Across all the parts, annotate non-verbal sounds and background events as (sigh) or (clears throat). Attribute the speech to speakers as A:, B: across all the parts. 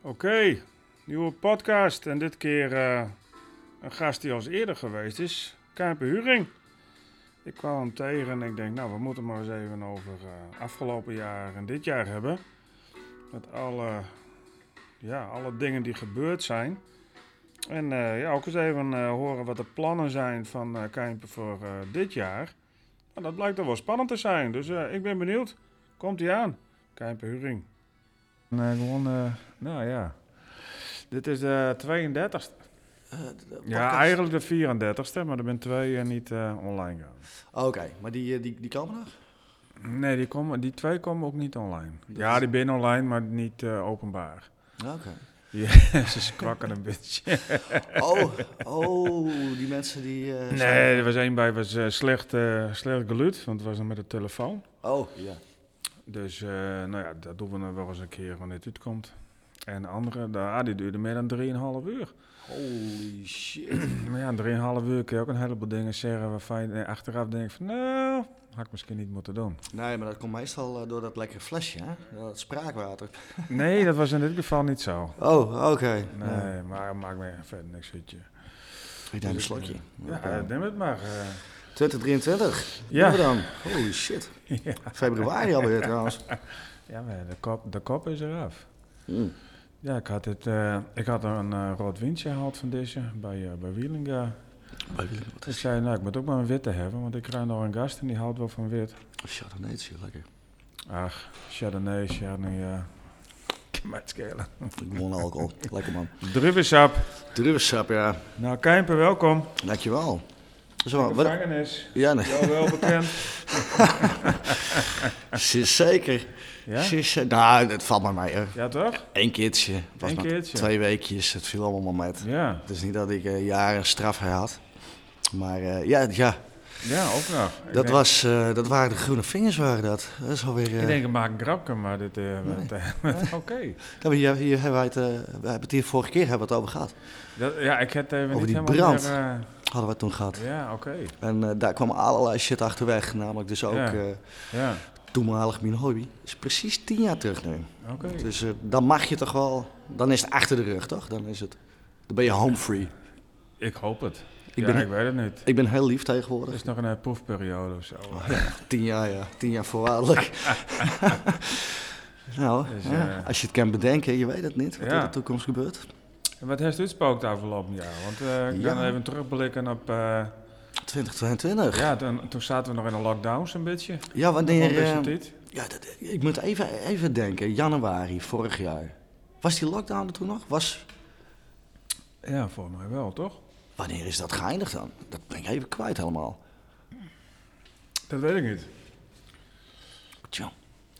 A: Oké, nieuwe podcast. En dit keer eh, een gast die al eens eerder geweest is, Kuiper Huring. Ik kwam hem tegen en ik denk, nou, we moeten maar eens even over eh, afgelopen jaar en dit jaar hebben. Met alle, ja, alle dingen die gebeurd zijn. En eh, ja, ook eens even eh, horen wat de plannen zijn van eh Kuiper voor eh, dit jaar. Nou, dat blijkt toch wel spannend te zijn, dus eh, ik ben benieuwd. Komt hij aan, Kuiper Huring. En, eh, gewoon, eh, nou ja. Dit is de 32ste.
B: Eh, de- de
A: Ja,
B: podcast.
A: eigenlijk de 34ste, maar er zijn twee eh, niet eh, online gaan.
B: Oké, maar die, eh, die, die komen nog?
A: Nee, die, komen, die twee komen ook niet online.
B: Dat
A: ja,
B: is-
A: die binnen online, maar niet eh, openbaar.
B: Oké.
A: (laughs) Ja, ze kwakken een beetje.
B: Oh, oh, die mensen die... eh,
A: Nee,
B: zijn-
A: er was één bij, was eh, slecht, eh, slecht geluid, want het was nog met de telefoon.
B: Oh, ja.
A: Dus, eh, nou ja, dat doen we nog wel eens een keer wanneer het uitkomt. En de andere, de, ah, die duurde meer dan 3,5 uur.
B: Holy shit. (clears throat)
A: Maar ja, in 3,5 uur kun je ook een heleboel dingen zeggen waarvan je eh, achteraf denkt van nou, had ik misschien niet moeten (laughs) doen.
B: Nee, maar dat komt meestal eh, door dat lekkere flesje, hè? Dat spraakwater.
A: Nee, dat was in dit geval niet zo.
B: Oh, oké.
A: Nee,
B: Ja.
A: maar het maakt me verder niks uit. je.
B: Ik neem een slokje.
A: Ja,
B: Oké.
A: neem het maar. eh.
B: 2023.
A: Ja.
B: Doen we dan. Holy shit.
A: (laughs) ja,
B: Februari alweer
A: (laughs)
B: trouwens.
A: ja maar de kop, de kop is eraf.
B: Mm.
A: Ja, ik had, het, eh, ik had een eh, rood windje gehaald van deze bij, eh, bij Wielinga. Ik zei, nou, ik moet ook maar een witte hebben, want ik ruim nog een gast en die houdt wel van wit.
B: Chardonnay is heel lekker.
A: Ach, Chardonnay, Chardonnay, ja. Ik (laughs) kan mij het schelen.
B: Ik mon alcohol. Lekker man.
A: Druivensap.
B: Druwensap, ja.
A: Nou, Kijmper, welkom.
B: Dankjewel. Zo, wat...
A: Gevangenis.
B: Ja, nee.
A: Jou wel bekend.
B: Ze- Zeker.
A: (laughs) Ja?
B: Ze- ze- Nou, het valt maar mee. hoor.
A: Ja, toch?
B: Eén keertje. Het was
A: Eén
B: maar
A: keertje.
B: Twee weekjes. Het viel allemaal maar met.
A: Ja.
B: Het is niet dat ik eh, jaren straf had. Maar eh, ja, ja.
A: Ja, ook nog. Ik
B: Dat,
A: denk-
B: was, eh, dat waren de groene vingers, waren dat. Dat is alweer... eh,
A: Ik denk, ik maak een grapje, maar dit... eh, want, eh, Oké.
B: ja, maar hier, hier hebben wij het, eh, we hebben het hier vorige keer hebben we het over gehad.
A: Dat- Ja, ik heb het even
B: Over
A: niet
B: die
A: helemaal
B: brand.
A: meer,
B: Hadden we het toen gehad.
A: eh, ja, oké.
B: En eh, daar kwam allerlei shit achterweg. Namelijk dus ook
A: Ja.
B: eh,
A: Ja,
B: toenmalig mijn hobby. Dat is precies tien jaar terug nu.
A: oké.
B: Dus eh, dan mag je toch wel... Dan is het achter de rug, toch? Dan is het... Dan ben je home free.
A: Ik hoop het.
B: Ik,
A: ja,
B: ben,
A: ik weet het niet.
B: ik ben heel lief
A: Het
B: tegenwoordig.
A: is nog een eh, proefperiode of zo.
B: Ah. Tien jaar, ja. Tien jaar
A: (laughs)
B: voorwaardelijk. nou,
A: Dus,
B: ja,
A: eh,
B: als je het kan bedenken, je weet het niet wat
A: Ja.
B: in de toekomst gebeurt.
A: En wat heeft u spookt de afgelopen jaar? Want eh, ik kan
B: Ja.
A: even terugblikken op... eh,
B: 2022.
A: ja, toen, toen zaten we nog in een lockdown zo'n beetje.
B: Ja,
A: Hoe
B: wanneer...
A: is het
B: eh,
A: dit?
B: ja, dat- ik moet even, even denken. Januari vorig jaar. Was die lockdown er toen nog? Was,
A: Ja, volgens mij wel, toch?
B: wanneer is dat geëindigd dan? Dat ben ik even kwijt allemaal.
A: Dat weet ik niet.
B: Tjoh,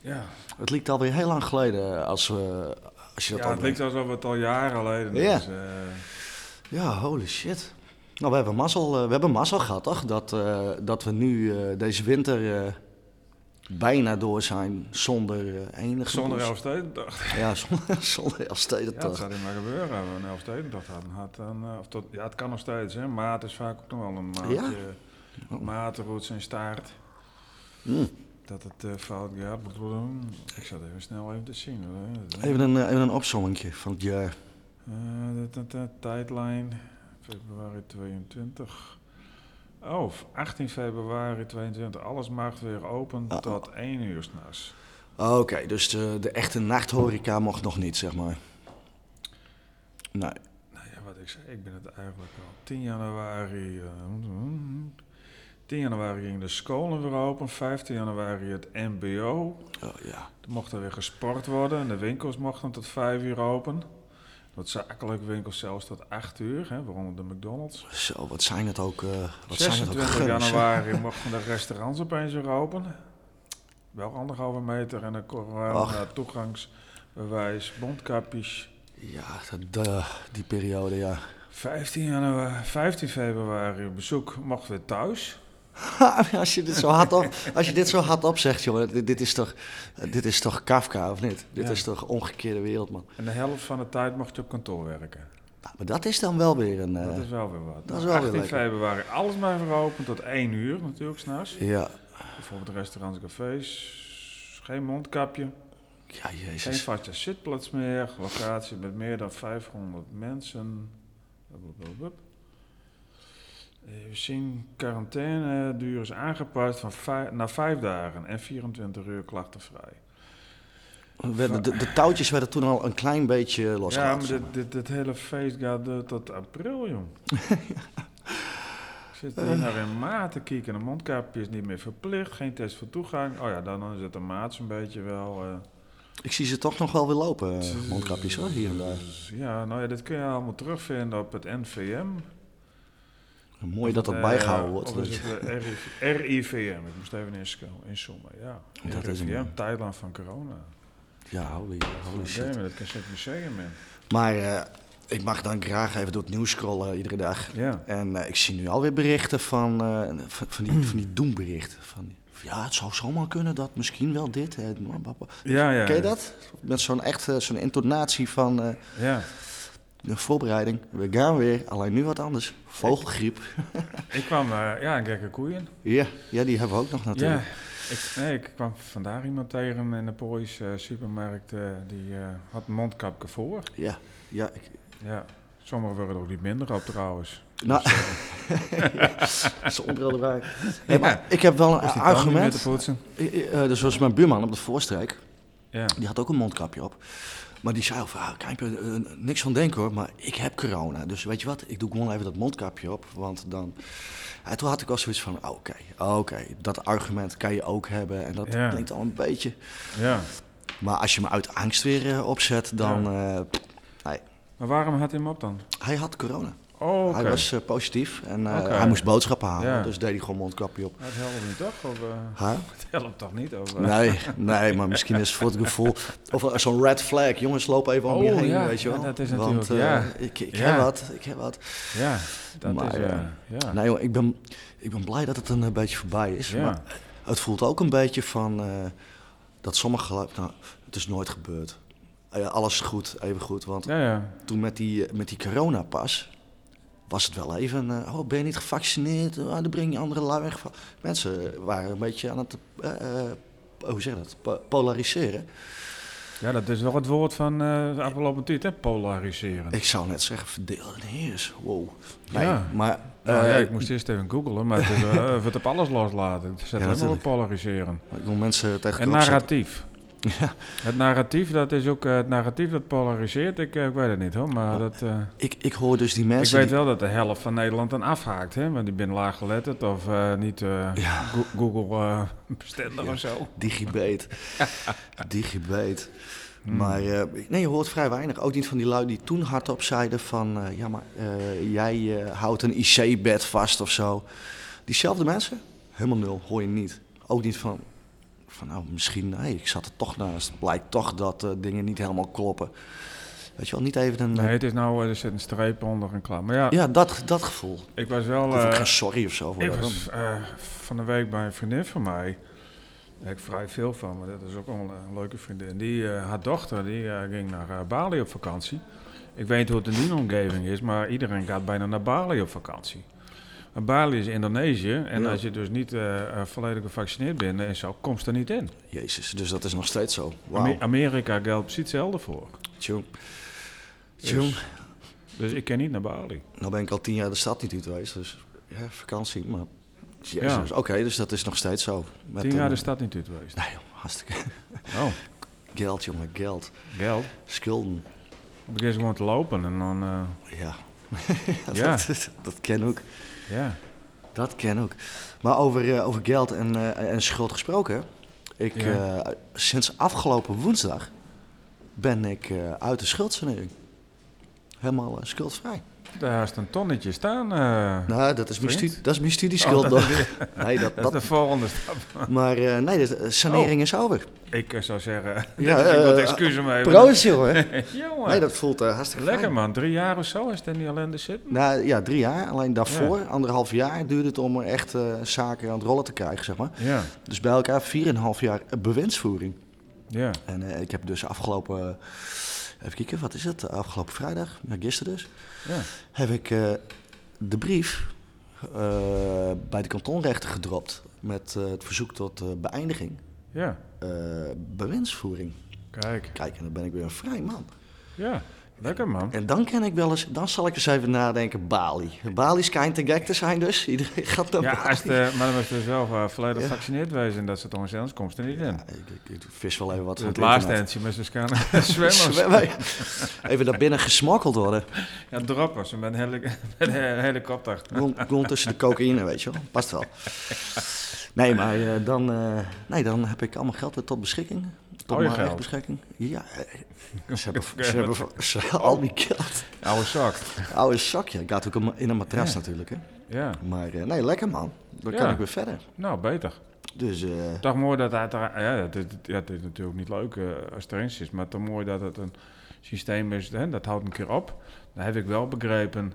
A: Ja,
B: het liep alweer heel lang geleden eh, als, we als je dat
A: ja, het
B: opbrengt.
A: lijkt alsof het al jaren geleden
B: Ja.
A: is. eh.
B: Ja, holy shit. Nou, we hebben mazzel, eh, we hebben mazzel gehad, toch? Dat, eh, dat we nu eh, deze winter eh, bijna door zijn zonder eh, enige...
A: Zonder
B: bos.
A: Elfstedentocht.
B: Ja, (laughs) zonder, zonder
A: Ja, dat
B: Elfstedentocht.
A: zou niet maar gebeuren. Als we een Elfstedentocht hadden, had dan, eh, of dat, ja, het kan nog steeds. Hè. Maat is vaak ook nog wel een maatje.
B: Oh.
A: Matenroets en staart.
B: Mm.
A: Dat het eh, fout gaat. Blablabla. Ik zat even snel even te zien. hoor.
B: Even een, eh, even een opzommingje van het jaar.
A: Eh, dat- dat- dat, tijdlijn, februari 22. Oh, 18 februari 22. Alles mag weer open
B: Ah.
A: tot 1 uur s'nachts.
B: Oké, dus de, de echte nachthoreca mocht nog niet, zeg maar. Nee.
A: Nou ja, wat ik zei, ik ben het eigenlijk al. 10 januari. eh, 10 januari gingen de scholen weer open. 15 januari het MBO.
B: Oh, ja.
A: Er mocht er weer gesport worden en de winkels mochten tot 5 uur open. Wat zakelijke winkels zelfs tot 8 uur, hè, waaronder de McDonald's.
B: Zo, wat zijn het ook... eh wat zijn het ook
A: 26
B: gunners, hè?
A: januari mochten de restaurants opeens weer open. Wel anderhalve meter en een corona
B: Ach.
A: toegangsbewijs, mondkapjes.
B: Ja, dat, de- die periode, ja.
A: 15, januari, 15 februari bezoek mocht weer thuis.
B: (laughs) als, je dit zo hard op, als je dit zo hard op zegt, jongen, dit, dit is toch, dit is toch Kafka, of niet? Dit
A: Ja.
B: is toch omgekeerde wereld, man.
A: En de helft van de tijd mocht je op kantoor werken.
B: Nou, maar dat is dan wel weer een... eh,
A: Dat is wel weer wat.
B: dat is wel weer
A: 18
B: lekker.
A: februari alles maar weer open tot 1 uur natuurlijk s'nachts.
B: eh, Ja,
A: Bijvoorbeeld restaurants, cafés, geen mondkapje.
B: Ja,
A: Geen
B: jezus.
A: vaste zitplaats meer, locatie met meer dan 500 mensen. Hup, hup, hup, hup. Even zien, quarantaine duur is aangepast van vij- naar vijf dagen en 24 uur klachtenvrij.
B: Werden- De, de touwtjes werden toen al een klein beetje
A: ja,
B: losgelaten.
A: maar
B: zeg
A: dit, dit, dit hele feest gaat door tot april,
B: (laughs)
A: jong. Ik zit
B: Eh.
A: hier naar in maart te kijken. Een mondkapje is niet meer verplicht, geen test voor toegang. Oh ja, dan is het een maat zo'n beetje wel. eh.
B: Ik zie ze toch nog wel weer lopen, eh, mondkapjes hoor, hier en daar.
A: Ja, nou ja, dit kun je allemaal terugvinden op het NVM.
B: Mooi dat dat
A: Eh,
B: bijgehouden
A: of
B: wordt.
A: is het, eh, RIV RIVM, ik moest even insco- inzoomen. Ja,
B: Dat is hem,
A: RIVM,
B: ja.
A: tijdland van corona.
B: Ja, holy, holy shit.
A: Damn, dat kan je het museum in.
B: Maar eh, ik mag dan graag even door het nieuws scrollen eh, iedere dag.
A: Ja.
B: En eh, ik zie nu alweer berichten van, eh, van, van die, van die doemberichten. Van, die- ja, het zou zomaar kunnen dat misschien wel dit. eh, maar- maar- maar-
A: Ja, ja.
B: Ken je dat? Met zo'n echt eh, zo'n intonatie van eh,
A: Ja.
B: de voorbereiding. We gaan weer, alleen nu wat anders. Vogelgriep.
A: Ik kwam, eh, ja, een gekke koeien.
B: Ja, ja, die hebben we ook nog
A: Ja,
B: natuurlijk.
A: ik, nee, ik kwam vandaag iemand tegen in de Poolse supermarkt. eh, die eh, had een mondkapje voor.
B: Ja, ja. ik, (laughs)
A: Ja. Sommigen worden er ook niet minder op trouwens. Dus, eh,
B: nou, dat is onbril erbij. Hey, maar ik heb wel een
A: Dus die tanden
B: argument.
A: met te poetsen.
B: Eh, eh, dus zoals mijn buurman op de voorstrijk,
A: Ja.
B: die had ook een mondkapje op. Maar die zei al van, ah, Kijmpje, eh, niks van denken hoor, maar ik heb corona. Dus weet je wat, ik doe gewoon even dat mondkapje op, want dan... En toen had ik al zoiets van, "Ah, oké, oké, dat argument kan je ook hebben. En dat
A: Ja.
B: klinkt al een beetje...
A: ja.
B: Maar als je hem uit angst weer eh, opzet, dan... eh, pff, nee.
A: Maar waarom had hij hem op dan?
B: Hij had corona.
A: Oh, oké.
B: Hij was eh, positief en eh,
A: Oké.
B: hij moest boodschappen halen,
A: Ja.
B: dus deed hij gewoon mondkapje op.
A: Maar Het helpt niet toch? Of, eh,
B: Huh?
A: het helpt toch niet? Of, eh?
B: Nee, nee, maar misschien is het voor het gevoel. Of zo'n red flag. Jongens, loop even om je
A: Oh,
B: heen,
A: ja,
B: weet je
A: ja,
B: wel.
A: dat is
B: Want,
A: natuurlijk,
B: eh, ik, ik
A: Ja.
B: heb wat, ik heb wat.
A: Ja, dat
B: Maar,
A: is... eh,
B: eh,
A: ja.
B: Nee, joh, ik ben, ik ben blij dat het een eh, beetje voorbij is.
A: Ja.
B: Maar het voelt ook een beetje van eh, dat sommige geluid, nou, het is nooit gebeurd. Eh, alles goed, even goed. Want
A: ja, ja.
B: toen met die, eh, met die coronapas was het wel even, eh, oh, ben je niet gevaccineerd? Ah, dan breng je andere lui weg. Mensen waren een beetje aan het, eh, eh, hoe zeg je dat, Po- polariseren.
A: Ja, dat is wel het woord van eh de afgelopen tijd, hè? Polariseren.
B: Ik zou net zeggen, verdeel en heers. Wow. Nee,
A: Ja.
B: maar...
A: Nou
B: eh,
A: ja, ik moest eerst even googlen, maar het is, eh, (laughs) of het op alles loslaten. Het zet
B: Ja,
A: helemaal op
B: natuurlijk.
A: polariseren.
B: ik wil mensen tegen
A: En
B: elkaar opzetten.
A: narratief.
B: (laughs) Ja.
A: Het narratief, dat is ook eh, het narratief dat polariseert. Ik, eh, ik weet het niet hoor, maar dat, eh,
B: Ik, ik hoor dus die
A: ik
B: mensen...
A: weet wel dat de helft van Nederland dan afhaakt. Hè? Want die ben laag geletterd of eh, niet eh,
B: Ja.
A: Go- Google eh, bestendig
B: Ja.
A: of zo.
B: die,
A: (laughs)
B: digibate. digibate.
A: Hmm.
B: Maar eh, nee, je hoort vrij weinig. Ook niet van die lui die toen hardop zeiden van... eh, ja, maar eh, jij eh, houdt een IC-bed vast of zo. Diezelfde mensen? Helemaal nul, hoor je niet. Ook niet van... Van nou, misschien, nee, ik zat er toch naast. Blijkt toch dat eh, dingen niet helemaal kloppen. Weet je wel, niet even een... eh,
A: Nee, het is nou, eh, er zit een streep onder en klaar. Maar ja,
B: Ja, dat, dat gevoel.
A: ik was wel...
B: Of ook
A: eh,
B: geen sorry of zo. Voor
A: Ik
B: dat.
A: was eh, van de week bij een vriendin van mij. Daar heb ik vrij veel van, maar dat is ook wel een leuke vriendin. Die, eh, haar dochter die, eh, ging naar eh, Bali op vakantie. Ik weet niet hoe het in die omgeving is, maar iedereen gaat bijna naar Bali op vakantie. Maar Bali is Indonesië en
B: Ja.
A: als je dus niet eh, eh, volledig gevaccineerd bent, en zo, komst er niet in.
B: Jezus, dus dat is nog steeds zo. Wauw.
A: Ame- Amerika geldt precies hetzelfde voor.
B: Tjong. Tjong.
A: Dus ik ken niet naar Bali.
B: Nou ben ik al tien jaar de stad niet uit geweest, dus ja, vakantie, maar... Jezus,
A: Ja.
B: oké, dus dat is nog steeds zo. Met
A: Tien jaar
B: een-
A: de stad niet uit
B: (laughs)
A: geweest.
B: Nee, joh, hartstikke...
A: Oh,
B: Geld, jongen, geld.
A: geld.
B: Schulden.
A: Ik begin gewoon te lopen en dan, eh,
B: Ja. (laughs)
A: Ja.
B: dat, dat ken ook.
A: ja.
B: Dat ken ook. Maar over, eh, over geld en, eh, en schuld gesproken. Ik,
A: Ja.
B: eh, sinds afgelopen woensdag ben ik eh, uit de schuldsanering. Helemaal eh, schuldvrij.
A: Daar is een tonnetje staan. eh.
B: Nou, dat is mijn,
A: Vriend?
B: studie, dat is mijn studieschuld
A: Oh, dat (laughs)
B: nog. nee, dat,
A: Dat is
B: dat,
A: de volgende stap.
B: maar eh, nee, de eh, sanering
A: Oh.
B: is over.
A: Ik eh, zou zeggen, (laughs)
B: Ja,
A: ik
B: eh,
A: wat excuses mee.
B: Proost, jongen.
A: Jongen,
B: Nee, dat voelt eh, hartstikke
A: lekker
B: fijn.
A: man. Drie jaar of zo is het in die ellende zitten.
B: Nou ja, drie jaar. Alleen daarvoor, anderhalf jaar, duurde het om er echt eh, zaken aan het rollen te krijgen, zeg maar.
A: Ja,
B: Dus bij elkaar 4,5 jaar bewindsvoering.
A: ja.
B: En eh, ik heb dus afgelopen, eh, even kijken, wat is het? Afgelopen vrijdag, ja, gisteren dus,
A: ja.
B: heb ik eh, de brief eh, bij de kantonrechter gedropt met eh, het verzoek tot eh, beëindiging.
A: ja.
B: eh bewindsvoering.
A: Kijk,
B: Kijk, en dan ben ik weer een vrij man.
A: ja, lekker man.
B: En dan ken ik wel eens, dan zal ik eens even nadenken, Bali. Bali schijnt te gek te zijn dus. Iedereen gaat naar
A: Ja,
B: Bali.
A: als de, maar dan moest je zelf eh, volledig
B: Ja.
A: gevaccineerd wezen en dat ze toch eens komt er niet in.
B: Ja, ik, ik- ik vis wel even wat
A: het
B: van
A: laatste dus
B: internet.
A: eentje met ze scannen. (laughs)
B: (laughs)
A: Zwemmers.
B: Zwemmen. Even naar binnen gesmokkeld worden.
A: Ja, droppers. Met een, heli- (laughs) met een helikopter.
B: Rond, rond tussen de cocaïne, weet je wel. Past wel. Nee, maar eh, dan, eh, nee, dan heb ik allemaal geld weer tot beschikking. Tot
A: Al je
B: mijn
A: geld?
B: eigen beschikking. Ja, eh, ze
A: (laughs)
B: hebben, ze hebben ze- al die geld.
A: Oude zak.
B: Oude zakje. Gaat ook in een- in een matras
A: Ja.
B: natuurlijk. Hè.
A: Ja,
B: Maar eh, nee, lekker man. Dan kan
A: Ja.
B: ik weer verder.
A: nou beter.
B: Dus eh,
A: Toch mooi dat het, ja, het, is- ja, het is natuurlijk niet leuk eh, als het er eens is, maar toch mooi dat het een systeem is, hè, dat houdt een keer op. Dan heb ik wel begrepen,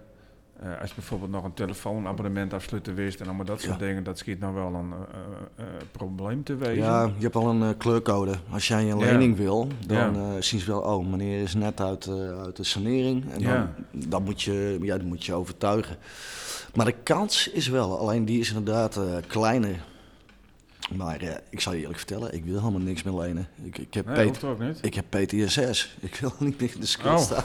A: eh, als je bijvoorbeeld nog een telefoonabonnement afsluiten wist en allemaal dat soort
B: Ja.
A: dingen, dat schiet nou wel een eh, eh, eh, probleem te wezen.
B: ja, je hebt al een eh, kleurcode. Als jij een
A: Ja.
B: lening wil, dan
A: Ja.
B: eh, zien ze wel, oh, meneer is net uit, eh, uit de sanering. En dan,
A: Ja.
B: dan, moet je, ja, dan moet je overtuigen. Maar de kans is wel, alleen die is inderdaad eh, kleiner. Maar eh, ik zal je eerlijk vertellen, ik wil helemaal niks meer lenen. Ik, ik, heb,
A: nee,
B: P-
A: hoeft ook niet.
B: ik heb PTSS. Ik wil niet meer in de schuld
A: Oh.
B: staan.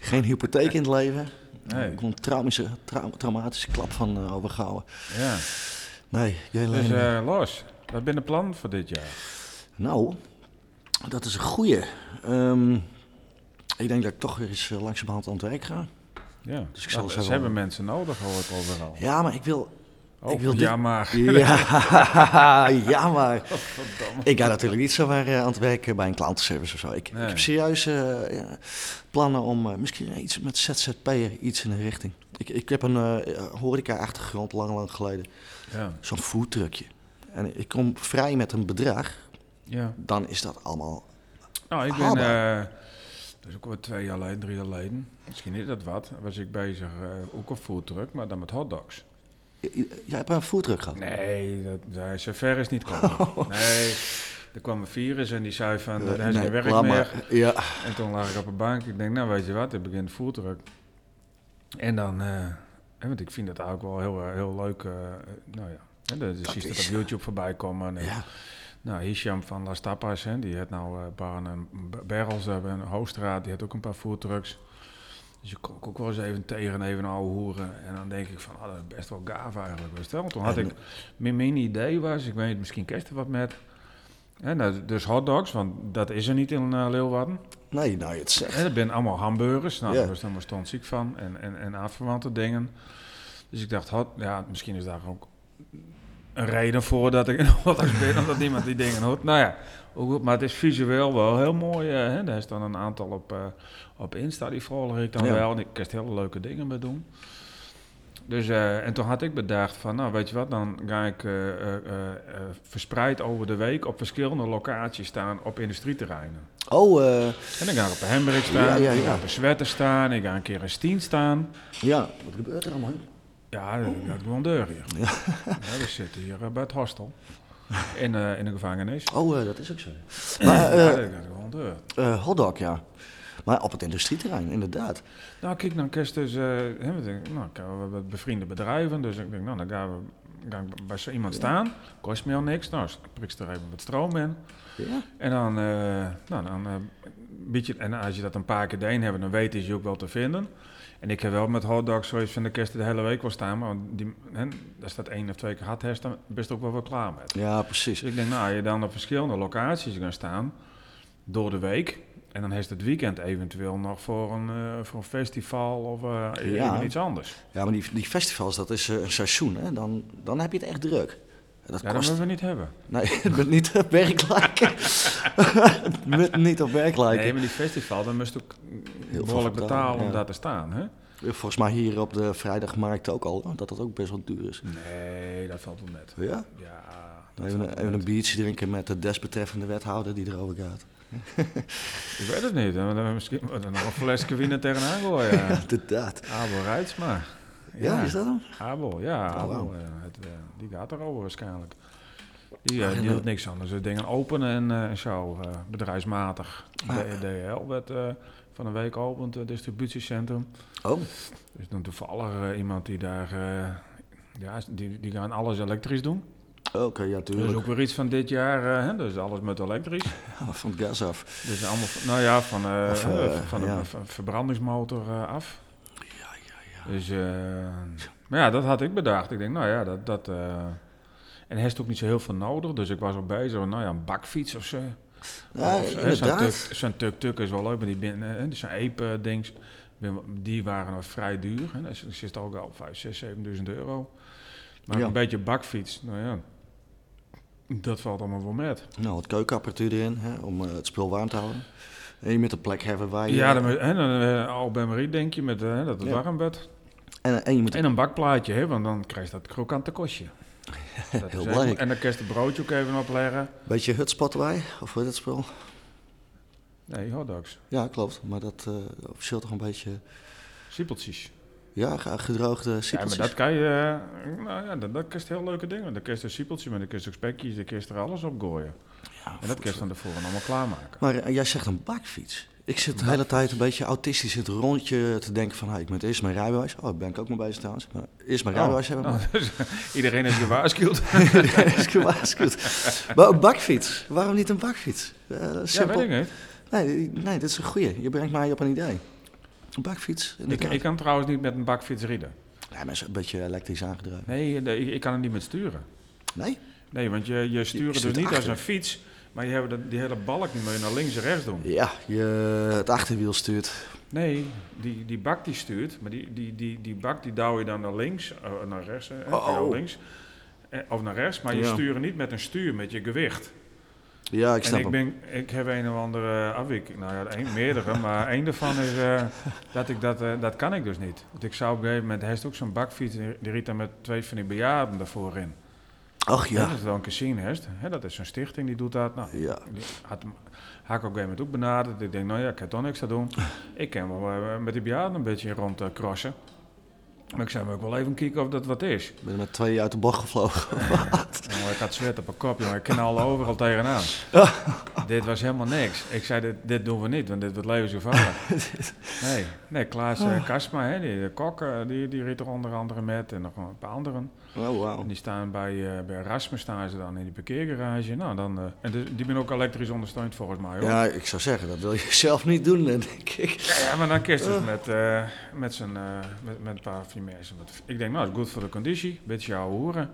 B: Geen hypotheek in het leven.
A: Nee.
B: Ik kon een traumische, trau- traumatische klap van eh, overgehouden.
A: Ja.
B: Nee, jij lenen.
A: Dus eh, los, wat ben de plan voor dit jaar?
B: Nou, dat is een goeie. Ehm, ik denk dat ik toch weer eens eh, langzamerhand aan het werk ga.
A: Ja,
B: Dus ik zal
A: dat,
B: eens
A: ze
B: even-
A: hebben mensen nodig, hoor ik overal.
B: Ja, maar ik
A: (laughs)
B: wil...
A: Oh,
B: ik wil dit-
A: ja, maar.
B: Ja, (laughs) ja maar...
A: Godverdamme.
B: Ik ga natuurlijk niet zomaar eh, aan het werk bij een klantenservice of zo. Ik,
A: Nee.
B: ik heb serieus eh, ja, plannen om eh, misschien iets met ZZP'er, iets in de richting. Ik, ik heb een eh, horeca-achtergrond lang, lang geleden.
A: Ja,
B: Zo'n foodtruckje. En ik kom vrij met een bedrag,
A: ja.
B: dan is dat allemaal...
A: Nou, ik ben,
B: Haalbaar.
A: eh dat is ook wel twee jaar geleden, drie jaar geleden, misschien is dat wat, was ik bezig, eh, ook een foodtruck, maar dan met hotdogs.
B: J- j- Jij hebt een foodtruck gehad?
A: Nee, dat, daar is zover is niet komen. Nee, er kwam een virus en die zei van,
B: Oh. Eh,
A: daar is geen werk
B: laat
A: meer.
B: maar. Ja.
A: En toen lag ik op een bank, ik denk, nou weet je wat, ik begin de foodtruck. En dan, eh, hè, want ik vind dat eigenlijk wel heel, eh, heel leuk, eh, nou ja. En dan
B: Dat
A: zie je dat op
B: is,
A: YouTube voorbij komen. En,
B: Ja,
A: Nou, Hisham van Las Tapas, hè, die had nou eh Barn en B- Barrels hebben, en Hoogstraat, die had ook een paar foodtrucks. Dus ik kom ik ook wel eens even tegen, even een oude hoeren. En dan denk ik van, ah, dat is best wel gaaf eigenlijk, best wel. Toen had
B: En-
A: ik, mijn mijn idee was, ik weet het, misschien kerst er wat met. En dat, dus hotdogs, want dat is er niet in eh, Leeuwarden.
B: nee, nou je het zegt.
A: En dat zijn allemaal hamburgers. Nou,
B: Ja.
A: daar was dan maar ziek van. En, en, en aanverwante dingen. Dus ik dacht, had, ja, misschien is daar ook een reden voor dat ik in Rotterdam ben. Omdat niemand die dingen hoort. Nou ja, ook, goed, maar het is visueel wel heel mooi. eh, hè. Er is dan een aantal op, eh, op Insta, die volg ik dan
B: Ja.
A: wel. En ik kan hele leuke dingen mee doen. Dus, eh, en toen had ik bedacht van, nou weet je wat, dan ga ik eh, eh, eh, eh, verspreid over de week op verschillende locaties staan op industrieterreinen.
B: Oh, eh,
A: En dan ga ik op een hemmerich staan,
B: Ja, ja,
A: ik ga
B: ja.
A: op een sweater staan, ik ga een keer een stien staan.
B: ja, wat gebeurt er allemaal?
A: Ja, dat is gewoon deur hier.
B: Oh. Ja.
A: Ja, we zitten hier eh, bij het hostel. In, eh, in de gevangenis.
B: Oh, eh, dat is ook zo. Maar
A: ja,
B: eh
A: dat is gewoon deur.
B: eh, hotdog, ja. Maar op het industrieterrein, inderdaad.
A: Nou, kijk, dan kerst dus... eh, hè, we denken, nou, ik heb wel wat bevriende bedrijven, dus ik denk, nou, dan gaan we... Ga ik bij zo iemand staan, kost me al niks. Nou, prik er even wat stroom in.
B: Ja,
A: En dan, eh nou, dan eh, een beetje, en als je dat een paar keer deen hebben, dan weten ze je ook wel te vinden. En ik heb wel met hotdogs zoiets van de kerst de hele week wel staan, maar die, hè, als dat één of twee keer had, dan best ook wel wel klaar met.
B: ja precies.
A: Dus ik denk, nou, je dan op verschillende locaties gaan staan door de week. En dan heeft het weekend eventueel nog voor een, eh, voor een festival of eh,
B: Ja.
A: even iets anders.
B: Ja, maar die, die festivals, dat is eh, een seizoen, hè. Dan, dan heb je het echt druk. Dat
A: Ja, dat
B: kost...
A: moeten we niet hebben.
B: Nee, (laughs) het moet niet op werk lijken. (laughs) Het moet niet op werk lijken.
A: Nee, maar die festival, dan moest ook
B: veel
A: behoorlijk
B: betalen,
A: betalen om
B: ja.
A: daar te staan, hè?
B: Volgens mij hier op de vrijdagmarkt ook al, hoor, dat dat ook best wel duur is.
A: Nee, dat valt wel net.
B: Ja?
A: Ja, dat
B: Even,
A: valt
B: een-
A: wel
B: even
A: mee.
B: een biertje drinken met de desbetreffende wethouder die erover gaat.
A: Ik weet het niet. hè. Dan Misschien dan nog een flesje wiener tegenaan gooien. (laughs) Ja.
B: Inderdaad.
A: Abel Rijtsma.
B: Ja, is dat hem?
A: Abel, ja.
B: Oh,
A: Abel,
B: wauw.
A: eh, het, eh, die gaat erover waarschijnlijk. Die, eh,
B: Maar,
A: die
B: eh,
A: doet niks anders. De dingen openen en, eh, en zo. eh, bedrijfsmatig. De DHL werd eh, van een week opend, het distributiecentrum.
B: Oh,
A: Dus dan toevallig eh, iemand die daar... eh, ja, die, die gaan alles elektrisch doen.
B: Oké, ja,
A: Dat is
B: tuurlijk.
A: ook weer iets van dit jaar, eh, hè, dus alles met elektrisch.
B: Ja, van het gas af.
A: Dus allemaal, van- nou ja, van, eh,
B: Of,
A: eh,
B: eh,
A: van de
B: ja.
A: ver- verbrandingsmotor eh, af.
B: Ja, ja, ja.
A: Dus, eh, maar ja, dat had ik bedacht. Ik denk, nou ja, dat... dat eh, en hij heeft ook niet zo heel veel nodig, dus ik was al bezig. Nou ja, een bakfiets of zo.
B: Ja,
A: Of eh, zo, hè, zo'n
B: inderdaad.
A: tuk- Zo'n tuk-tuk is wel leuk, maar die binnen, hè, dus zo'n EPE-dings, die waren nog vrij duur. Hè. Dat is- zit ook al 5, 6, 7.000 euro. Maar
B: Ja.
A: een beetje bakfiets, nou ja, dat valt allemaal wel met.
B: Nou, wat keukenapparatuur erin, hè, om eh, het spul warm te houden. En je moet een plek hebben waar je...
A: Ja, dan, hè, dan, eh, al bij Marie denk je, met, eh, hè, dat het
B: Ah, Ja.
A: warm werd.
B: en, en je moet...
A: En een bakplaatje, hè, want dan krijg je dat krokante
B: (laughs)
A: kostje. Dat is echt-
B: belangrijk.
A: En dan kun je het broodje ook even opleggen.
B: Beetje hutspot erbij, of hoe heet dat spul?
A: Nee, hotdogs.
B: Ja, klopt. Maar dat eh officieel toch een beetje...
A: Siepeltjes.
B: Ja, ge- gedroogde
A: Ja, maar
B: siepeltjes.
A: dat kan je... eh, Nou ja, dat, dat kun je heel leuke dingen. Dan kun je er siepeltje, maar dan kun je er ook spekjes, dan kun je er alles op gooien.
B: Ja,
A: En dat kun je dan tevoren allemaal klaarmaken.
B: Maar eh, jij zegt een bakfiets. Ik zit de hele tijd een beetje autistisch in het rondje te denken van... Hey, ik moet eerst mijn rijbewijs... Oh, daar ben ik ook mee bezig trouwens. Maar eerst mijn rijbewijs hebben.
A: Oh, (laughs) dus, iedereen is
B: (laughs)
A: gewaarschuwd.
B: Dat is gewaarschuwd. Maar een bakfiets. Waarom niet een bakfiets? Eh,
A: ja,
B: simpel.
A: weet ik niet.
B: nee, nee, dit is een goeie. Je brengt mij op een idee. Een bakfiets.
A: Ik,
B: inderdaad.
A: ik kan trouwens niet met een bakfiets rijden.
B: Nee, maar is een beetje elektrisch aangedreven.
A: Nee, eh, nee, ik, ik kan er niet met sturen.
B: Nee?
A: Nee, want je, je stuurt dus
B: stuurt
A: niet als
B: achter.
A: een fiets, maar je hebt dat- die hele balk moet je naar links en rechts doen.
B: Ja, je, het achterwiel stuurt.
A: Nee, die, die bak die stuurt, maar die, die, die, die bak die douw je dan naar links, eh, naar rechts, eh,
B: Oh,
A: naar
B: oh.
A: links eh, of naar rechts, maar je
B: Ja.
A: stuurt niet met een stuur, met je gewicht.
B: Ja, ik
A: en
B: snap
A: ik,
B: hem.
A: ben, ik heb een of andere afwik, nou ja, een, meerdere, maar een daarvan is
B: (laughs)
A: eh, dat ik dat, eh, dat kan ik dus niet. Want ik zou op een gegeven moment, hij heeft ook zo'n bakfiets, die die riet dan met twee van die bejaarden daarvoor in.
B: Ach
A: Ja.
B: ja.
A: Dat is dan een casino, hè? hè, dat is zo'n stichting die doet dat. Nou,
B: Ja.
A: die had hem, had ik op een gegeven moment ook benaderd. Ik denk, nou ja, ik heb toch niks te doen. Ik kan wel eh, met die bejaarden een beetje rond eh, crossen. Maar ik zou hem ook wel even kijken of dat wat is.
B: Ik ben met twee uit de bocht gevlogen.
A: Jongen, ik had zwet op mijn kop, jongen. Ik ken al overal tegenaan. dit was helemaal niks. Ik zei, dit, dit doen we niet, want dit wordt levensgevaarlijk. nee, nee, Klaas eh, Kasma, hè, die, de kok, eh, die, die reed er onder andere met. En nog een paar anderen.
B: Oh, wauw.
A: En die staan bij, eh, bij Erasmus staan ze dan in die parkeergarage. Nou, dan, eh, en dus- die ben ook elektrisch ondersteund volgens mij. Hoor. Ja.
B: Ja, ik zou zeggen, dat wil je (laughs) zelf niet doen, eh, denk ik.
A: ja, maar dan kerst het met, eh, met, zijn, eh, met, met een paar van die mensen. Want ik denk, nou, het is goed voor de conditie. beetje jouw horen.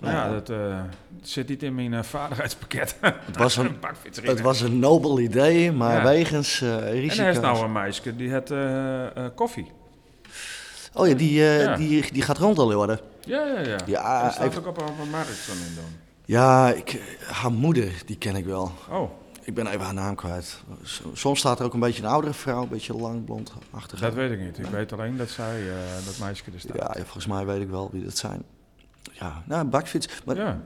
A: Maar ja,
B: Ja.
A: dat eh, zit niet in mijn eh, vaardigheidspakket.
B: Het
A: (laughs)
B: was een,
A: bakfiets erin.
B: het was een nobel idee, maar
A: Ja.
B: wegens eh
A: En
B: risico's...
A: er is nou een meisje, die had eh, eh, koffie.
B: Oh ja, die, eh,
A: Ja.
B: Die, die gaat rond al worden.
A: Ja, ja, ja.
B: Ja,
A: die staat
B: even-
A: ook op, op een markt van in dan.
B: Ja, ik, haar moeder, die ken ik wel.
A: Oh,
B: Ik ben even haar naam kwijt. S- Soms staat er ook een beetje een oudere vrouw, een beetje lang, blond, achtig.
A: dat weet ik niet. Ik weet alleen dat zij, eh, dat meisje er staat.
B: Ja, ja, volgens mij weet ik wel wie dat zijn. Ja, nou, een bakfiets. Maar
A: ja.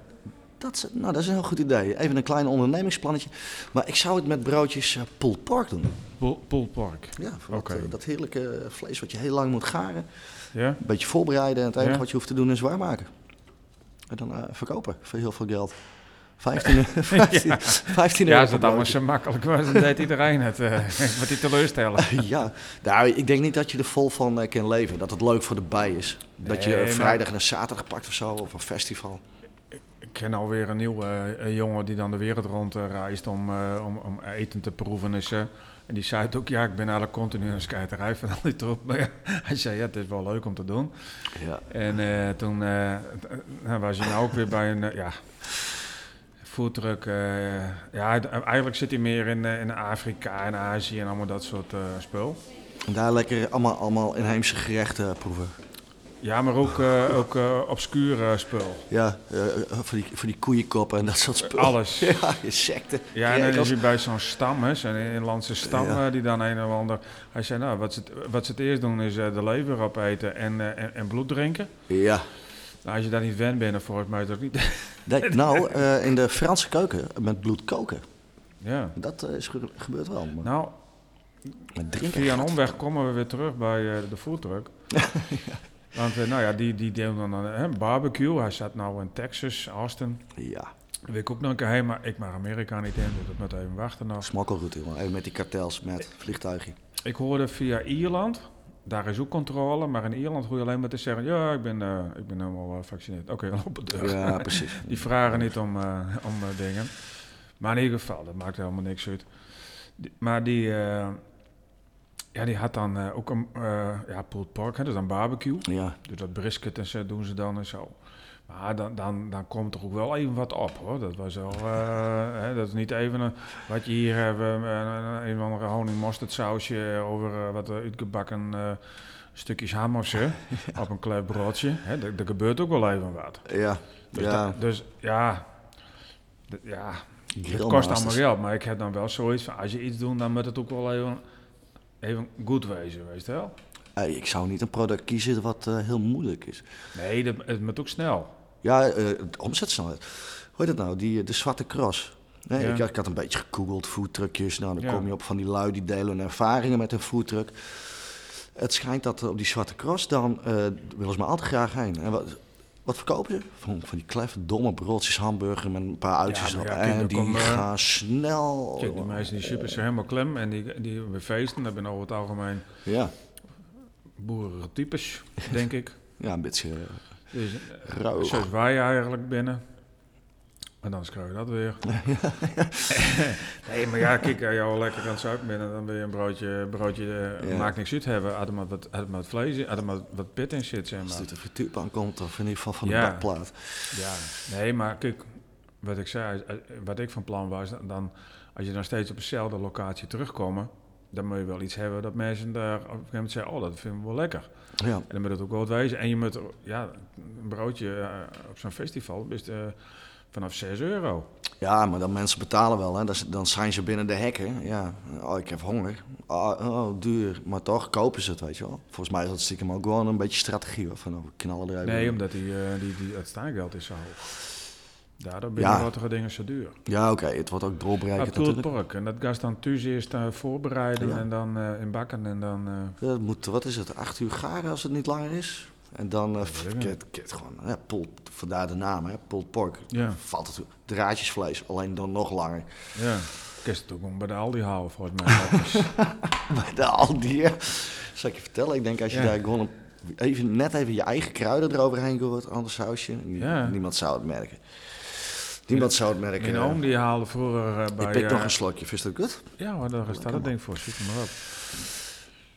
B: dat, is, nou, dat is een heel goed idee. Even een klein ondernemingsplannetje. Maar ik zou het met broodjes eh, pulled pork doen.
A: Pool- Poolpark.
B: Ja, voor dat,
A: Oké.
B: eh, dat heerlijke vlees wat je heel lang moet garen.
A: Ja?
B: Een beetje voorbereiden en het enige
A: Ja.
B: wat je hoeft te doen is warm maken. En dan eh, verkopen voor heel veel geld. (laughs) 15, 15,
A: (laughs)
B: 15
A: Ja,
B: euro
A: als het
B: per
A: allemaal
B: broodje.
A: zo makkelijk was, dan deed iedereen het. eh (laughs) wat die teleurstellen.
B: (laughs) Ja, nou, ik denk niet dat je er vol van eh, kan leven. Dat het leuk voor de bij is. dat je
A: Nee, maar-
B: vrijdag en een zaterdag pakt of zo, of een festival.
A: Ik ken alweer een nieuwe eh, een jongen die dan de wereld rond eh, reist om, eh, om, om eten te proeven. Dus, eh, en die zei het ook, ja, ik ben eigenlijk continu aan het skijterij van al die troep. (laughs) Maar ja, hij zei, ja, het is wel leuk om te doen.
B: Ja.
A: En eh, toen eh, t- eh, nou was hij nou ook weer bij een, eh, ja, foodtruck. eh, ja, hij- eigenlijk zit hij meer in, eh, in Afrika en Azië en allemaal dat soort eh, spul.
B: En daar lekker allemaal, allemaal inheemse gerechten proeven.
A: Ja, maar ook, eh ook eh, obscuur eh, spul.
B: Ja, eh, eh, voor, die, voor die koeienkoppen en dat soort spullen.
A: Alles.
B: (laughs) Ja, insecten.
A: Ja, dus en dan
B: kerkels.
A: is hij bij zo'n stam, hè, zo'n inlandse stam,
B: Ja.
A: eh, die dan een of ander... Hij zei, nou, wat ze, het- wat ze het eerst doen is eh, de lever opeten en, eh, en, en bloed drinken.
B: ja.
A: Nou, als je daar niet wend bent, dan volgens mij is dat niet... (laughs)
B: Nee, nou, eh, in de Franse keuken met bloed koken.
A: ja.
B: Dat eh, is ge- gebeurt wel. Maar,
A: Nou,
B: maar drinken
A: via een
B: gaat-
A: omweg komen we weer terug bij eh, de
B: (laughs)
A: foodtruck. Want, eh, nou ja, die, die deed dan een hè, barbecue. Hij zat nou in Texas, Austin.
B: Ja,
A: Daar wil ik ook nog een keer heen, maar ik mag Amerika niet in. Dus dat moet even wachten nog.
B: smokkelroute, jongen. Even met die kartels, met vliegtuigje.
A: Ik hoorde via Ierland Daar is ook controle, maar in Ierland hoor je alleen maar te zeggen: ja, ik ben, eh, ik ben helemaal gevaccineerd. Oké, dan op de deur.
B: Ja, precies.
A: (laughs) Die vragen niet om, eh, om eh, dingen. Maar in ieder geval, dat maakt helemaal niks uit. Die- maar die, eh, ja, die had dan eh, ook een eh, ja, pulled pork, hè, dus dan barbecue.
B: Ja,
A: Dus dat brisket en zo doen ze dan en zo. Maar dan, dan, dan komt er ook wel even wat op hoor. Dat was wel, eh, (laughs) hè, dat is niet even een- wat je hier hebt, eh, een, een of andere honing mosterdsausje over eh, wat eh, uitgebakken eh, stukjes ham of zo. Op een klein broodje. Hè, dat- dat gebeurt ook wel even wat.
B: ja.
A: Dus
B: ja.
A: dat- dus ja, d- ja het kost
B: Grillmasters.
A: allemaal geld, maar ik heb dan wel zoiets van, als je iets doet, dan moet het ook wel even, even goed wezen, weet je wel?
B: Eh, ik zou niet een product kiezen wat eh, heel moeilijk is.
A: Nee, dat, het moet ook snel.
B: Ja, eh, de omzetsnelheid. Hoe heet dat nou? Die, eh, de zwarte cross. Nee,
A: Ja.
B: ik, ik had een beetje gegoogeld, foodtruckjes. Nou, dan
A: Ja.
B: kom je op van die lui die delen hun ervaringen met hun foodtruck. Het schijnt dat eh, op die zwarte cross dan eh, willen ze maar altijd graag heen. En wat, wat verkopen ze? Van, van die kleffe, domme broodjes hamburger met een paar uitjes
A: maar
B: erop.
A: ja, kijk,
B: en
A: dan
B: die
A: kom, eh,
B: gaan snel.
A: Kijk, die meisjes die super zijn helemaal klem en die, die bij feesten, dat zijn over het algemeen
B: Ja,
A: boerige types, denk ik.
B: ja, een beetje eh,
A: Dus,
B: rauw.
A: Zoals wij eigenlijk binnen. En dan schrijf je dat weer. (laughs) nee, maar ja, kijk, als je al lekker aan het zuipen bent, en dan wil je een broodje, broodje eh,
B: Ja.
A: maakt niks uit hebben. Had er maar wat, had er maar wat vlees in, had er maar wat pit in zit, zeg
B: Als
A: maar.
B: het uit de frituurpan komt, of in ieder geval van de
A: Ja.
B: bakplaat.
A: Ja, nee, maar kijk, wat ik zei, eh, wat ik van plan was, dan, als je dan steeds op dezelfde locatie terugkomt, dan moet je wel iets hebben dat mensen daar op een gegeven moment zeggen, oh, dat vinden we wel lekker.
B: Ja.
A: En dan moet het ook wel wat wezen. En je moet, ja, een broodje eh, op zo'n festival is eh, vanaf 6 euro.
B: Ja, maar dan mensen betalen wel. Hè. Dat is- Dan zijn ze binnen de hekken. Ja. Oh, ik heb honger. Oh, oh, duur. Maar toch kopen ze het, weet je wel. Volgens mij is dat stiekem ook gewoon een beetje strategie. Hoor. Van, oh, we knallen er even
A: Nee,
B: in.
A: omdat die, eh, die, die, het staangeld is zo hoog. Daardoor
B: Ja.
A: binnen rottige dingen zo duur.
B: Ja, oké. Het wordt ook
A: Dat
B: dolbereikend
A: koelt
B: natuurlijk.
A: pork. En dat gas dan thuis eerst eh, voorbereiden
B: Ja.
A: en dan eh, in bakken en dan... eh,
B: Ja, dat moet, wat is het, acht uur garen als het niet langer is? En dan, eh
A: weet ik niet.
B: ket, ket gewoon, hè, pulled, vandaar de naam, hè, pulled pork.
A: Ja.
B: Valt het, draadjesvlees, alleen dan nog langer.
A: ja, ik is het ook om bij de Aldi houden
B: (laughs)
A: volgens mij. Dat is-
B: Bij de Aldi, hè. zal ik je vertellen. Ik denk als je
A: Ja.
B: daar gewoon een- even, net even je eigen kruiden eroverheen gooit, anders sausje. nie-
A: Ja.
B: Niemand zou het merken. Niemand zou het merken.
A: Mijn
B: eh.
A: oom die haalde vroeger eh, bij...
B: ik pik
A: eh,
B: nog een slokje, vind je dat goed?
A: Ja, hoor, daar staat dat ding voor. Zoek hem maar op.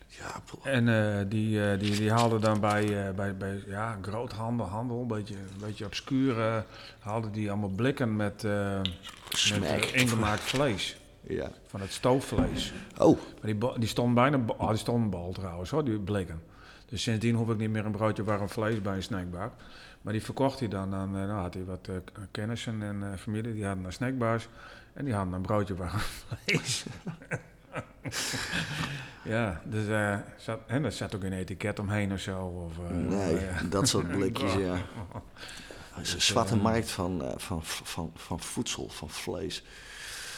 B: Ja, poel.
A: En eh, die, eh, die, die haalde dan bij, eh, bij, bij ja, groothandel, handel, een beetje, een beetje obscuur, eh, haalde die allemaal blikken met, eh, met
B: Smaak.
A: eh, ingemaakt vlees.
B: Ja.
A: Van het stoofvlees.
B: Oh,
A: Maar die, bo- die stond bijna, bo- ah, die stond een bal trouwens hoor, die blikken. Dus sindsdien hoef ik niet meer een broodje warm vlees bij een snackbar. Maar die verkocht hij dan aan, eh, nou had hij wat eh, k- kennissen en eh, familie, die hadden een snackbars. En die hadden een broodje warm (laughs) vlees. ja, dus, eh, zat, en er zat ook een etiket omheen of zo. Of, eh,
B: nee,
A: ja.
B: dat soort blikjes, ja.
A: (laughs)
B: Het is een zwarte
A: eh,
B: markt van, eh, van, van, van voedsel, van vlees.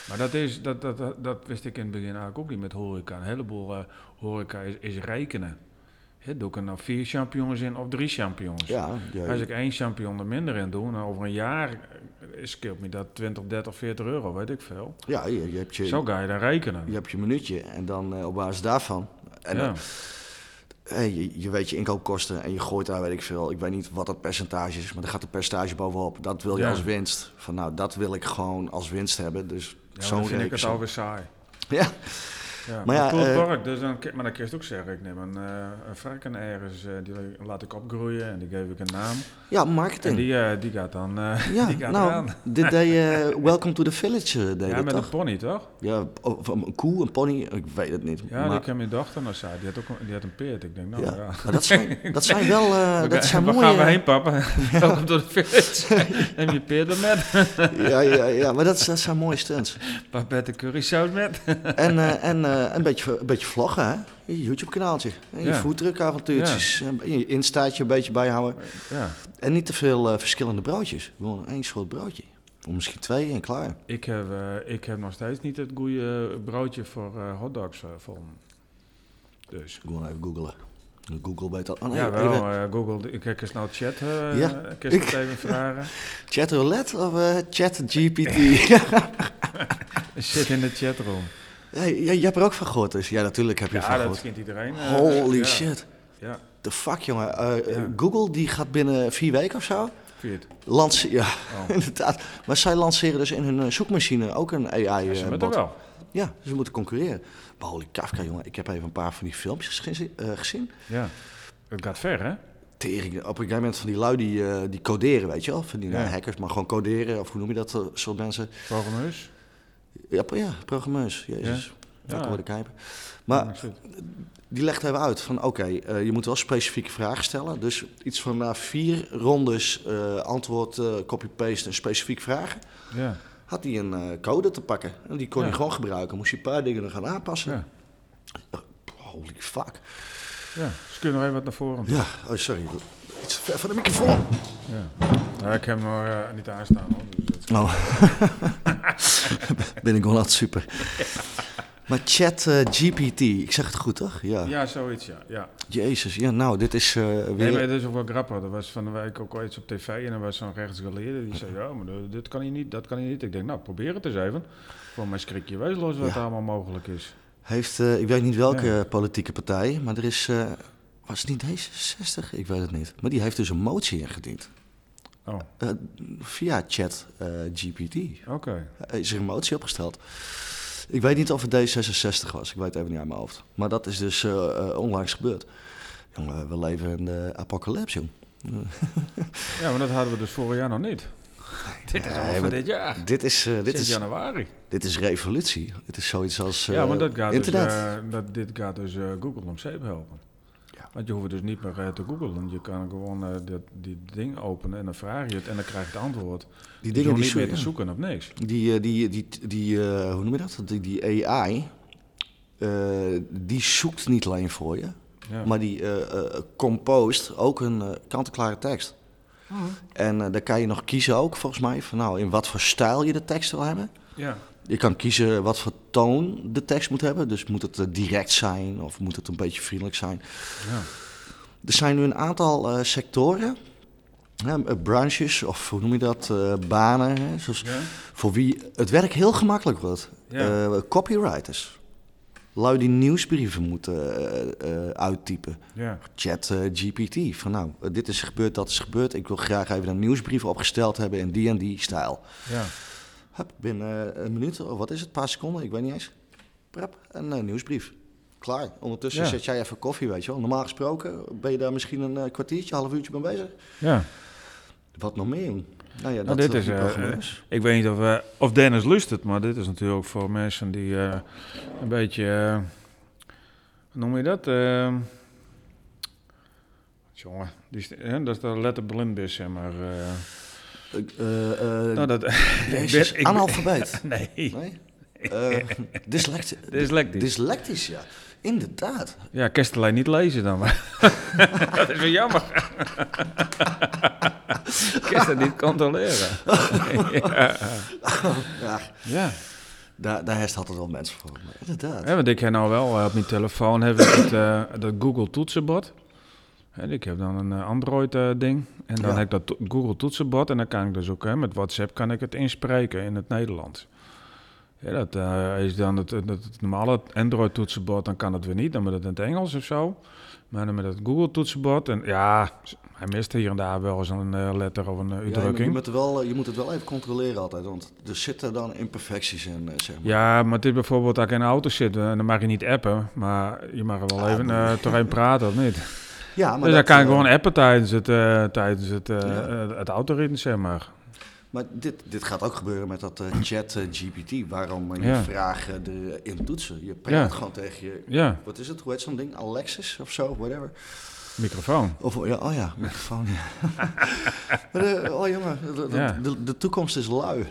A: Maar dat, is, dat, dat, dat, dat wist ik in het begin eigenlijk ook niet met horeca. Een heleboel eh, horeca is, is rekenen. Hè, doe ik er nou vier champignons in of drie champignons?
B: Ja, ja,
A: Als ik één champignon er minder in doe, nou, over een jaar eh, scheelt me dat 20, 30, 40 euro, weet ik veel.
B: ja je, je hebt je,
A: Zo ga je dan rekenen.
B: je hebt je minuutje en dan eh, op basis daarvan. En
A: ja.
B: dan- Hey, je, je weet je inkoopkosten en je gooit daar, weet ik veel. Ik weet niet wat dat percentage is, maar er gaat een percentage bovenop. Dat wil je
A: Ja.
B: als winst. Van nou, dat wil ik gewoon als winst hebben. Dus
A: Ja, maar
B: zo'n
A: dan vind ik het
B: rekensom.
A: alweer saai.
B: Ja,
A: Ja,
B: Maar
A: maar
B: ja,
A: ja,
B: eh,
A: dus dan, ki- maar dan kun je het ook zeggen, ik neem een, eh een varken ergens, eh, die laat ik opgroeien en die geef ik een naam.
B: ja
A: En
B: marketing.
A: die, eh, die gaat dan
B: (laughs)
A: eh
B: ja,
A: die gaat
B: nou,
A: eraan.
B: dit deed eh, Welcome to the Village, eh, deed
A: Ja,
B: het
A: met
B: toch?
A: een pony, toch?
B: Ja, of een koe, een pony, ik weet het niet.
A: Ja,
B: maar,
A: ik heb mijn dochter nog zei. Die had ook een- die had een peert. Ik denk, nou
B: ja.
A: ja.
B: maar dat zijn, dat zijn wel,
A: (laughs)
B: eh,
A: We
B: dat
A: ga-
B: zijn
A: waar
B: mooie...
A: gaan we heen, papa?
B: (laughs)
A: Welkom door de village. Neem je peert (laughs) er met.
B: Ja, ja, ja, maar dat, dat zijn mooie stunts.
A: Papette currysaus met.
B: En, eh, en eh, een, beetje, een beetje vloggen, hè? Je YouTube-kanaaltje. En je
A: Ja.
B: voetdrukavontuurtjes. En je instaatje een beetje bijhouden.
A: Ja,
B: En niet te veel eh, verschillende broodjes. Gewoon één soort broodje. Of misschien twee en klaar.
A: ik heb, eh, ik heb nog steeds niet het goede broodje voor eh, hotdogs eh, gevonden. Dus.
B: Gewoon even googelen. Google weet dat. Oh, nee,
A: ja, wel.
B: even-
A: eh, Google, ik heb snel chat. eh
B: Ja,
A: ja,
B: ik-
A: het even vragen. (laughs)
B: Chat roulette of eh, chat GPT?
A: Ik Zit in de chatroom.
B: (laughs) Hey, jij, jij hebt er ook van gehoord, dus ja, natuurlijk heb je
A: Ja,
B: van
A: dat
B: gehoord.
A: kent iedereen. eh,
B: Holy
A: ja.
B: shit.
A: Ja,
B: The fuck, jongen. Eh, eh,
A: Ja.
B: Google die gaat binnen vier weken of zo.
A: vind je het?
B: Lance (laughs) ja,
A: Oh.
B: inderdaad. Maar zij lanceren dus in hun eh, zoekmachine ook een eh,
A: Ja, ze moeten
B: AI-bot.
A: wel.
B: ja, ze moeten concurreren. Maar holy Kafka, jongen. Ik heb even een paar van die filmpjes gezien. eh, gezien.
A: Ja. Het gaat ver, hè?
B: Tering, op een gegeven moment van die lui die, eh, die coderen, weet je wel. Van die
A: Ja.
B: nou, hackers, maar gewoon coderen. Of hoe noem je dat, eh, soort mensen.
A: Programmeurs.
B: Ja, pro- ja programmeurs. Jezus.
A: Ja.
B: Ja. worden kijpen. Maar
A: Ja,
B: Die legt even uit van oké, eh, je moet wel specifieke vragen stellen. Dus iets van na vier rondes eh, antwoord, eh, copy-paste en specifiek vragen.
A: Ja.
B: Had hij een eh, code te pakken. En die kon
A: Ja.
B: hij gewoon gebruiken. Moest hij een paar dingen er gaan aanpassen. Eh,
A: Ja.
B: Holy fuck.
A: ja. Ze kunnen nog even wat naar voren.
B: Ja, oh, sorry. Iets te ver van de microfoon.
A: Ja. Nou, ik heb hem nog eh, niet aanstaan. Hoor. Dus dat-
B: Oh. (laughs) ben ik wel super. Maar chat eh, GPT, ik zeg het goed toch? Ja.
A: ja, zoiets, ja. ja.
B: Jezus, ja nou, dit is eh,
A: Nee,
B: weer...
A: maar dat is ook wel grappig. Er was van de week ook al iets op tv en er was zo'n rechtsgeleerde die zei, ja, maar dat- dit kan je niet, dat kan je niet. Ik denk, nou, probeer het eens even. Voor mij schrik je wezenloos wat
B: Ja.
A: er allemaal mogelijk is.
B: Heeft, eh, ik weet niet welke politieke partij, maar er is, eh, was het niet D66? Ik weet het niet. Maar die heeft dus een motie ingediend.
A: Oh, oké.
B: Eh, via chat eh, GPT Eh, is er een motie opgesteld. Ik weet niet of het D66 was, ik weet het even niet uit mijn hoofd. Maar dat is dus eh, eh, onlangs gebeurd. Jongen, we leven in de apocalyps, jong. (laughs)
A: Ja, maar dat hadden we dus vorig jaar nog niet. (laughs) Dit is al
B: Nee,
A: van
B: maar
A: dit jaar.
B: Dit is, eh, dit,
A: Sinds
B: is,
A: januari.
B: dit is revolutie. Dit is zoiets als eh,
A: ja, maar dat gaat
B: internet.
A: dus, eh, dat, dit gaat dus eh, Google om zeep helpen.
B: Ja.
A: Want je hoeft het dus niet meer eh, te googlen. Je kan gewoon eh, dat, die ding openen en dan vraag je het en dan krijg je het antwoord. je
B: die dingen
A: hoeft
B: die
A: niet meer te
B: zoeken.
A: zoeken op niks.
B: Die, eh, die, die, die eh, hoe noem je dat? Die, die AI, eh, die zoekt niet alleen voor je,
A: Ja.
B: maar die eh eh, compost ook een eh, kant-en-klare tekst.
A: Oh.
B: En eh daar kan je nog kiezen ook, volgens mij, van nou, in wat voor stijl je de tekst wil hebben.
A: ja.
B: Je kan kiezen wat voor toon de tekst moet hebben. Dus moet het eh, direct zijn of moet het een beetje vriendelijk zijn.
A: Ja.
B: Er zijn nu een aantal eh, sectoren, hè, eh, branches of hoe noem je dat, eh, banen, hè, zoals
A: Ja.
B: voor wie het werk heel gemakkelijk wordt.
A: Ja.
B: Eh, copywriters. Lui die nieuwsbrieven moeten eh, eh, uittypen.
A: Ja.
B: Chat eh, GPT. Van nou, eh, dit is gebeurd, dat is gebeurd. Ik wil graag even een nieuwsbrief opgesteld hebben in die en die stijl.
A: Ja.
B: Hup, binnen eh, een minuut, of wat is het, een paar seconden, ik weet niet eens. Prep, een eh, nieuwsbrief. Klaar. Ondertussen
A: Ja.
B: zet jij even koffie, weet je wel. Normaal gesproken ben je daar misschien een eh, kwartiertje, half uurtje mee bezig.
A: ja.
B: Wat nog meer, jong? Nou ja, dat,
A: dit
B: dat
A: is,
B: die
A: eh,
B: programmeurs.
A: Ik weet niet of, eh, of Dennis lust het, maar dit is natuurlijk voor mensen die eh, een beetje, eh, hoe noem je dat? Eh, jongen, die, is- hè, dat is de letterblind is, zeg maar. eh.
B: Ik, eh, eh,
A: nou, dat, (laughs)
B: Jezus,
A: ben- ik ben-
B: analfabeet.
A: nee, (laughs)
B: Nee? Eh dyslectisch.
A: dyslectisch.
B: Dyslectisch, ja. Inderdaad.
A: Ja, Kestelijn niet lezen dan, maar (laughs) dat is wel jammer. Kestelijn niet controleren. ja.
B: Ja,
A: ja.
B: daar, daar heeft altijd wel mensen voor. maar Inderdaad.
A: Ja, want ik heb nou wel eh, op mijn telefoon heb ik het, eh, dat Google toetsenbord. En ik heb dan een eh, Android eh, ding. En dan
B: Ja.
A: heb ik dat to- Google toetsenbord. En dan kan ik dus ook hè, met WhatsApp kan ik het inspreken in het Nederlands. Ja, dat eh, is dan het, het, het normale Android toetsenbord. Dan kan het weer niet. Dan moet het in het Engels of zo. Maar dan met het Google toetsenbord. En ja, hij mist hier en daar wel eens een eh, letter of een eh,
B: Ja, je, moet- je
A: uitdrukking.
B: moet er wel, eh, je moet het wel even controleren altijd, want er zitten dan imperfecties in, eh, zeg maar.
A: Ja, maar het is bijvoorbeeld dat ik in de auto zit eh, en dan mag je niet appen, maar je mag er wel
B: Ah,
A: even
B: maar-
A: eh doorheen praten of
B: (laughs)
A: niet.
B: Ja, maar
A: dus dan
B: dat,
A: kan ik
B: eh,
A: gewoon appen tijdens het, eh, tijdens het, eh
B: Ja.
A: eh, het autoritten, zeg maar.
B: Maar dit, dit gaat ook gebeuren met dat eh, chat eh, GPT, waarom eh, je
A: Ja.
B: vragen erin toetsen. Je praat gewoon tegen je...
A: Ja,
B: Wat is het? Hoe heet zo'n ding? Alexis of zo, whatever.
A: microfoon.
B: Of, ja, oh ja, microfoon, ja. (laughs) maar de, oh jongen, de, de-
A: Ja.
B: de, de toekomst is lui.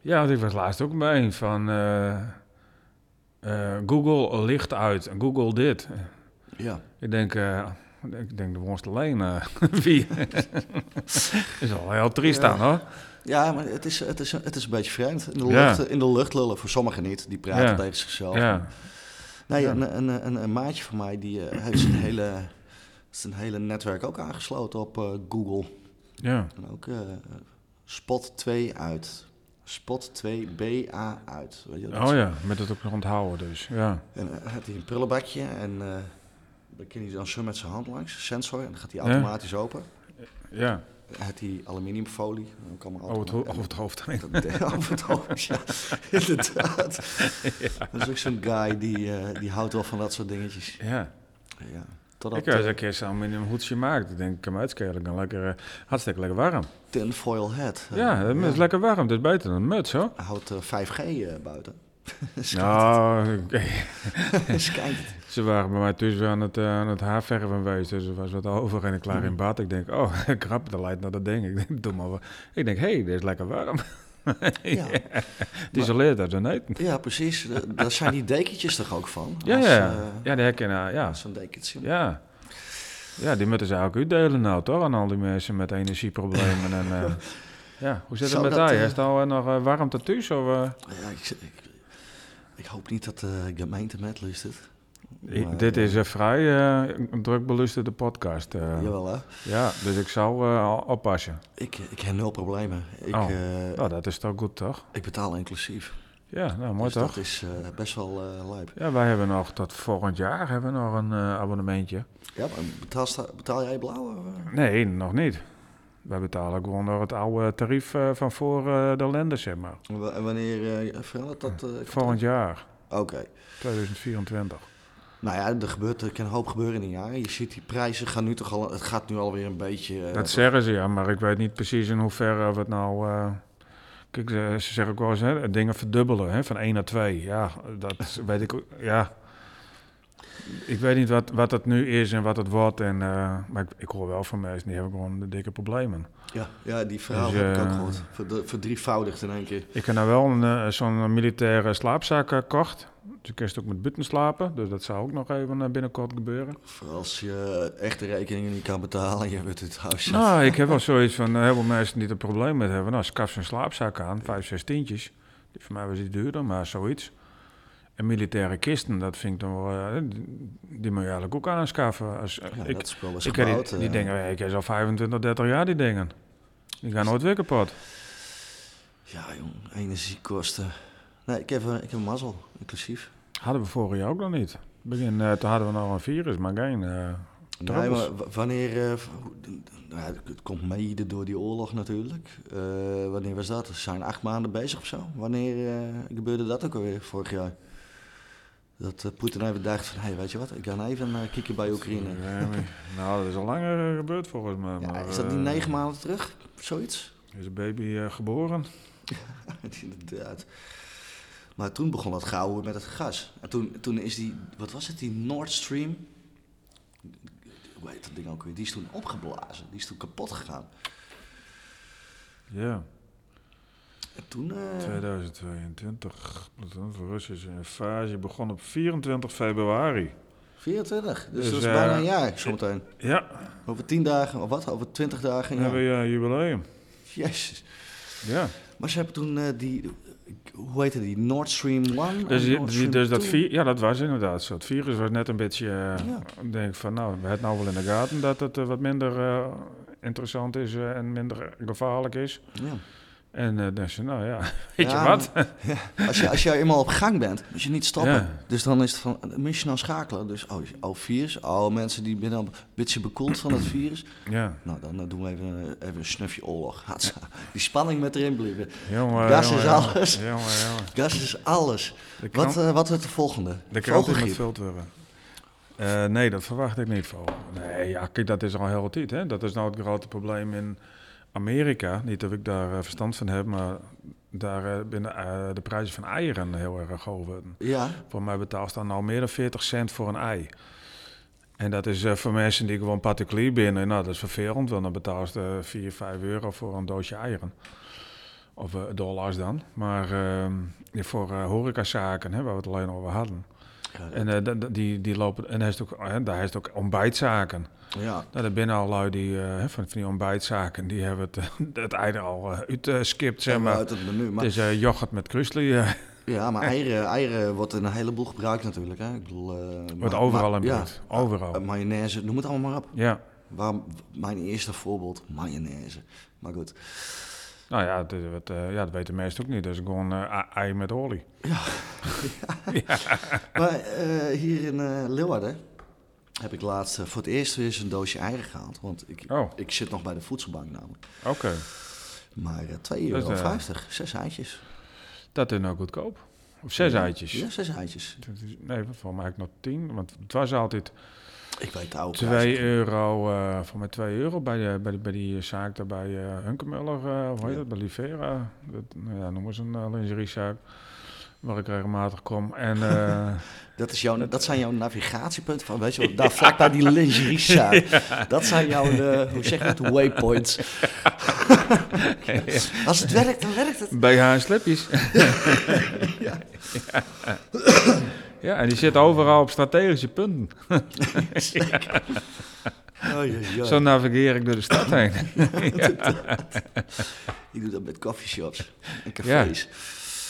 A: Ja, want ik was laatst ook bij een van eh, eh, Google licht uit, Google dit.
B: Ja.
A: Ik denk, eh, ik denk de worst alleen, eh, (laughs) wie? is wel heel triest
B: Ja.
A: aan, hoor.
B: Ja, maar het is, het is, het is een beetje vreemd. In de,
A: Ja.
B: lucht, eh, in de lucht lullen, voor sommigen niet. Die praten
A: Ja.
B: tegen zichzelf.
A: Ja,
B: Nee,
A: Ja.
B: Nou Een, een, een, een maatje van mij die eh, heeft zijn hele, zijn hele netwerk ook aangesloten op eh, Google.
A: ja.
B: En ook eh, Spot 2 uit. Spot 2BA uit. Weet je wel, dat
A: Oh ja, met het ook nog onthouden dus. Ja.
B: En eh, had hij een prullenbakje en eh dan kan hij dan zo met zijn hand langs, sensor, en dan gaat hij
A: Ja.
B: automatisch open.
A: ja.
B: Dan had hij aluminiumfolie, dan kan
A: Over het, Oh, ho- over
B: (laughs)
A: het hoofd heen.
B: Over het hoofd, oh, (laughs) ja, inderdaad.
A: (laughs)
B: Dat is ook zo'n guy die, eh, die houdt wel van dat soort dingetjes.
A: Ja.
B: Ja, totdat
A: Ik heb eens
B: eh,
A: een keer samen in een hoedje gemaakt. Ik denk, ik kan me uitschelen. Dan lekker, eh, hartstikke lekker warm.
B: tinfoil hat. eh,
A: ja, het is lekker warm. Dus buiten een muts, hoor.
B: Hij houdt eh, 5G eh,
A: (laughs)
B: buiten.
A: Nou, oké. (laughs)
B: (laughs) Eens kijken.
A: ze waren bij mij thuis weer aan het, eh, aan het haarverven geweest. Dus er was wat over en ik klaar
B: Mm.
A: in bad. Ik denk, oh, (laughs) krap, dat leidt naar dat ding. Ik denk, doe maar wat. Ik denk, hé, hey, dit is lekker warm. (laughs)
B: Ja.
A: Het isoleert uit een eten.
B: ja, precies. Da- Daar zijn die dekentjes toch ook van?
A: Ja,
B: Als,
A: ja.
B: eh,
A: ja, die herkennen, ja.
B: als een dekentje.
A: Ja. Ja, die moeten ze eigenlijk uitdelen nou, toch? Aan al die mensen met energieproblemen. En,
B: (laughs)
A: eh, ja, hoe zit het
B: Zou
A: met
B: dat,
A: hij?
B: eh,
A: Is het al eh, nog eh, warmte thuis? Of, eh?
B: Ja, ik, ik, ik hoop niet dat de gemeente met luistert.
A: I-
B: Maar,
A: dit
B: eh,
A: is een vrij eh, een druk belusterde podcast. eh.
B: Jawel, hè?
A: ja, dus ik zou eh, al oppassen.
B: Ik, ik heb nul problemen. Ik,
A: Oh.
B: eh,
A: Nou, dat is toch goed, toch?
B: ik betaal inclusief.
A: Ja, nou, mooi
B: Dus
A: toch?
B: dat is eh, best wel eh lijp.
A: Ja, wij hebben nog tot volgend jaar hebben we nog een eh, abonnementje.
B: Ja, maar betaal, sta- betaal jij blauw? of, eh?
A: Nee, nog niet. Wij betalen gewoon nog het oude tarief eh, van voor eh, de lende, zeg maar.
B: En wa- en wanneer eh verandert dat? eh,
A: Volgend jaar,
B: Oké.
A: 2024.
B: Nou ja, er, gebeurt, er kan een hoop gebeuren in een jaar. Je ziet die prijzen gaan nu toch al... Het gaat nu alweer een beetje... eh,
A: Dat zeggen ze, ja, maar ik weet niet precies in hoeverre we het nou... eh, kijk, ze, ze zeggen ook wel eens, hè, dingen verdubbelen, hè, van 1 naar 2. Ja, dat weet ik... ook- Ja. Ik weet niet wat, wat het nu is en wat het wordt. En, eh, maar ik, ik hoor wel van mensen, die hebben gewoon de dikke problemen.
B: ja, ja, die verhaal
A: Dus,
B: heb ik ook
A: eh,
B: gehoord. Verd- verdrievoudigd in één keer.
A: Ik heb nou wel een, eh, zo'n militaire slaapzak eh, gekocht. Dus ik kan ook met buiten slapen. Dus dat zou ook nog even eh, binnenkort gebeuren.
B: Vooral als je echt de rekeningen niet kan betalen. Je wordt het huis.
A: Nou, ik heb wel zoiets van eh, heel veel mensen die er probleem met hebben. Nou, schaf ze een slaapzak aan, vijf, zes tientjes. Die voor mij was iets duurder, maar zoiets. En militaire kisten, dat vind ik dan wel... eh, die, die moet je eigenlijk ook aanschaffen. Als, eh,
B: ja,
A: ik,
B: dat spel is
A: ik heb
B: gebouwd.
A: die, die
B: eh.
A: dingen, eh, ik heb al 25, 30 jaar die dingen. Die gaan nooit weer kapot.
B: Ja, jong, energiekosten. Nee, ik heb, eh, ik heb mazzel, inclusief.
A: Hadden we vorig jaar ook nog niet. Begin, eh, toen hadden we nog een virus, maar geen... eh,
B: Nee,
A: Trouwens.
B: maar w- wanneer... eh, v- hoe- d- d- nou, ja, het komt mede door die oorlog natuurlijk. Eh, wanneer was dat? Ze zijn acht maanden bezig of zo. Wanneer eh, gebeurde dat ook alweer vorig jaar? Dat eh, Poetin even dacht van, hé, hey, weet je wat? Ik ga even eh kieken bij
A: (laughs)
B: Oekraïne.
A: Ja, maar- nou, dat is al langer eh, gebeurd volgens mij.
B: Ja,
A: maar,
B: is dat niet
A: eh,
B: negen maanden terug? Zoiets? (laughs)
A: Is de baby eh, geboren?
B: Inderdaad. Maar toen begon dat gouden met het gas. En toen, toen is die, wat was het, die Nord Stream? Hoe heet dat ding ook weer? Die is toen opgeblazen. Die is toen kapot gegaan.
A: Ja,
B: En toen, eh,
A: 2022. Dat dan voor Russische invasie begon op 24 februari.
B: 24. Dus,
A: Dus,
B: dat is
A: eh,
B: bijna een jaar zometeen.
A: Ja,
B: Over 10 dagen, of wat? Over 20 dagen.
A: dan
B: een jaar.
A: hebben we eh, jubileum.
B: Jezus.
A: Ja,
B: Maar ze hebben toen eh, die, hoe heette die? Nord Stream 1?
A: dus,
B: en
A: die-
B: Nord
A: die-
B: Stream
A: dus dat,
B: 2?
A: vi- ja, dat was inderdaad zo. Het virus was net een beetje... eh,
B: Ja.
A: ik denk van, nou, we hebben het nou wel in de gaten dat het eh, wat minder eh, interessant is eh, en minder gevaarlijk is.
B: Ja.
A: En eh dan ze, nou ja, (laughs) weet
B: Ja,
A: je wat?
B: Ja, als, je, als je eenmaal op gang bent, moet je niet stoppen.
A: Ja.
B: Dus dan is het van, dan moet je nou schakelen. Dus, oh, oh virus, oh, mensen die zijn dan een beetje bekoeld van het virus.
A: Ja,
B: Nou, dan eh, doen we even, eh, even een snufje oorlog. (laughs) Hatsa. Die spanning met erin blijven.
A: jongen,
B: Dat is
A: jongen,
B: alles.
A: Jongen, jongen.
B: Dat is alles.
A: De krant-
B: Wat, eh, wat wordt de volgende?
A: De krant is met
B: Vogelgriep.
A: Viltwurren. Eh nee, dat verwacht ik niet van. Nee, ja, kijk, dat is al heel tijd. Hè? Dat is nou het grote probleem in Amerika. Niet dat ik daar eh, verstand van heb, maar daar eh, binnen eh, de prijzen van eieren heel erg hoog. worden.
B: Ja,
A: Voor mij betaalt dan al meer dan 40 cent voor een ei. En dat is eh, voor mensen die gewoon particulier binnen. Nou, dat is vervelend, want dan betaal je eh, 4, 5 euro voor een doosje eieren. Of eh, dollars dan. Maar ehm, voor eh, horecazaken, hè, waar we het alleen over hadden.
B: Ja,
A: En eh, da- da- die, die lopen, en hij heeft ook, eh, daar heeft ook ontbijtzaken.
B: ja.
A: Nou, er binnen al lui die, eh, van, van die ontbijtzaken, die hebben het, (laughs) eh, het eieren al eh, uitgeskipt, zeg maar.
B: uit het menu. Maar,
A: Het is eh, yoghurt met krusli. eh,
B: ja, maar eieren, eieren wordt in een heleboel gebruikt natuurlijk. Hè. Ik bedoel, eh,
A: wordt
B: ma-
A: overal
B: ma-
A: in
B: ja,
A: buurt. Overal.
B: eh, mayonaise, noem het allemaal maar op.
A: ja.
B: Waarom, mijn eerste voorbeeld, mayonaise. Maar goed.
A: Nou ja, dat, dat, eh, ja, dat weten de meesten ook niet. Dat is gewoon eh, a- ei met olie.
B: Maar eh, hier in eh, Leeuwarden heb ik laatst eh, voor het eerst weer eens een doosje eieren gehaald. Want ik,
A: Oh,
B: ik zit nog bij de voedselbank namelijk.
A: oké.
B: Maar eh 2,50
A: Dat is,
B: euro,
A: eh,
B: zes eitjes.
A: Dat is nou goedkoop. Of zes eitjes.
B: Ja, zes eitjes.
A: Dat is- Nee, voor mij heb ik nog tien. Want het was altijd
B: Ik weet de oude
A: 2 euro, eh voor mij 2 euro bij, de- bij, de- bij die zaak daar bij eh Hunkemuller, eh, hoe heet
B: Ja.
A: dat, bij Livera. Dat, nou ja, noemen ze een uh, lingeriezaak, waar ik regelmatig kom. En eh,
B: Dat, is jouw, dat zijn jouw navigatiepunten van, weet je wat, daar vlak bij
A: (laughs)
B: die lingeriezaak. Dat zijn jouw, eh, hoe zeg je dat,
A: (laughs)
B: waypoints. (laughs) Als het werkt, dan werkt
A: (laughs)
B: het.
A: bij haar slipjes. (laughs) ja. ja, en die zit overal op strategische punten.
B: Oei, oei, oei.
A: Zo navigeer ik door de stad heen.
B: Ik doe dat met coffeeshops en cafés.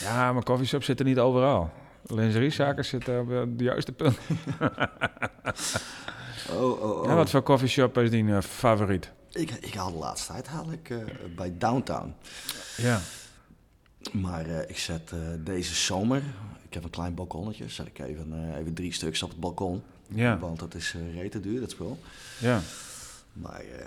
A: ja, maar coffeeshops zitten niet overal. Lingeriezaken zitten op eh, de juiste punt.
B: Oh, oh, oh.
A: Ja, wat voor coffeeshop is die eh, favoriet?
B: ik, ik haal de laatste tijd haal ik, eh, bij Downtown.
A: Ja.
B: Maar eh, ik zet eh, deze zomer, ik heb een klein balkonnetje, zet ik even, eh, even drie stuks op het balkon.
A: Ja,
B: Want dat is eh rete duur, dat spul.
A: ja,
B: Maar eh,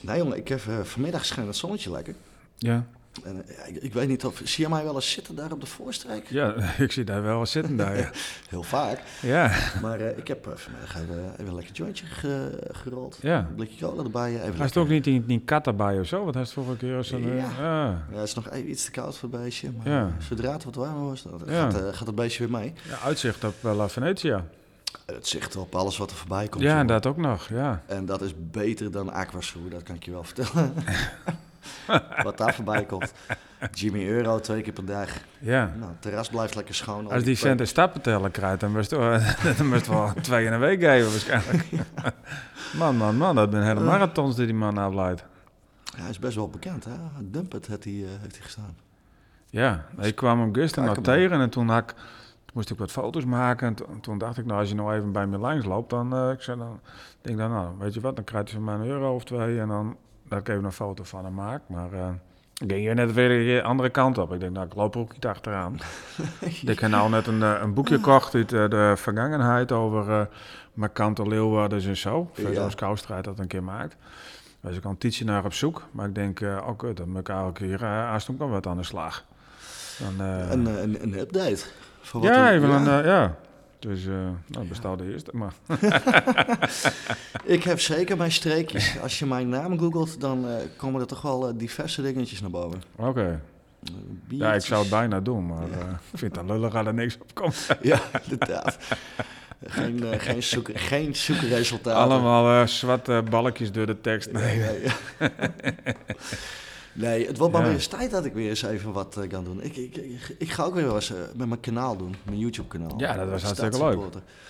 B: nee jongen, ik heb, eh, vanmiddag schijnt het zonnetje lekker.
A: ja.
B: En, eh, ik, ik weet niet of, zie je mij wel eens zitten daar op de voorstreek?
A: Ja, (laughs) ik zie daar wel wat zitten daar.
B: (laughs)
A: Ja,
B: Heel vaak.
A: ja.
B: Maar eh, ik heb eh, vanmiddag even, even een lekker jointje ge- gerold.
A: ja.
B: Een blikje cola erbij. eh, Even
A: Hij is
B: lekker-
A: ook niet in die kat erbij of zo, want hij is vorige keer als een...
B: Ja.
A: eh, Ja.
B: Ja, het is nog even iets te koud voor het beestje. Maar
A: Ja.
B: eh, zodra het wat warmer wordt, dan
A: Ja.
B: gaat, eh, gaat het beestje weer mee.
A: ja, uitzicht op eh, La Venetia.
B: Het zicht op alles wat er voorbij komt.
A: Ja,
B: jongen.
A: dat ook nog, ja.
B: En dat is beter dan Aquashoe, dat kan ik je wel vertellen. (laughs) Wat daar voorbij komt. Jimmy Euro twee keer per dag.
A: ja.
B: Nou, het terras blijft lekker schoon. Al
A: Als die centen stappen tellen krijgt, dan moest het (laughs) dan moest wel twee in een week geven waarschijnlijk.
B: (laughs)
A: Man, man, man, dat zijn hele marathons die die man afleidt.
B: Hij is best wel bekend, hè? Dumpet heeft hij, eh, heeft hij gestaan.
A: Ja, ik kwam hem gisteren nog
B: Dus Kijk hem
A: tegen en toen had ik, toen moest ik wat foto's maken. En toen, toen dacht ik, nou, als je nou even bij me langs loopt, dan, eh, ik zei, dan ik denk dan, nou, weet je wat, dan krijg je van mij een euro of twee. En dan dat ik even een foto van hem maak. Maar eh, ik ging hier net weer de andere kant op. Ik denk, nou, ik loop er ook niet
B: (laughs)
A: achteraan. ik heb nou net een, eh, een boekje gekocht uit eh, de vergangenheid over eh Markante Leeuwarden en zo.
B: Ja.
A: Versus Koustrijd dat een keer maakt. Dus ik kan tietje naar op zoek. Maar ik denk, eh oh kut, dan moet ik elke keer eh haast ook nog wat aan de slag. Dan, eh,
B: Een, eh, een, een update. Van wat
A: ja,
B: er-
A: even
B: ja.
A: een, eh, ja. Dus, eh nou, bestel de eerste. Maar
B: Ik heb zeker mijn
A: (laughs)
B: streekjes. Als je mijn naam googelt, dan eh, komen er toch wel eh, diverse dingetjes naar boven.
A: oké.
B: Eh,
A: Ja, ik
B: biertjes.
A: zou het bijna doen, maar eh, ik vind het lullig dat er niks op komt.
B: Ja,
A: (laughs)
B: (laughs) inderdaad. Geen, eh, geen, zoek, geen zoekresultaten.
A: Allemaal eh, zwarte balkjes door de tekst. Nee.
B: Nee, nee. nee het wordt maar
A: Ja.
B: weer eens tijd dat ik weer eens even wat eh, kan doen. Ik, ik, ik, ik ga ook weer wel eens eh, met mijn kanaal doen, mijn YouTube-kanaal.
A: Ja, dat was hartstikke
B: Staatssupporter. Ik,
A: (laughs)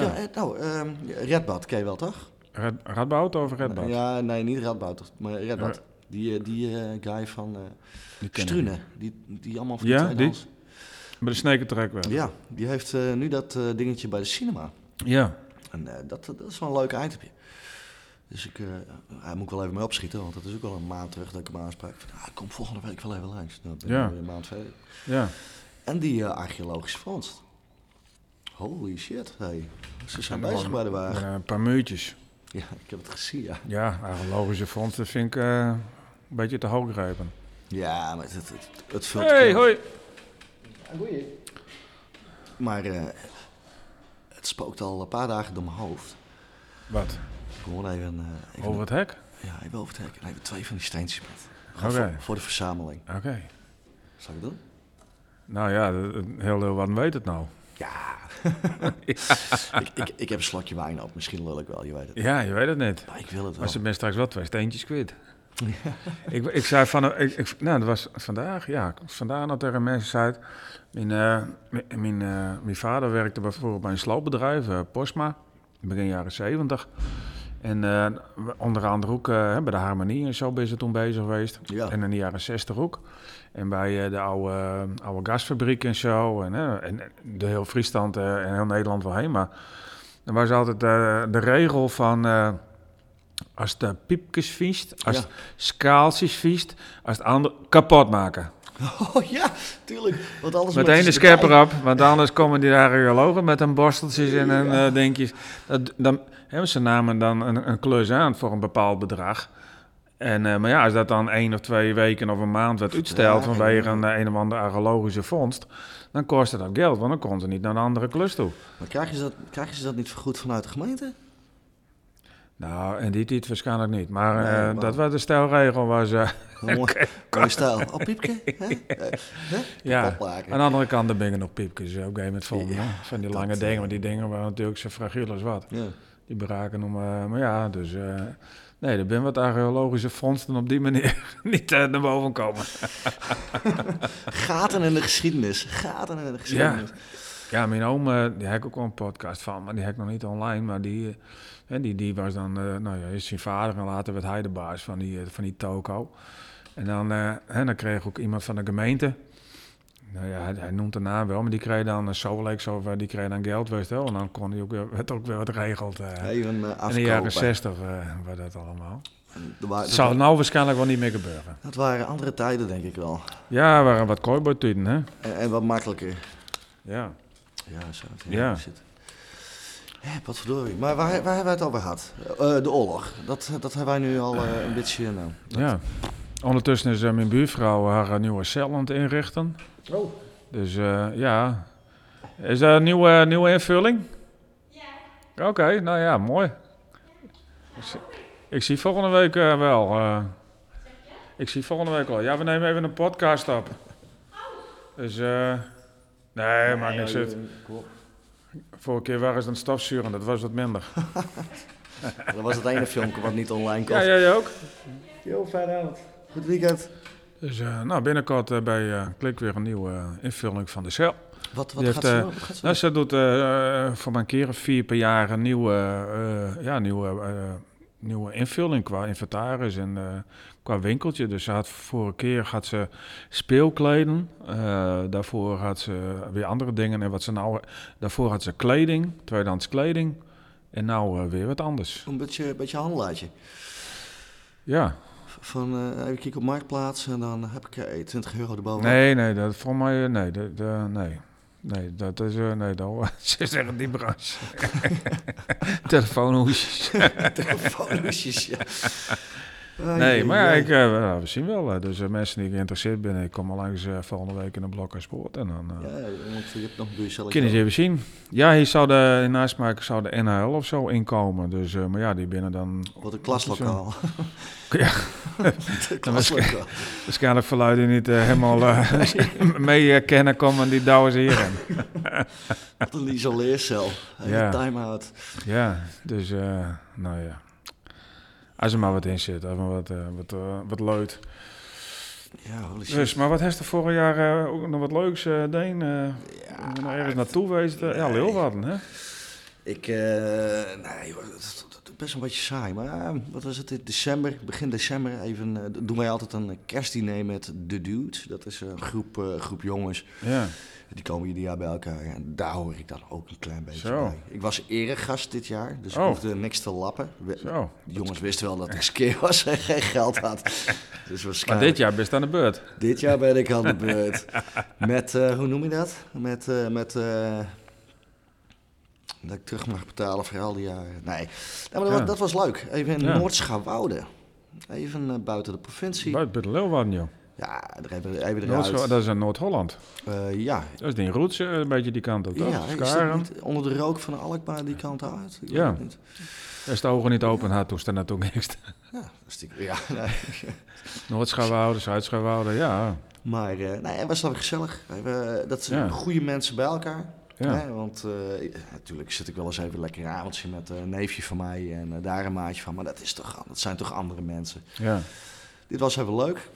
A: Ja.
B: eh, nou, ehm Redbad ken je wel, toch?
A: Rad, Radboud of Redbad?
B: Ja, nee, niet Radboud, maar Redbad. Die, eh, die eh, guy van eh
A: die ken ik.
B: Strunen, die, die allemaal van
A: Ja,
B: die
A: die?
B: tweedehands-
A: Bij de Snekentrek wel.
B: Ja, die heeft eh, nu dat eh, dingetje bij de cinema.
A: Ja.
B: En eh, dat, dat is wel een leuk itempje. Dus ik, eh, hij moet ik wel even mee opschieten, want dat is ook al een maand terug dat ik hem aansprak. Ik dacht, ah, kom volgende week wel even langs. Nou, ben ik
A: Ja.
B: alweer een maand verder.
A: ja.
B: En die eh, archeologische vondst. Holy shit, hey. Ze zijn
A: Ja,
B: bezig bij de
A: Met
B: wagen.
A: eh, een paar muurtjes.
B: Ja, ik heb het gezien, ja.
A: Ja, archeologische fonds, dat vind ik eh, een beetje te hoog grijpen.
B: Ja, maar het, het, het, het vult
A: Hey,
B: wel.
A: hoi.
B: Maar eh, het spookt al een paar dagen door mijn hoofd.
A: Wat?
B: Gewoon even... eh even
A: Over het hek?
B: Ja, even overtrekken. Nee, twee van die steentjes met. Gewoon
A: Oké.
B: voor, voor de verzameling.
A: Oké.
B: Zal ik dat doen?
A: Nou ja, de- de- heel heel wat weet het nou.
B: Ja. (laughs) ik, ik, ik heb een slokje wijn op. Misschien lul ik wel, je weet het.
A: Ja, je weet het niet.
B: Maar ik wil het wel.
A: Maar ze ben straks wel twee steentjes kwijt. ik, ik zei van, ik, ik- nou, dat was vandaag, ja, vandaag nog tegen mensen zei, het, mijn, eh, mijn- mijn, eh, mijn vader werkte bijvoorbeeld bij een sloopbedrijf, eh, Posma, begin jaren zeventig. En eh, onder andere ook eh, bij de Harmonie en zo ben ze toen bezig geweest.
B: Ja.
A: En in de jaren 60 ook. En bij eh, de oude, eh, oude gasfabriek en zo. En, eh, en de heel Friesland eh, en heel Nederland wel heen. Maar er was altijd eh, de regel van... eh, als de piepjes viest, als
B: Ja.
A: het skaaltjes viest, als het ander kapot maken.
B: (laughs) Oh ja, tuurlijk. Want alles
A: Meteen de schepper op, want anders komen die radiologen met een borsteltjes en een eh, dingetjes. Dat, dan, hè, ze namen dan een, een klus aan voor een bepaald bedrag. En, eh, maar ja, als dat dan één of twee weken of een maand werd uitsteld
B: Ja,
A: vanwege
B: ja.
A: een, eh, een of andere archeologische vondst, dan kostte dat geld, want dan kon ze niet naar een andere klus toe.
B: Maar krijgen ze, dat, krijgen ze dat niet vergoed vanuit de
A: (laughs)
B: gemeente?
A: Nou, en die tijd waarschijnlijk niet. Maar
B: Nee,
A: eh,
B: maar-
A: dat was de stijlregel. Was,
B: (laughs)
A: eh,
B: Mooi, mooi stijl. Oh,
A: (laughs)
B: Piepke? hè? Eh, hè?
A: ja.
B: Opmaken.
A: Aan de andere kant, de bingen nog piepjes. eh, Op een gegeven moment vol,
B: Ja,
A: hè, van die
B: dat,
A: lange
B: eh,
A: dingen. Maar die dingen waren natuurlijk zo fragiel als wat.
B: Ja.
A: Die beraken om... eh, maar ja, dus... eh, nee, er zijn wat archeologische fondsen op die manier (laughs) niet eh, naar boven komen.
B: Gaten in de geschiedenis. Gaten in de geschiedenis.
A: Ja, mijn oom, eh, die heb ik ook al een podcast van, maar die heb ik nog niet online. Maar die, eh, hè, die, die was dan, eh, nou ja, is zijn vader en later werd hij de baas van die, eh, van die toko. En dan, eh, hè, dan kreeg ook iemand van de gemeente. Nou ja, hij, hij noemt de naam wel, maar die kreeg dan een Solex of eh, die kreeg dan geld, weet je wel. En dan kon hij ook, weer- werd ook weer wat regeld. eh.
B: Even uh,
A: in de jaren
B: afkopen.
A: zestig eh was dat allemaal.
B: Er wa-
A: Het zou nou waarschijnlijk wel niet meer gebeuren.
B: Dat waren andere tijden, denk ik wel.
A: Ja, er waren wat kooiboytuten, hè?
B: En, en wat makkelijker.
A: Ja.
B: Ja, zo.
A: Ja.
B: Shit. Hé, wat verdorie. Maar waar, waar hebben we het over gehad? Eh, de oorlog. Dat, dat hebben wij nu al eh, een beetje... eh, nou, dat-
A: Ja. Ondertussen is eh, mijn buurvrouw haar eh, nieuwe cel aan het inrichten.
B: Oh.
A: Dus eh, ja. Is dat een nieuwe, nieuwe invulling? Ja. Oké, nou ja, mooi. Ik zie, ik zie volgende week eh, wel. eh, ik zie volgende week wel. Ja, we nemen even een podcast op. Dus eh. Nee, maakt niks uit.
B: eh,
A: Vorige keer waren ze aan het stofzuren, dat was wat minder.
B: Dat was het ene filmpje wat niet online kwam.
A: Ja, jij ook?
B: Yo, fijne avond. Goed weekend.
A: Dus eh, nou, binnenkort eh, bij eh, Klik weer een nieuwe eh, invulling van de cel.
B: Wat, wat
A: Die
B: gaat
A: heeft,
B: ze
A: eh,
B: doen? Wat gaat ze
A: Nou,
B: doen?
A: ze doet eh, eh, voor mijn keren vier per jaar een nieuwe, eh, ja, nieuwe, eh, nieuwe invulling qua inventaris en eh, qua winkeltje. Dus ze had vorige keer gaat ze speelkleden. eh, daarvoor had ze weer andere dingen. En wat ze nou, daarvoor had ze kleding, tweedehands kleding. En nou eh, weer wat anders.
B: Een beetje, beetje handelaartje.
A: Ja.
B: Van eh, even kijken op Marktplaats en dan heb ik eh, 20 euro erboven. (laughs)
A: Nee, nee, dat voor mij, eh, nee, dat, eh, nee. Nee, dat is, eh, nee, dat, (laughs) ze zeggen die branche. (laughs) Telefoonhoesjes.
B: Telefoonhoesjes, ja. Ah,
A: Nee,
B: jee,
A: maar ja,
B: jee.
A: ik, eh, nou, we zien wel. eh, dus eh, mensen die geïnteresseerd zijn, ik kom maar langs eh, volgende week in de Blok en Sport. En dan eh
B: Ja, want je hebt nog een
A: kun je ze
B: buurcelletje.
A: even zien. Ja, hier zou de, in Nijsmaak zou de NHL of zo inkomen. Dus, eh, maar ja, die binnen dan
B: Wat een klaslokaal. (laughs)
A: Ja.
B: Wat een klaslokaal.
A: waarschijnlijk verluiden die niet eh, helemaal eh, (laughs) mee eh, kennen komen. Die douwen ze hierin.
B: Wat een isoleercel. Hey,
A: Ja.
B: Time-out.
A: Ja, dus eh, nou ja. Als er maar wat in zit, als er maar wat, eh, wat, eh, wat leuk.
B: Ja, holy shit.
A: Dus, maar wat heeft er vorig jaar eh, ook nog wat leuks, eh Deen? eh
B: Ja,
A: nog ergens naartoe geweest? eh, Ja,
B: nee.
A: Leeuwarden, hè?
B: Ik, eh, nee, joh, dat is dat is best een beetje saai. Maar eh, wat was het in december? Begin december even, eh, doen wij altijd een kerstdiner met de Dudes. Dat is een groep, eh, groep jongens.
A: Ja.
B: Die komen ieder jaar bij elkaar. En daar hoor ik dan ook een klein beetje
A: Zo.
B: bij. Ik was eregast dit jaar, dus
A: Oh.
B: ik hoefde niks te lappen. We-
A: Zo.
B: De jongens wisten wel dat ik skeer was en geen geld
A: (laughs)
B: had. Dus
A: Maar
B: waarschijnlijk...
A: dit jaar best aan de beurt.
B: Dit jaar ben ik aan de beurt. Met, eh, hoe noem je dat? Met, eh, met eh, dat ik terug mag betalen voor al die jaren. Nee, Nee, maar dat,
A: Ja.
B: was, dat was leuk. Even in
A: Ja.
B: Noord-Schouwoude. Even eh, buiten de provincie.
A: Buiten buiten Leeuwarden, joh.
B: Ja, er hebben we even
A: Noord-
B: eruit.
A: dat is in Noord-Holland.
B: Eh, ja,
A: Dat is die roots, eh, een beetje die kant op, toch?
B: ja is dat
A: Skaren.
B: niet onder de rook van Alkmaar die kant uit? Ik weet
A: Ja.
B: het niet.
A: Als de ogen niet open had, toen ze daar naartoe (laughs) geest.
B: Ja, stiekem. Ja, (laughs) nee.
A: Noordschouwhouden, Zuidschouwhouden, ja.
B: Maar eh, nee, het was wel gezellig. We hebben- dat zijn
A: Ja.
B: goede mensen bij elkaar.
A: Ja.
B: Hè, want eh, ik- natuurlijk zit ik wel eens even lekker een avondje met eh, een neefje van mij en eh, daar een maatje van. Maar dat, is toch, an- dat zijn toch andere mensen.
A: ja.
B: Dit was even leuk.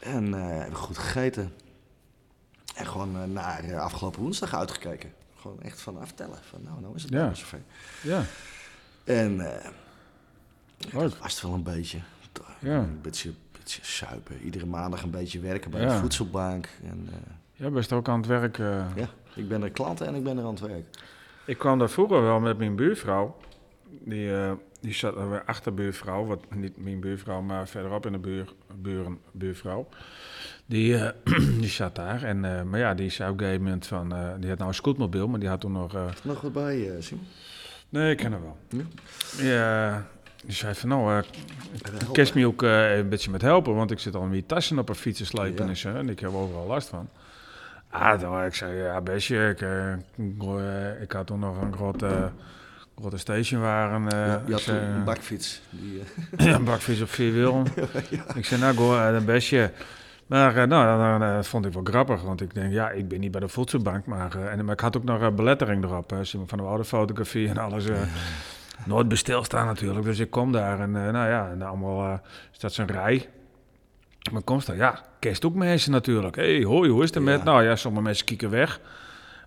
B: En eh, hebben goed gegeten. En gewoon eh, naar eh, afgelopen woensdag uitgekeken. Gewoon echt van aftellen. Van nou, nou is het
A: Ja.
B: nou zover.
A: Ja,
B: En eh,
A: leuk.
B: was het wel een beetje.
A: Ja.
B: Een beetje, beetje suipen. Iedere maandag een beetje werken bij
A: Ja.
B: de voedselbank. En, eh,
A: Jij bent ook aan het werk. eh.
B: Ja, ik ben er klant en ik ben er aan het werk.
A: Ik kwam daar vroeger wel met mijn buurvrouw. die, eh, die zat er weer achter buurvrouw, wat niet mijn buurvrouw, maar verderop in de buur, buren, buurvrouw. Die, eh, (clears throat) die zat daar. En, eh, maar ja, die zei op een gegeven moment van, eh, die had nou een scootmobiel, maar die had toen nog... eh,
B: Nog wat bij, eh, Simon?
A: nee, ik ken hem wel.
B: Ja.
A: Ja, die zei van, nou, eh,
B: Helpen.
A: Kerst me ook eh, een beetje met helpen, want ik zit al in die tassen op een fiets te slepen
B: Ja.
A: en zo, en ik heb overal last van. Ah, dan, ik zei, ja, bestje, ik, eh, ik, eh, ik had toen nog een grote, grote stationwagen. eh,
B: Ja, je
A: ik
B: had toen
A: zei,
B: een bakfiets. Die, eh, (laughs)
A: ja, (clears throat) een bakvis op vier wielen. Ik zei, nou, go, eh, een bestje. Maar eh, nou, dan, dan, eh, vond ik wel grappig, want ik denk, ja, ik ben niet bij de voedselbank, maar, eh, en, maar ik had ook nog eh, belettering erop, hè, Simon van de oude fotografie en alles. eh, Nooit bij stilstaan natuurlijk, dus ik kom daar en eh, nou ja, en allemaal eh, staat zo'n rij. Maar komst daar, ja, kerst ook mensen natuurlijk. Hé, hey, hoi, hoe is het er met?
B: Ja.
A: Nou ja, sommige mensen kieken weg.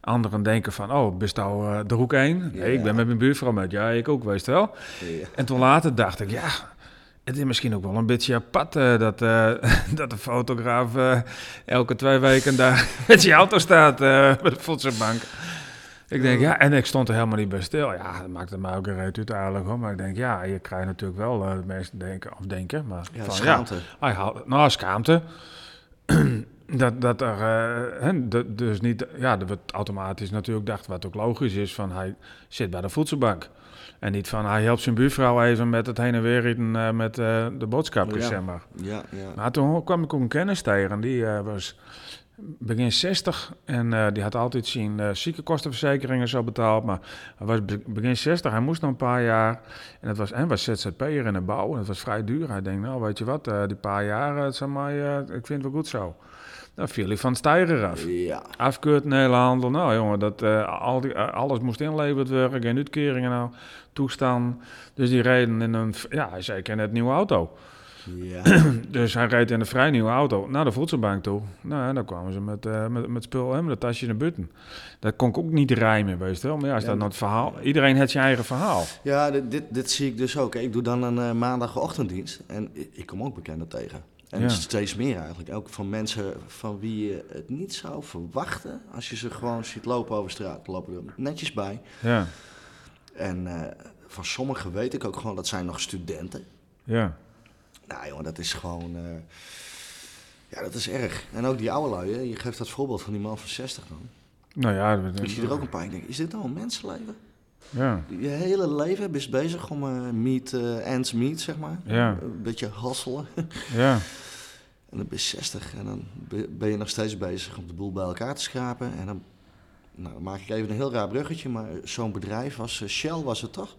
A: Anderen denken van, oh, best nou eh, de hoek heen? Nee, ik
B: Ja.
A: ben met mijn buurvrouw met. Ja, ik ook, wees wel.
B: ja.
A: En toen later dacht ik, ja, het is misschien ook wel een beetje apart eh, dat, eh, (laughs) dat de fotograaf eh, elke twee weken daar (laughs) met zijn auto staat eh (laughs) bij de Voedselbank. Ik denk, ja, en ik stond er helemaal niet bij stil. Ja, dat maakte mij ook een reet uit eigenlijk hoor. Maar ik denk, ja, je krijgt natuurlijk wel eh, de mensen denken, of denken, maar
B: ja,
A: van,
B: schaamte.
A: hij haalt, nou, schaamte. (clears throat) dat, dat er, eh, hè, dat dus niet, ja, dat wordt automatisch natuurlijk dacht, wat ook logisch is, van hij zit bij de voedselbank. En niet van hij helpt zijn buurvrouw even met het heen en weer rijden eh, met eh, de boodschapjes,
B: Ja.
A: zeg maar.
B: Ja, ja.
A: Maar Nou, toen kwam ik ook een kennis tegen, die eh, was begin 60 en eh, die had altijd zijn eh ziekenkostenverzekeringen zo betaald, maar hij was be- begin 60, hij moest nog een paar jaar en het was, en was ZZP'er in de bouw en het was vrij duur. Hij denkt, nou weet je wat, eh, die paar jaar, eh, het zijn maar, eh, ik vind het wel goed zo. Dan viel hij van het stijger af.
B: ja.
A: Afkeurt een hele handel. Nou jongen, dat, eh, al die, eh, alles moest inleverd worden. Geen uitkeringen nou, toestaan. Dus die reden in een, ja, hij zei, ik ken net een nieuwe auto.
B: (coughs) ja.
A: Dus hij reed in een vrij nieuwe auto naar de voedselbank toe. Nou, en dan kwamen ze met, eh, met, met spul en met een tasje in de butten. Dat kon ik ook niet rijmen, weet je wel. Maar ja, is dat
B: Ja, maar-
A: nou het verhaal? Iedereen heeft zijn eigen verhaal.
B: Ja, dit, dit, dit zie ik dus ook. Ik doe dan een eh, maandagochtenddienst en i- ik kom ook bekenden tegen. En
A: Ja.
B: steeds meer eigenlijk. Ook van mensen van wie je het niet zou verwachten als je ze gewoon ziet lopen over straat. Lopen er netjes bij.
A: Ja,
B: En eh, van sommigen weet ik ook gewoon dat zijn nog studenten.
A: ja.
B: Nou jongen, dat is gewoon... eh, ja, dat is erg. En ook die oude lui, hè. je geeft dat voorbeeld van die man van 60 dan.
A: Nou ja, dat-
B: Ik zie er ook een paar en ik denk, is dit nou een mensenleven?
A: ja.
B: Je hele leven is bezig om eh meet, eh, ends meet, zeg maar.
A: Ja.
B: Een beetje hasselen.
A: ja.
B: En dan ben je 60 en dan be- ben je nog steeds bezig om de boel bij elkaar te schrapen. En dan, nou, dan maak ik even een heel raar bruggetje, maar zo'n bedrijf was eh, Shell, was het toch?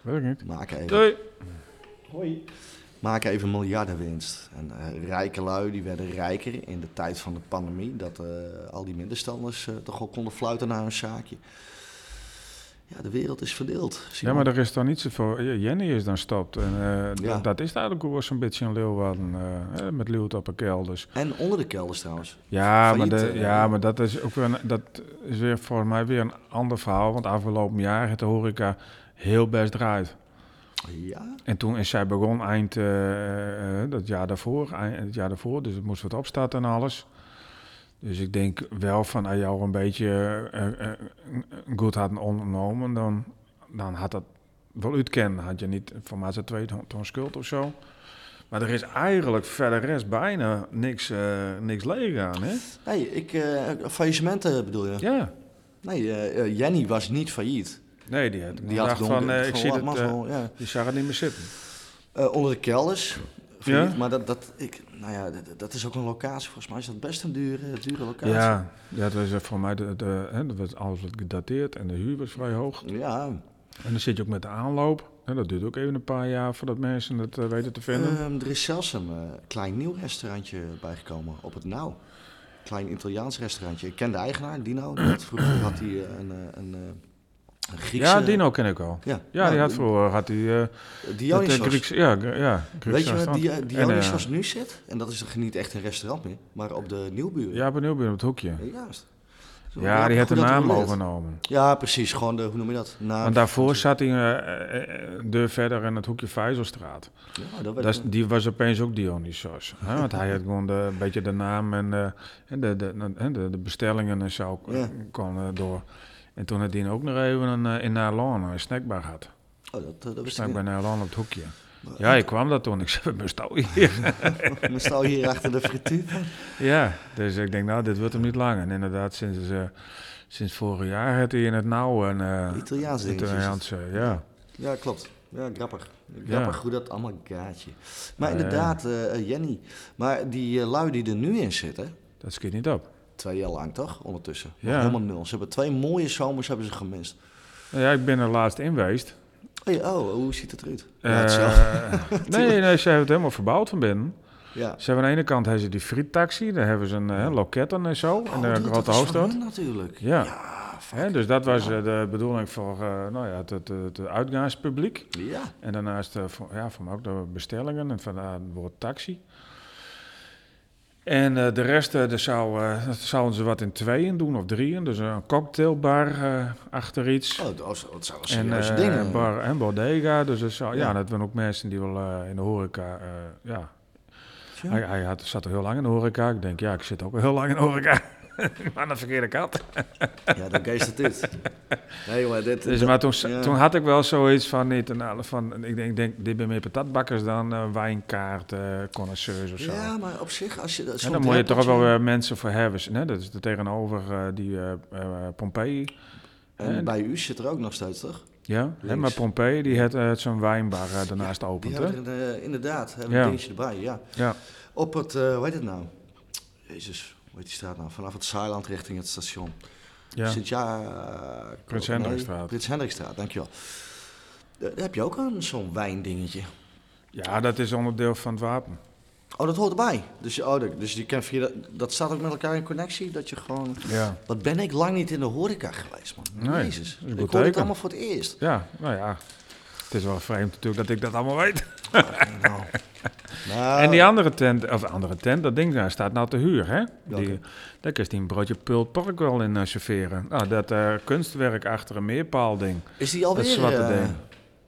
A: Weet ik niet.
B: Maak even,
A: Doei.
B: maak even miljardenwinst. En eh, rijke lui die werden rijker in de tijd van de pandemie, dat eh, al die middenstanders eh, toch al konden fluiten naar hun zaakje. Ja, de wereld is verdeeld.
A: Ja,
B: Simon.
A: maar er is dan niet zoveel... Ja, Jenny is dan stopt. En eh, d-
B: Ja.
A: dat is eigenlijk ook wel zo'n beetje een Leeuwarden. eh, eh, met Leeuwarden op een keel, dus...
B: En onder de kelders trouwens.
A: Ja, maar,
B: Failliet,
A: de-
B: eh,
A: ja, maar dat is ook weer, een- dat is weer volgens mij weer een ander verhaal. Want afgelopen jaar heeft de horeca heel best draait.
B: Ja,
A: En toen is zij begon eind eh, eh, dat jaar daarvoor, eind, het jaar daarvoor. Dus het moest wat opstarten en alles. Dus ik denk wel van aan jou een beetje eh, eh, eh, goed had ondernomen. Dan, dan had dat wel uitkennen. Had je niet voor mij zo'n twee ton, ton schuld of zo. Maar er is eigenlijk verder rest bijna niks, eh, niks leeg aan, hè?
B: nee, ik, eh, faillissementen bedoel je?
A: Ja.
B: Nee, eh, eh, Jenny was niet failliet.
A: Nee, die had, ik
B: Die
A: dacht
B: had gewoon-
A: van, eh, ik
B: gewoon
A: zie
B: wat
A: het,
B: mazzel, ja.
A: die zag het niet meer zitten.
B: Eh, onder de kelders. failliet,
A: Ja?
B: Maar dat, dat, ik, nou ja, dat, dat is ook een locatie. Volgens mij is dat best een dure, dure locatie.
A: Ja, ja, dat was eh, voor mij, de, de, hè, dat was alles wat gedateerd en de huur was vrij hoog.
B: Ja,
A: En dan zit je ook met de aanloop. En dat duurt ook even een paar jaar voordat mensen het eh, weten te vinden.
B: ehm, er is zelfs een eh, klein nieuw restaurantje bijgekomen op het Nauw. Klein Italiaans restaurantje. Ik ken de eigenaar, Dino. die had vroeger had hij eh, een, eh, een, eh, een Griekse... Nou,
A: ja, Dino ken ik al.
B: Ja,
A: Ja, die had vroeger, had die... eh
B: Dionysos.
A: het, eh, Grieks, ja, Gr- ja, Grieks
B: Weet je waar
A: restaurant.
B: Dia-
A: En, eh,
B: Dionysos nu zit? En dat is toch niet echt een restaurant meer, maar op de Nieuwburen.
A: ja, benieuwd ben op het hoekje.
B: Ja, Juist. Zo,
A: Ja, die
B: goed
A: had de
B: dat we Ah,
A: naam
B: leert.
A: overgenomen.
B: Ja, precies. Gewoon de, hoe noem je dat? Naam.
A: Want daarvoor zat hij eh, eh, eh, deur verder in het hoekje Vijzelstraat.
B: Ja, dat weet
A: Dat
B: ik
A: is- die was opeens ook Dionysos. Hè? Want hij had gewoon de, een beetje de naam en eh, en de, de, de, de, de bestellingen en zo
B: Ja.
A: kon eh, door. En toen had hij ook nog even een, eh, in Nalon een snackbar gehad.
B: nog. Oh, dat, dat wist ik
A: Snap ik
B: niet.
A: bijna al aan op het hoekje.
B: Maar-
A: Ja, ik kwam daar toen. Ik zei, mijn stal hier. (laughs)
B: (laughs) We staan hier achter de frituur.
A: ja, dus ik denk, nou, dit wordt hem niet lang. En inderdaad, sinds, eh, sinds vorig jaar had hij in het nauw een... eh,
B: Italiaans dingetje is het.
A: Italiaanse, ja.
B: Ja, klopt. Ja, grappig.
A: Ja.
B: Grappig hoe dat allemaal gaatje. Maar
A: Ja, ja.
B: inderdaad, eh, eh, Jenny. Maar die eh, lui die er nu in zitten,
A: Dat schiet niet op.
B: twee jaar lang toch, ondertussen. Nog
A: Ja.
B: Helemaal nul. Ze hebben twee mooie zomers hebben ze gemist.
A: Nou ja, ik ben er laatst in geweest.
B: Hey, oh, hoe ziet het eruit? Ja,
A: Eh,
B: hetzelfde.
A: (laughs) nee, nee, ze hebben het helemaal verbouwd van binnen.
B: Ja.
A: Ze hebben aan de ene kant hebben ze die friettaxi, daar hebben ze een eh, loket en zo, in de
B: dude, Oh, Nou, dat
A: grote
B: is van
A: hoofdstad.
B: hun natuurlijk.
A: Ja.
B: Ja, fuck.
A: Hè, dus dat was eh, de bedoeling voor eh, nou ja, het, het, het uitgaanspubliek.
B: ja.
A: En daarnaast eh, voor, ja, voor mij ook de bestellingen en vandaar het woord taxi. En eh, de rest, eh, daar zou, eh, dat zouden ze wat in tweeën doen of drieën. Dus een cocktailbar eh, achter iets.
B: Oh, dat, was- dat zijn wel
A: En
B: serieuze
A: eh,
B: dingen.
A: bar en bodega. Dus dat zou, ja.
B: Ja.
A: dat waren ook mensen die wel eh, in de horeca. eh, ja.
B: Ja.
A: Hij, hij had, zat al heel lang in de horeca. Ik denk, ja, ik zit ook al heel lang in de horeca. (laughs) maar aan de verkeerde kant.
B: Ja, dan geest het dit. Nee, jongen, dit...
A: Dus,
B: dat-
A: maar toen,
B: ja.
A: toen had ik wel zoiets van, niet, nou, van ik denk, ik denk, dit ben meer patatbakkers dan eh wijnkaart, eh connoisseurs of zo.
B: Ja, maar op zich, als je... dat-
A: En
B: zo'n
A: dan moet je toch wel eh,
B: drempeltje-
A: weer mensen voor hebben. Hè? Dat is er tegenover eh, die eh, eh, Pompeii.
B: En bij u zit er ook nog steeds, toch?
A: Ja, hè,
B: Links.
A: maar Pompeii die had eh, zo'n wijnbar eh, daarnaast
B: Die
A: opent. Hè?
B: hebben er eh, inderdaad hebben
A: Ja.
B: een dingetje erbij, ja.
A: Ja.
B: Op het, eh hoe heet het nou? Jezus, hoe heet die straat nou? Vanaf het Zeiland richting het station.
A: Ja.
B: Sint ja...
A: Prins Hendrikstraat.
B: Prins Hendrikstraat, dankjewel. Eh, Daar heb je ook een- zo'n wijndingetje.
A: ja, dat is onderdeel van het wapen.
B: Oh, dat hoort erbij. Dus, oh, dat- dus die kan via dat, dat staat ook met elkaar in connectie. Dat je gewoon.
A: Ja.
B: Wat ben ik lang niet in de horeca geweest, man.
A: Nee,
B: Jezus.
A: dat is een
B: Ik
A: goed
B: hoor het
A: teken.
B: allemaal voor het eerst.
A: (laughs) Ja, nou ja. Het is wel vreemd natuurlijk dat ik dat allemaal weet.
B: nou. Nou,
A: en die andere tent, of andere tent, dat ding daar staat nou te huur, hè? Die,
B: Welke?
A: daar kun je een broodje Pult Park wel in eh, serveren. Nou, dat eh, kunstwerk achter een meerpaalding.
B: is die alweer.
A: dat zwarte
B: eh,
A: ding.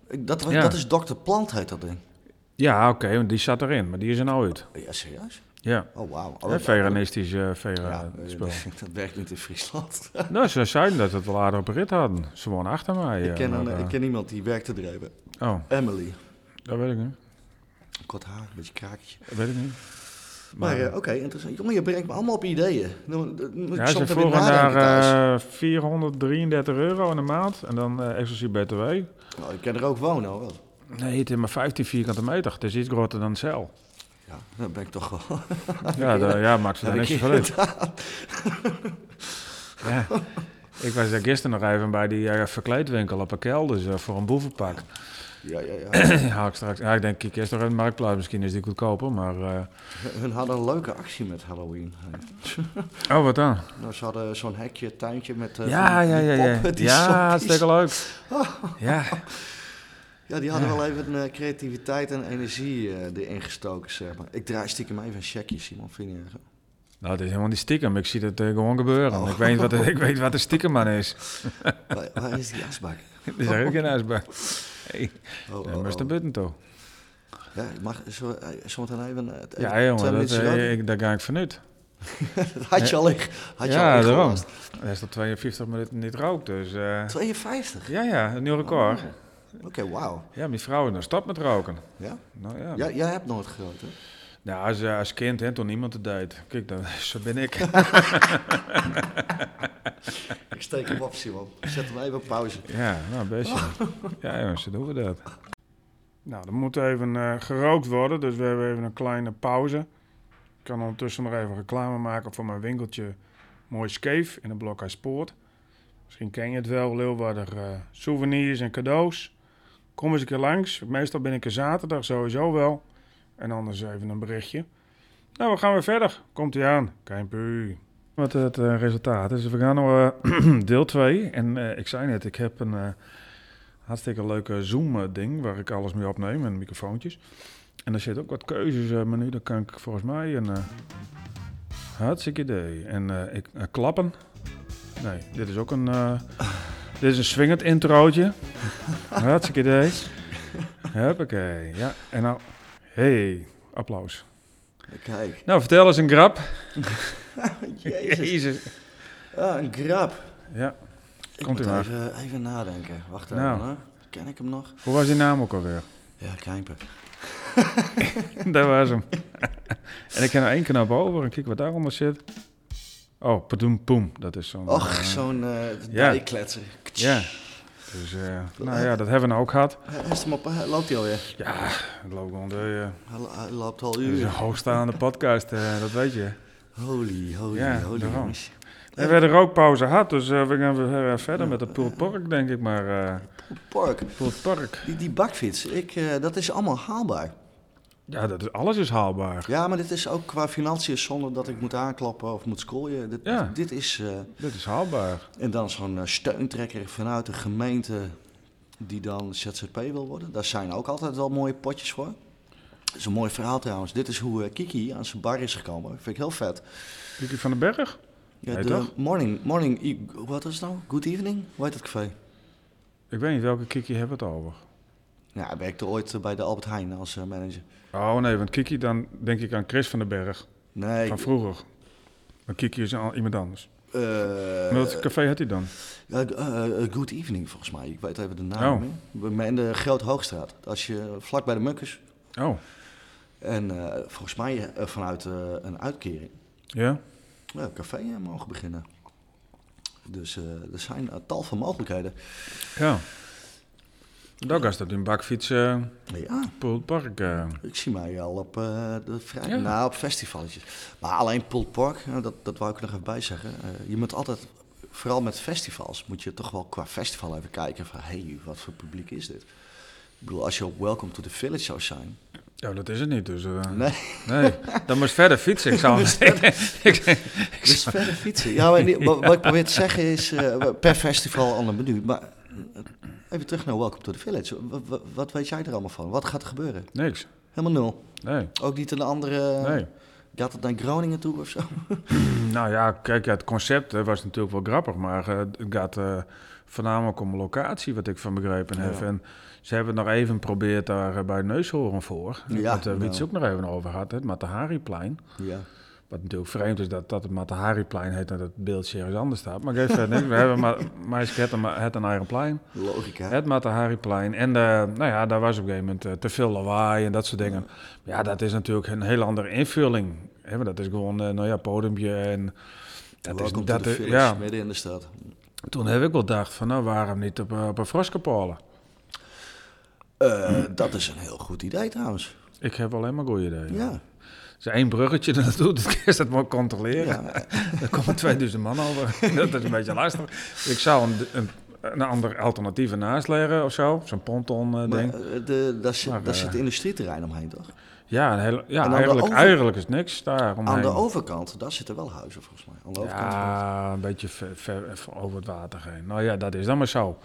B: ik- dat,
A: Ja.
B: dat is Dr. Plant, heet dat ding. Oh,
A: Ja, oké, want die zat erin, maar die is er nou uit.
B: Ja, serieus?
A: Ja,
B: Oh, wauw. Oh,
A: Hè,
B: dat-
A: veganistisch eh
B: Ja,
A: vera
B: eh,
A: spul.
B: (laughs) dat werkt niet in Friesland. (laughs)
A: nou, ze zeiden dat we het wel aardig op rit hadden. Ze wonen achter mij.
B: ik,
A: eh,
B: ken een,
A: maar, eh,
B: ik ken iemand die werkte er even.
A: Oh,
B: Emily.
A: dat weet ik niet.
B: Kort haar, een beetje kraakje.
A: Dat weet ik niet.
B: Maar, eh, oké, interessant. Jongen, je brengt me allemaal op ideeën. Dan, dan moet ik
A: Ja, ze
B: soms weer
A: vroegen
B: nadenken
A: daar
B: thuis.
A: eh, 433 euro in de maand en dan eh exclusief btw.
B: Nou, ik kan er ook wonen, hoor. wel.
A: Nee, het is maar 15 vierkante meter. Het is iets groter dan een cel.
B: Ja, dat ben ik toch wel.
A: Ja, dat- ja maakt
B: Ja,
A: er niks
B: ik-
A: van uit. Ja. Ik was daar gisteren nog even bij die eh, verkleedwinkel op een kelder dus, eh, voor een boevenpak.
B: (laughs) Ja, ja, ja.
A: Haal ik straks. Ja, ik denk, ik eerst nog een marktplaats. Misschien is die goedkoper, maar... eh,
B: Hun hadden een leuke actie met Halloween.
A: Oh, wat dan?
B: Nou, ze hadden zo'n hekje, tuintje met eh,
A: Ja,
B: van
A: ja,
B: die
A: ja. Ja,
B: poppen, die
A: ja
B: sokjes.
A: hartstikke leuk.
B: (laughs)
A: Ja,
B: Ja, die hadden wel even eh, creativiteit en energie eh, erin gestoken, zeg maar. Ik draai stiekem even een checkje, Simon. Vind je niet erg?
A: nou, het is helemaal niet stiekem. Ik zie het eh, gewoon gebeuren.
B: Oh.
A: Ik, weet wat, ik weet wat de stiekem aan is. (laughs)
B: Waar, waar is die asbak?
A: Dat is eigenlijk geen huisbaar. Hey,
B: Oh, oh,
A: dat is de
B: oh.
A: button toch?
B: Ja, mag zo, eh, zometeen even... eh, even
A: Ja, jongen, dat,
B: minuten
A: eh,
B: roken?
A: ik, daar ga ik vanuit.
B: (laughs) Dat had je al in- had je
A: Ja,
B: al
A: daarom.
B: ingelast.
A: Hij is al 52 minuten niet rook, dus... eh,
B: 52?
A: ja, ja, een nieuw record.
B: Oké, wauw.
A: Ja, mijn vrouw is nou stop met roken.
B: Ja?
A: Nou ja.
B: Ja, jij hebt nooit groot, hè?
A: Nou, als, eh, als kind, hè, toen niemand het deed. Kijk, dan, (laughs) zo ben ik.
B: Ik steek hem op, Simon. Zet hem even op pauze.
A: Ja, nou, best. ja. Ja, jongens, dan doen we dat.
C: Nou, er moet even eh, gerookt worden, dus we hebben even een kleine pauze. Ik kan ondertussen nog even reclame maken voor mijn winkeltje Mooi Skeef in de Blokhuispoort. Misschien ken je het wel, Leeuwarder eh, souvenirs en cadeaus. Kom eens een keer langs. Meestal ben ik er zaterdag sowieso wel. En anders even een berichtje. Nou, we gaan weer verder. Komt ie aan. Keimpu.
A: Wat het eh, resultaat is, we gaan naar eh, deel 2. En eh, ik zei net, ik heb een eh, hartstikke leuke Zoom-ding waar ik alles mee opneem en microfoontjes. En daar zit ook wat keuzes eh menu, daar kan ik volgens mij een eh hartstikke idee. En eh, ik, eh, klappen. Nee, dit is ook een, eh, dit is een swingend introotje. hartstikke idee. Huppakee, ja. En nou, hey, applaus.
B: Kijk.
A: Nou, vertel eens een grap.
B: Jezus. (laughs) Ah, een grap.
A: Ja.
B: Ik
A: Komt u
B: moet
A: maar.
B: eh, even, even nadenken. Wacht even,
A: Nou.
B: hoor. ken ik hem nog?
A: Hoe was die naam ook alweer?
B: Ja, Kijnpen.
A: (laughs) Daar was hem. en ik heb er één knap over en kijk wat daaronder zit. Oh, padoem poem. Dat is zo'n...
B: Och,
A: eh,
B: zo'n eh
A: ja.
B: dijkletser. Ktsch.
A: Ja. Dus, eh, nou ja, dat hebben we nou ook gehad.
B: Hij is hem op, hij loopt hij alweer.
A: Ja, het loopt onder je.
B: Hij, lo- hij loopt al
A: Dit is een
B: uur.
A: hoogstaande podcast, eh, dat weet je.
B: Holy, holy,
A: Ja,
B: holy
A: daarom.
B: jongens.
A: We hebben de rookpauze gehad, dus eh, we gaan weer eh, verder met het Poelpark, denk ik. Maar eh
B: Park,
A: Poelpark,
B: die, die bakfiets, ik, eh, dat is allemaal haalbaar.
A: ja, dat is, alles is haalbaar.
B: Ja, maar dit is ook qua financiën zonder dat ik moet aanklappen of moet scooien. Dit,
A: Ja.
B: dit is, eh,
A: Dit is haalbaar.
B: en dan zo'n eh, steuntrekker vanuit de gemeente die dan ZZP wil worden. Daar zijn ook altijd wel mooie potjes voor. Dat is een mooi verhaal trouwens. Dit is hoe eh, Kiki aan zijn bar is gekomen. Vind ik heel vet.
A: Kiki van den Berg?
B: Ja,
A: Nee,
B: de
A: toch?
B: morning, morning, e- wat is het nou? Good evening? Hoe heet dat café?
A: Ik weet niet welke Kiki hebben we het over.
B: Ja, hij werkte ooit eh, bij de Albert Heijn als eh, manager.
A: Oh nee, want Kiki, dan denk ik aan Chris van den Berg,
B: Nee,
A: van vroeger. Maar Kiki is al iemand anders.
B: eh,
A: Maar Welk café had hij dan?
B: Ja, d- eh, eh, good evening volgens mij. Ik weet even de naam
A: Oh.
B: niet meer. Maar In de Groot Hoogstraat. Als je vlak bij de Mukkers.
A: Oh,
B: En eh, volgens mij eh, vanuit eh, een uitkering.
A: ja?
B: Ja, een café eh, mogen beginnen. Dus eh, er zijn eh, tal van mogelijkheden.
A: Ja. Dat was dat in bakfiets eh
B: Ja,
A: Poelpark. eh.
B: ik zie mij al op eh, de vrijdag.
A: Ja.
B: Nou, op festivaletjes. Maar alleen Poolpark, Park, eh, dat, dat wou ik er nog even bij zeggen. Eh, je moet altijd, vooral met festivals, moet je toch wel qua festival even kijken van... Hé, hey, wat voor publiek is dit? Ik bedoel, als je op Welcome to the Village zou zijn...
A: Ja, dat is het niet, dus... eh,
B: Nee.
A: Nee, dan moest verder fietsen. Ik
B: (laughs)
A: zou ik,
B: Dus verder fietsen. Ja, maar, die- wa- wat ik probeer te zeggen is, eh, per festival ander menu. Maar eh, even terug naar Welcome to the Village. Wa- wa- wat weet jij er allemaal van? Wat gaat er gebeuren?
A: niks.
B: Helemaal nul.
A: Nee,
B: Ook niet een andere...
A: nee.
B: Gaat het naar Groningen toe of zo? Eh.
A: Nou ja, kijk, ja, het concept eh, was natuurlijk wel grappig, maar eh, het gaat eh, voornamelijk om locatie, wat ik van begrepen heb.
B: Ja.
A: En ze hebben het nog even geprobeerd daar eh, bij Neushoorn voor.
B: Ja,
A: wat eh, Wietse
B: nou.
A: ook nog even over had, het Matahari-plein.
B: Ja.
A: Wat natuurlijk vreemd is dat, dat het Matahari-plein heet en dat het beeldje ergens anders staat. Maar geef verder niks. We hebben maar, maar eens het, een- het een eigen plein.
B: Logica.
A: Het Matahariplein. En eh, nou ja, daar was op een gegeven moment eh, te veel lawaai en dat soort dingen. Ja, dat is natuurlijk een heel andere invulling. Hè, maar dat is gewoon, eh, nou ja, podiumpje en... Dat is,
B: Welcome
A: dat,
B: to the
A: is-
B: Village,
A: ja,
B: midden in de stad.
A: toen heb ik wel gedacht van, nou, waarom niet op, eh, op een Froskepolen?
B: Eh, dat is een heel goed idee trouwens.
A: Ik heb alleen maar goede ideeën.
B: Ja.
A: Er is één bruggetje (laughs) naartoe, dat kun je dat maar controleren.
B: ja.
A: Er komen 2000 man over. (laughs) Dat is een beetje lastig. Ik zou een, een, een ander alternatief naast leggen of zo. Zo'n ponton eh,
B: Maar,
A: ding.
B: eh, de, daar zit,
A: Maar,
B: daar
A: eh,
B: zit industrieterrein omheen, toch?
A: Ja, een hele-
B: aan
A: ja
B: de
A: eigenlijk,
B: over-
A: eigenlijk is niks daar omheen.
B: Aan de overkant, daar zitten wel huizen volgens mij. Aan de overkant.
A: Ja, een beetje ver, ver- ver over het water heen. Nou ja, dat is dan maar zo.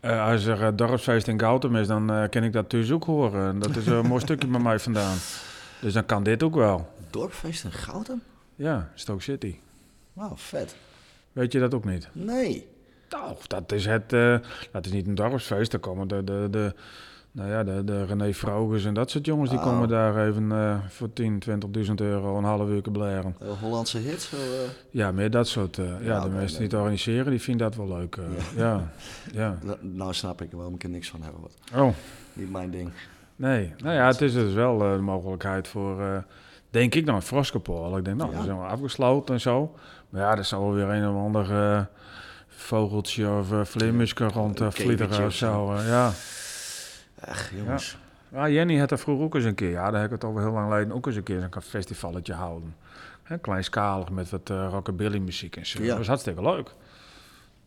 A: Eh, als er eh, dorpsfeest in Gautum is, dan eh, ken ik dat thuis ook horen. En Dat is een mooi (laughs) stukje bij mij vandaan. Dus dan kan dit ook wel.
B: Dorpfeest in Goudem?
A: Ja, Stoke City.
B: Wauw, vet.
A: Weet je dat ook niet?
B: Nee.
A: Nou, dat is het. eh, dat is niet een dorpsfeest. Daar komen de, de, de, nou ja, de, de René Vroges en dat soort jongens. Die
B: Oh.
A: komen daar even eh, voor 10, 20.000 euro een half uur blaren.
B: Eh, Hollandse hits. zo, eh,
A: Ja, meer dat soort. eh, ja,
B: Ja,
A: de
B: oké,
A: mensen die
B: leuk.
A: het organiseren, die vinden dat wel leuk. eh. ja. ja.
B: nou- nou snap ik waarom ik er niks van heb. Wat.
A: Oh.
B: Niet mijn ding.
A: Nee, nou ja, het is dus wel eh, de mogelijkheid voor, eh, denk ik, nou, een Froskepool. Ik denk, nou,
B: Ja.
A: we zijn wel afgesloten en zo. Maar ja, er zal wel weer een of ander eh, vogeltje of eh vleermuske rond eh,
B: Een
A: vliegen
B: kevertje
A: of
B: of zo.
A: zo. eh, ja.
B: Ach, jongens.
A: ja, Jenny had er vroeger ook eens een keer, ja, daar heb ik het al heel lang geleden ook eens een keer zo'n festivaletje houden. Hè, kleinschalig met wat eh, rockabilly muziek en zo.
B: Ja.
A: Dat was hartstikke leuk.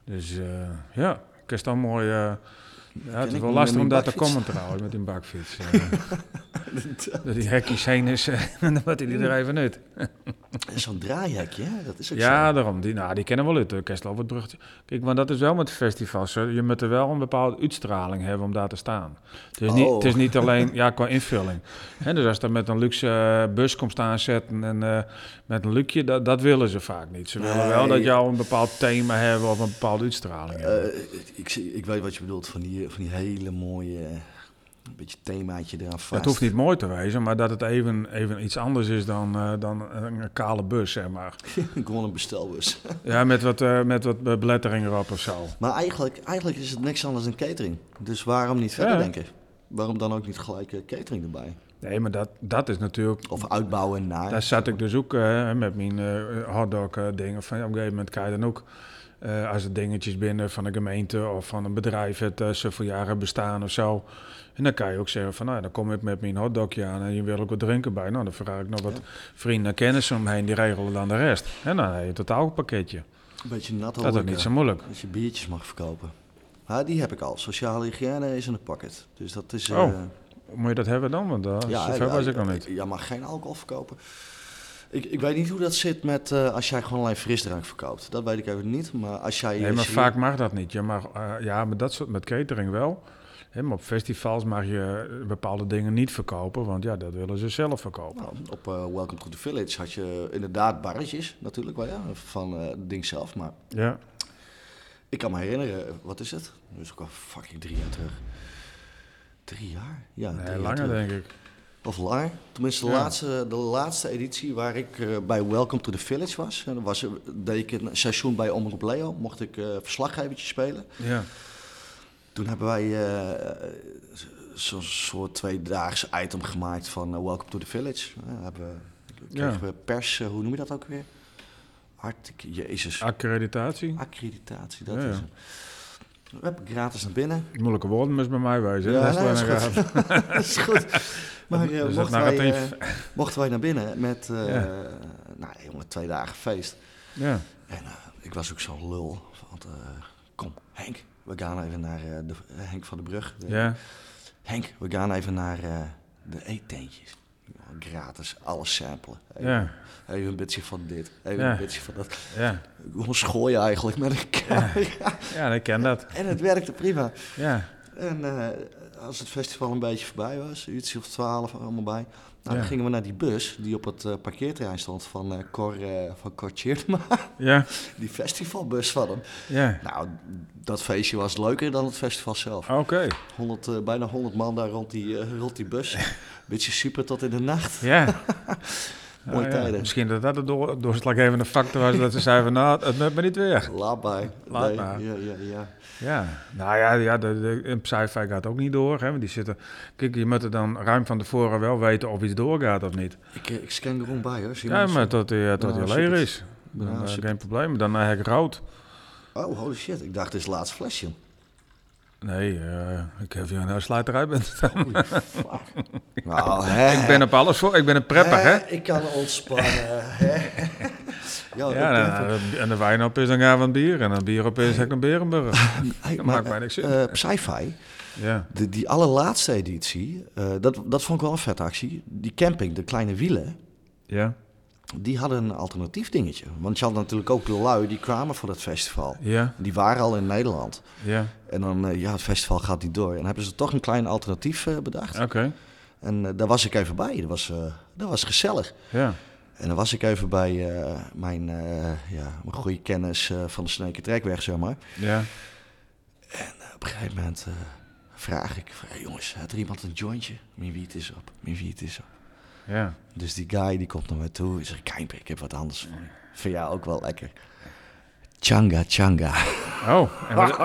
A: Dus eh, ja, ik is dan mooi. eh, ja, het is
B: ik
A: wel
B: niet
A: lastig
B: met
A: om
B: mijn
A: daar te
B: bakfiets.
A: komen trouwens met die
B: (laughs)
A: bakfiets. eh. Dat die hekjes heen is eh, (laughs) en dan wordt hij er even uit.
B: En Zo'n draaihekje, hè? dat is ook
A: Ja,
B: zo.
A: daarom. Die, nou, die kennen wel uit, Kerstel het bruggetje. Kijk, maar dat is wel met festivals. hè. Je moet er wel een bepaalde uitstraling hebben om daar te staan. Het is, niet,
B: Oh.
A: het is niet
B: (laughs)
A: alleen ja, qua invulling. Hè, dus als er met een luxe eh, bus komt staan zetten en eh, met een lukje, dat, dat willen ze vaak niet. Ze willen wel
B: Nee.
A: dat jou een bepaald thema hebben of een bepaalde uitstraling hebben.
B: Eh, ik, zie- ik weet wat je bedoelt van die, van die hele mooie eh, Een beetje themaatje eraan vast.
A: Het hoeft niet mooi te wezen, maar dat het even, even iets anders is dan, eh, dan een kale bus, zeg
B: (laughs)
A: maar.
B: Gewoon een bestelbus.
A: Ja, met wat, eh, met wat eh, belettering erop of zo.
B: Maar eigenlijk, eigenlijk is het niks anders dan catering. Dus waarom niet verder
A: Ja.
B: denken? Waarom dan ook niet gelijk eh, catering erbij?
A: Nee, maar dat, dat is natuurlijk...
B: Of uitbouwen naar.
A: Daar zat ik dus ook eh, met mijn eh, hotdog eh, dingen. Van, ja, op een gegeven moment kan je dan ook... eh, als er dingetjes binnen van een gemeente of van een bedrijf... het eh, zoveel jaren bestaan of zo. En dan kan je ook zeggen van... nou, ja, dan kom ik met mijn hotdogje aan en je wil ook wat drinken bij. Nou, dan vraag ik nog wat vrienden en kennissen omheen. Die regelen dan de rest. En dan heb je totaal een pakketje.
B: Een beetje nat
A: Dat is
B: horeca.
A: niet zo moeilijk.
B: Als je biertjes mag verkopen. Ah, die heb ik al. Sociale hygiëne is in de pakket. Dus dat is... eh,
A: Oh, Moet je dat hebben dan? Want daar
B: ja,
A: zover
B: ja,
A: was ik nog
B: ja,
A: niet.
B: Ja, maar geen alcohol verkopen. Ik, ik weet niet hoe dat zit met eh, als jij gewoon alleen frisdrank verkoopt. Dat weet ik even niet. Maar als jij...
A: Nee, maar
B: als je-
A: vaak mag dat niet. Je mag, eh, ja, maar dat soort, met catering wel. Hè, maar op festivals mag je eh, bepaalde dingen niet verkopen, want ja, dat willen ze zelf verkopen.
B: Nou, op eh, Welcome to the Village had je inderdaad barretjes natuurlijk wel, ja, van eh, het ding zelf. Maar
A: Ja.
B: ik kan me herinneren, eh, wat is het? Dat is ook al fucking drie jaar terug. Drie jaar? Ja, drie
A: Nee,
B: jaar
A: langer
B: terug.
A: denk ik.
B: Of langer. Tenminste, de,
A: Ja.
B: laatste, de laatste editie waar ik eh, bij Welcome to the Village was. En dan was, er- deed ik een seizoen bij Omroep Leo. Mocht ik eh verslaggevertje spelen.
A: Ja.
B: Toen hebben wij eh, zo'n soort tweedaags item gemaakt van eh, Welcome to the Village. Eh, hebben, we- kregen
A: Ja.
B: we pers, eh, hoe noem je dat ook weer? Hart, jezus,
A: Accreditatie.
B: accreditatie, dat
A: Ah. Ja,
B: is
A: ja.
B: hem. We hebben gratis naar binnen.
A: Moeilijke woorden moest bij mij wezen.
B: Ja,
A: Ja,
B: nee, is goed. dat (laughs) is goed. Maar eh,
A: Dus dat
B: mochten, wij,
A: narratief.
B: eh, mochten wij naar binnen met, eh,
A: Ja.
B: nou jongen, twee dagen feest.
A: ja.
B: En eh, ik was ook zo'n lul. Want, eh, kom, Henk, we gaan even naar eh, de, Henk van de Brug. de-
A: ja.
B: Henk, we gaan even naar eh, de eetteentjes. Ja, Gratis, alles samplen. Even,
A: Ja.
B: even een beetje van dit, even
A: Ja.
B: een beetje van dat.
A: Ja.
B: Gewoon schooien eigenlijk met elkaar.
A: ja, ik ken dat.
B: (laughs) En het werkte prima.
A: Ja.
B: En eh, als het festival een beetje voorbij was, uurtje of twaalf allemaal bij. Nou,
A: Ja.
B: dan gingen we naar die bus die op het eh, parkeerterrein stond van eh Cor, eh, van Cor Tjeerdema.
A: Ja.
B: (laughs) Die festivalbus van hem.
A: Ja.
B: Nou, dat feestje was leuker dan het festival zelf.
A: Oké.
B: 100, eh, bijna 100 man daar rond die, eh, rond die bus.
A: (laughs)
B: Beetje super tot in de nacht. (laughs)
A: Ja.
B: Mooie
A: Ah, ja.
B: tijden.
A: Misschien dat dat de door, doorslaggevende factor was dat ze zeiden van nou, het lukt me niet weer.
B: Laat bij.
A: Laat maar.
B: Ja, ja, ja.
A: Ja, nou ja, ja de, de, een sci-fi gaat ook niet door. Hè, want die zitten, kijk, je moet er dan ruim van tevoren wel weten of iets doorgaat of niet.
B: Ik, eh, ik scan er gewoon bij hoor. Zie je
A: Ja,
B: maar
A: maar tot die, eh, tot
B: Ja,
A: die
B: super.
A: leer is. Dan,
B: Ja,
A: eh,
B: super.
A: geen probleem. Dan heb ik rood.
B: eens. Oh, holy shit. Ik dacht, dit is het laatste
A: (laughs)
B: flesje.
A: Nee, eh, ik heb hier een sluiter uit. bent.
B: (laughs) Holy fuck. Nou, hè.
A: ik ben op alles voor. Ik ben een prepper, hè?
B: Hè, Ik kan ontspannen.
A: (laughs)
B: hè. ja,
A: Ja,
B: Oh, ik-
A: nou, en de wijn op is, dan gaan we een bier. En een bier op is, heb ik een Berenburg.
B: (laughs) Hey,
A: dat
B: maar,
A: maakt mij niks uit.
B: eh, Sci-fi,
A: Ja,
B: de- die allerlaatste editie, eh, dat, dat vond ik wel een vette actie. Die camping, de kleine wielen,
A: ja,
B: die hadden een alternatief dingetje. Want je had natuurlijk ook de lui die kwamen voor dat festival.
A: ja,
B: Die waren al in Nederland.
A: ja.
B: En dan, eh, ja, het festival gaat niet door. En dan hebben ze toch een klein alternatief eh, bedacht.
A: Oké,
B: En eh, daar was ik even bij. Dat was, eh, dat was gezellig.
A: ja.
B: En dan was ik even bij eh, mijn, eh, ja, mijn goede kennis eh, van de Sneker Trekweg, zeg maar.
A: Ja,
B: Op een gegeven moment eh, vraag ik, van, "Hey, jongens, had er iemand een jointje? Mijn wiet is op, mijn wiet is op.
A: ja.
B: Dus die guy die komt naar mij toe en zegt, Kijmpje, ik heb wat anders voor je. Vind jou ook wel lekker. Changa, changa.
A: Oh, en wat,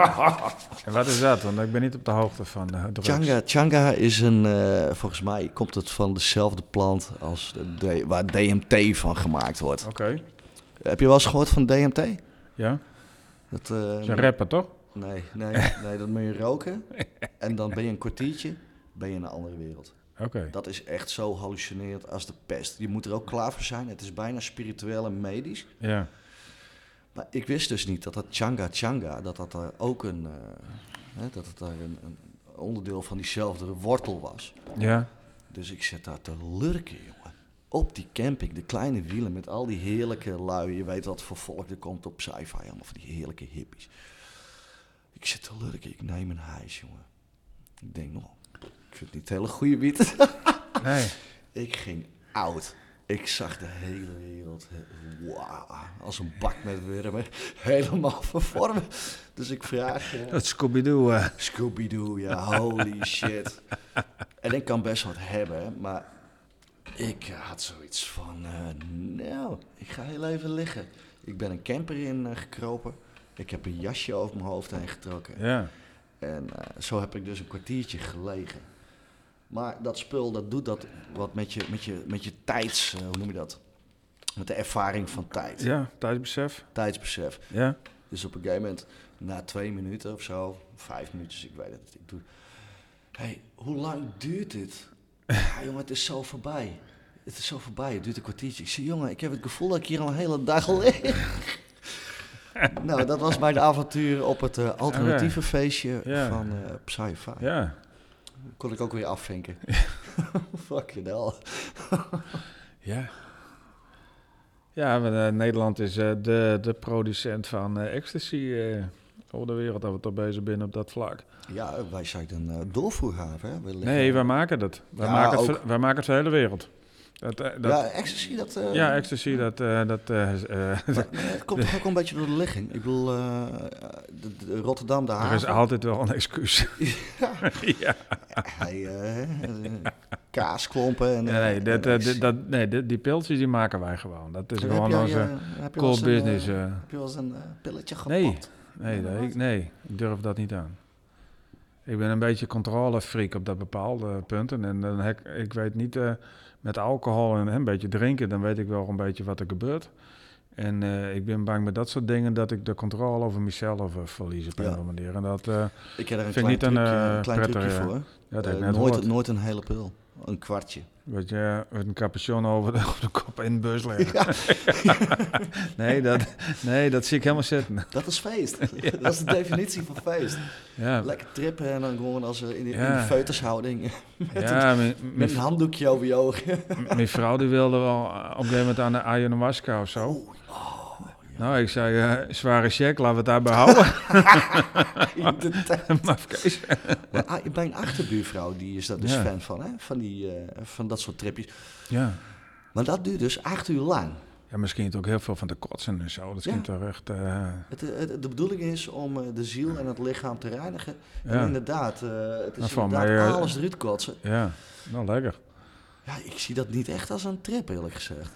A: en wat is dat? Want ik ben niet op de hoogte van de drugs.
B: Changa, changa is een, eh, volgens mij komt het van dezelfde plant als de, D- waar DMT van gemaakt wordt.
A: Oké,
B: Heb je wel eens gehoord van DMT?
A: ja.
B: Dat, eh,
A: Ze rappen toch?
B: nee, nee, nee, dat moet je roken. En dan ben je een kwartiertje, ben je in een andere wereld.
A: Oké.
B: Dat is echt zo hallucinerend als de pest. Je moet er ook klaar voor zijn. Het is bijna spiritueel en medisch.
A: Ja.
B: Maar ik wist dus niet dat dat Changa Changa, dat dat daar ook een, eh, hè, dat het daar een, een onderdeel van diezelfde wortel was.
A: Ja.
B: Dus ik zit daar te lurken, jongen. Op die camping, de kleine wielen met al die heerlijke lui. Je weet wat voor volk er komt op sci-fi, allemaal van die heerlijke hippies. Ik zit te lurken, ik neem een huis, jongen. nou, (laughs) Ik denk, nog, ik vind het niet hele goede wiet.
A: Nee.
B: Ik ging oud. Ik zag de hele wereld eh, wauw, als een bak met wurmen (laughs) helemaal vervormen. Dus ik vraag, eh,
A: Dat Scooby-Doo. eh.
B: Scooby-Doo, ja,
A: (laughs)
B: holy shit. En ik kan best wat hebben, maar ik had zoiets van, eh, nou, ik ga heel even liggen. Ik ben een camper in eh, gekropen. Ik heb een jasje over mijn hoofd heen getrokken.
A: Ja.
B: En eh, zo heb ik dus een kwartiertje gelegen. Maar dat spul, dat doet dat wat met je, met je, met je tijds, eh, hoe noem je dat? Met de ervaring van tijd,
A: ja, tijdsbesef.
B: tijdsbesef.
A: Ja.
B: Dus op een gegeven moment, na twee minuten of zo, vijf minuutjes, ik weet het niet, ik doe... Hé, hey, hoe lang duurt
A: (laughs)
B: dit? Ja, jongen, het is zo voorbij. Het is zo voorbij, het duurt een kwartiertje. Ik zeg, jongen, ik heb het gevoel dat ik hier al een
A: (laughs)
B: hele dag lig. nou, dat was mijn avontuur op het eh, alternatieve feestje
A: Ah, Ja.
B: van eh Psy 5.
A: Ja.
B: Kon ik ook weer
A: (laughs)
B: afvinken. (laughs) Fucking hell.
A: Ja. Ja, maar, eh, Nederland is eh, de, de producent van eh, ecstasy eh, over de wereld. Dat we toch bezig zijn op dat vlak.
B: Ja, wij zijn een eh, doorvoerhaven, hè? Wellicht.
A: Nee, wij maken dat. Wij,
B: Ja,
A: maken, het,
B: ook.
A: voor- wij maken het voor de hele wereld. Dat, eh, dat,
B: Ja, ecstasy, dat... eh,
A: ja, ecstasy, dat... eh, dat eh, eh, (laughs)
B: Maar, eh, het komt toch ook wel een beetje door de ligging. Ik bedoel, eh, de, de- Rotterdam, de
A: er is
B: haven.
A: altijd wel een excuus.
B: (laughs)
A: ja.
B: Hij, eh, eh, kaasklompen. En, eh,
A: Nee, dat,
B: en
A: eh,
B: ik-
A: dit- dat, nee dit- die piltjes die maken wij gewoon. Dat is
B: Heb
A: gewoon
B: jij,
A: onze
B: eh, heb je wel
A: core
B: eens een, eh,
A: business. eh.
B: Heb je wel eens een eh, pilletje gepopt?
A: Nee. Nee,
B: Ja,
A: dat-
B: wat?
A: ik, nee, ik durf dat niet aan. Ik ben een beetje controlefreak op dat bepaalde punten. En dan hek- ik weet niet, eh, met alcohol en hè, een beetje drinken, dan weet ik wel een beetje wat er gebeurt. En eh, ik ben bang met dat soort dingen dat ik de controle over mezelf eh, verlies op een
B: Ja.
A: of andere manier. En dat, eh,
B: Ik heb er een
A: Vind
B: klein,
A: ik niet een,
B: trucje,
A: eh,
B: een klein
A: prettige-
B: trucje voor.
A: ja, dat heb
B: Eh,
A: ik net
B: nooit,
A: gehoord.
B: nooit een hele pil. Een kwartje.
A: Weet je, met een capuchon over de, (laughs) over de kop in de bus leggen. (laughs) nee, dat, nee, dat zie ik helemaal zitten.
B: Dat is
A: (laughs)
B: feest. Dat is de definitie van feest.
A: Ja,
B: Lekker trippen en dan gewoon als, eh, in, die- in
A: Ja.
B: die feutushouding.
A: ja mijn- mijn
B: Met een handdoekje over je ogen.
A: Mijn vrouw die wilde wel eh, op een gegeven moment aan de ayahuasca of
B: Oh,
A: zo. Nou, ik zei, eh, zware check, laten we het daarbij
B: (laughs)
A: (laughs) houden.
B: (laughs) in de tuin.
A: Mafkees.
B: Maar a- bij een achterbuurvrouw die is dat dus
A: Ja.
B: fan van, hè? Van, die, eh, van dat soort tripjes.
A: ja.
B: Maar dat duurt dus acht uur lang.
A: ja, misschien het ook heel veel van de kotsen en zo. Dat
B: Ja.
A: schiet toch echt... eh,
B: Het, het- de bedoeling is om eh, de ziel en het lichaam te reinigen. En
A: ja.
B: inderdaad, eh, het
A: Nou,
B: is
A: voor
B: inderdaad
A: mij, eh,
B: alles eruit kotsen.
A: ja, nou lekker.
B: Ja, ik zie dat niet echt als een trip, eerlijk gezegd.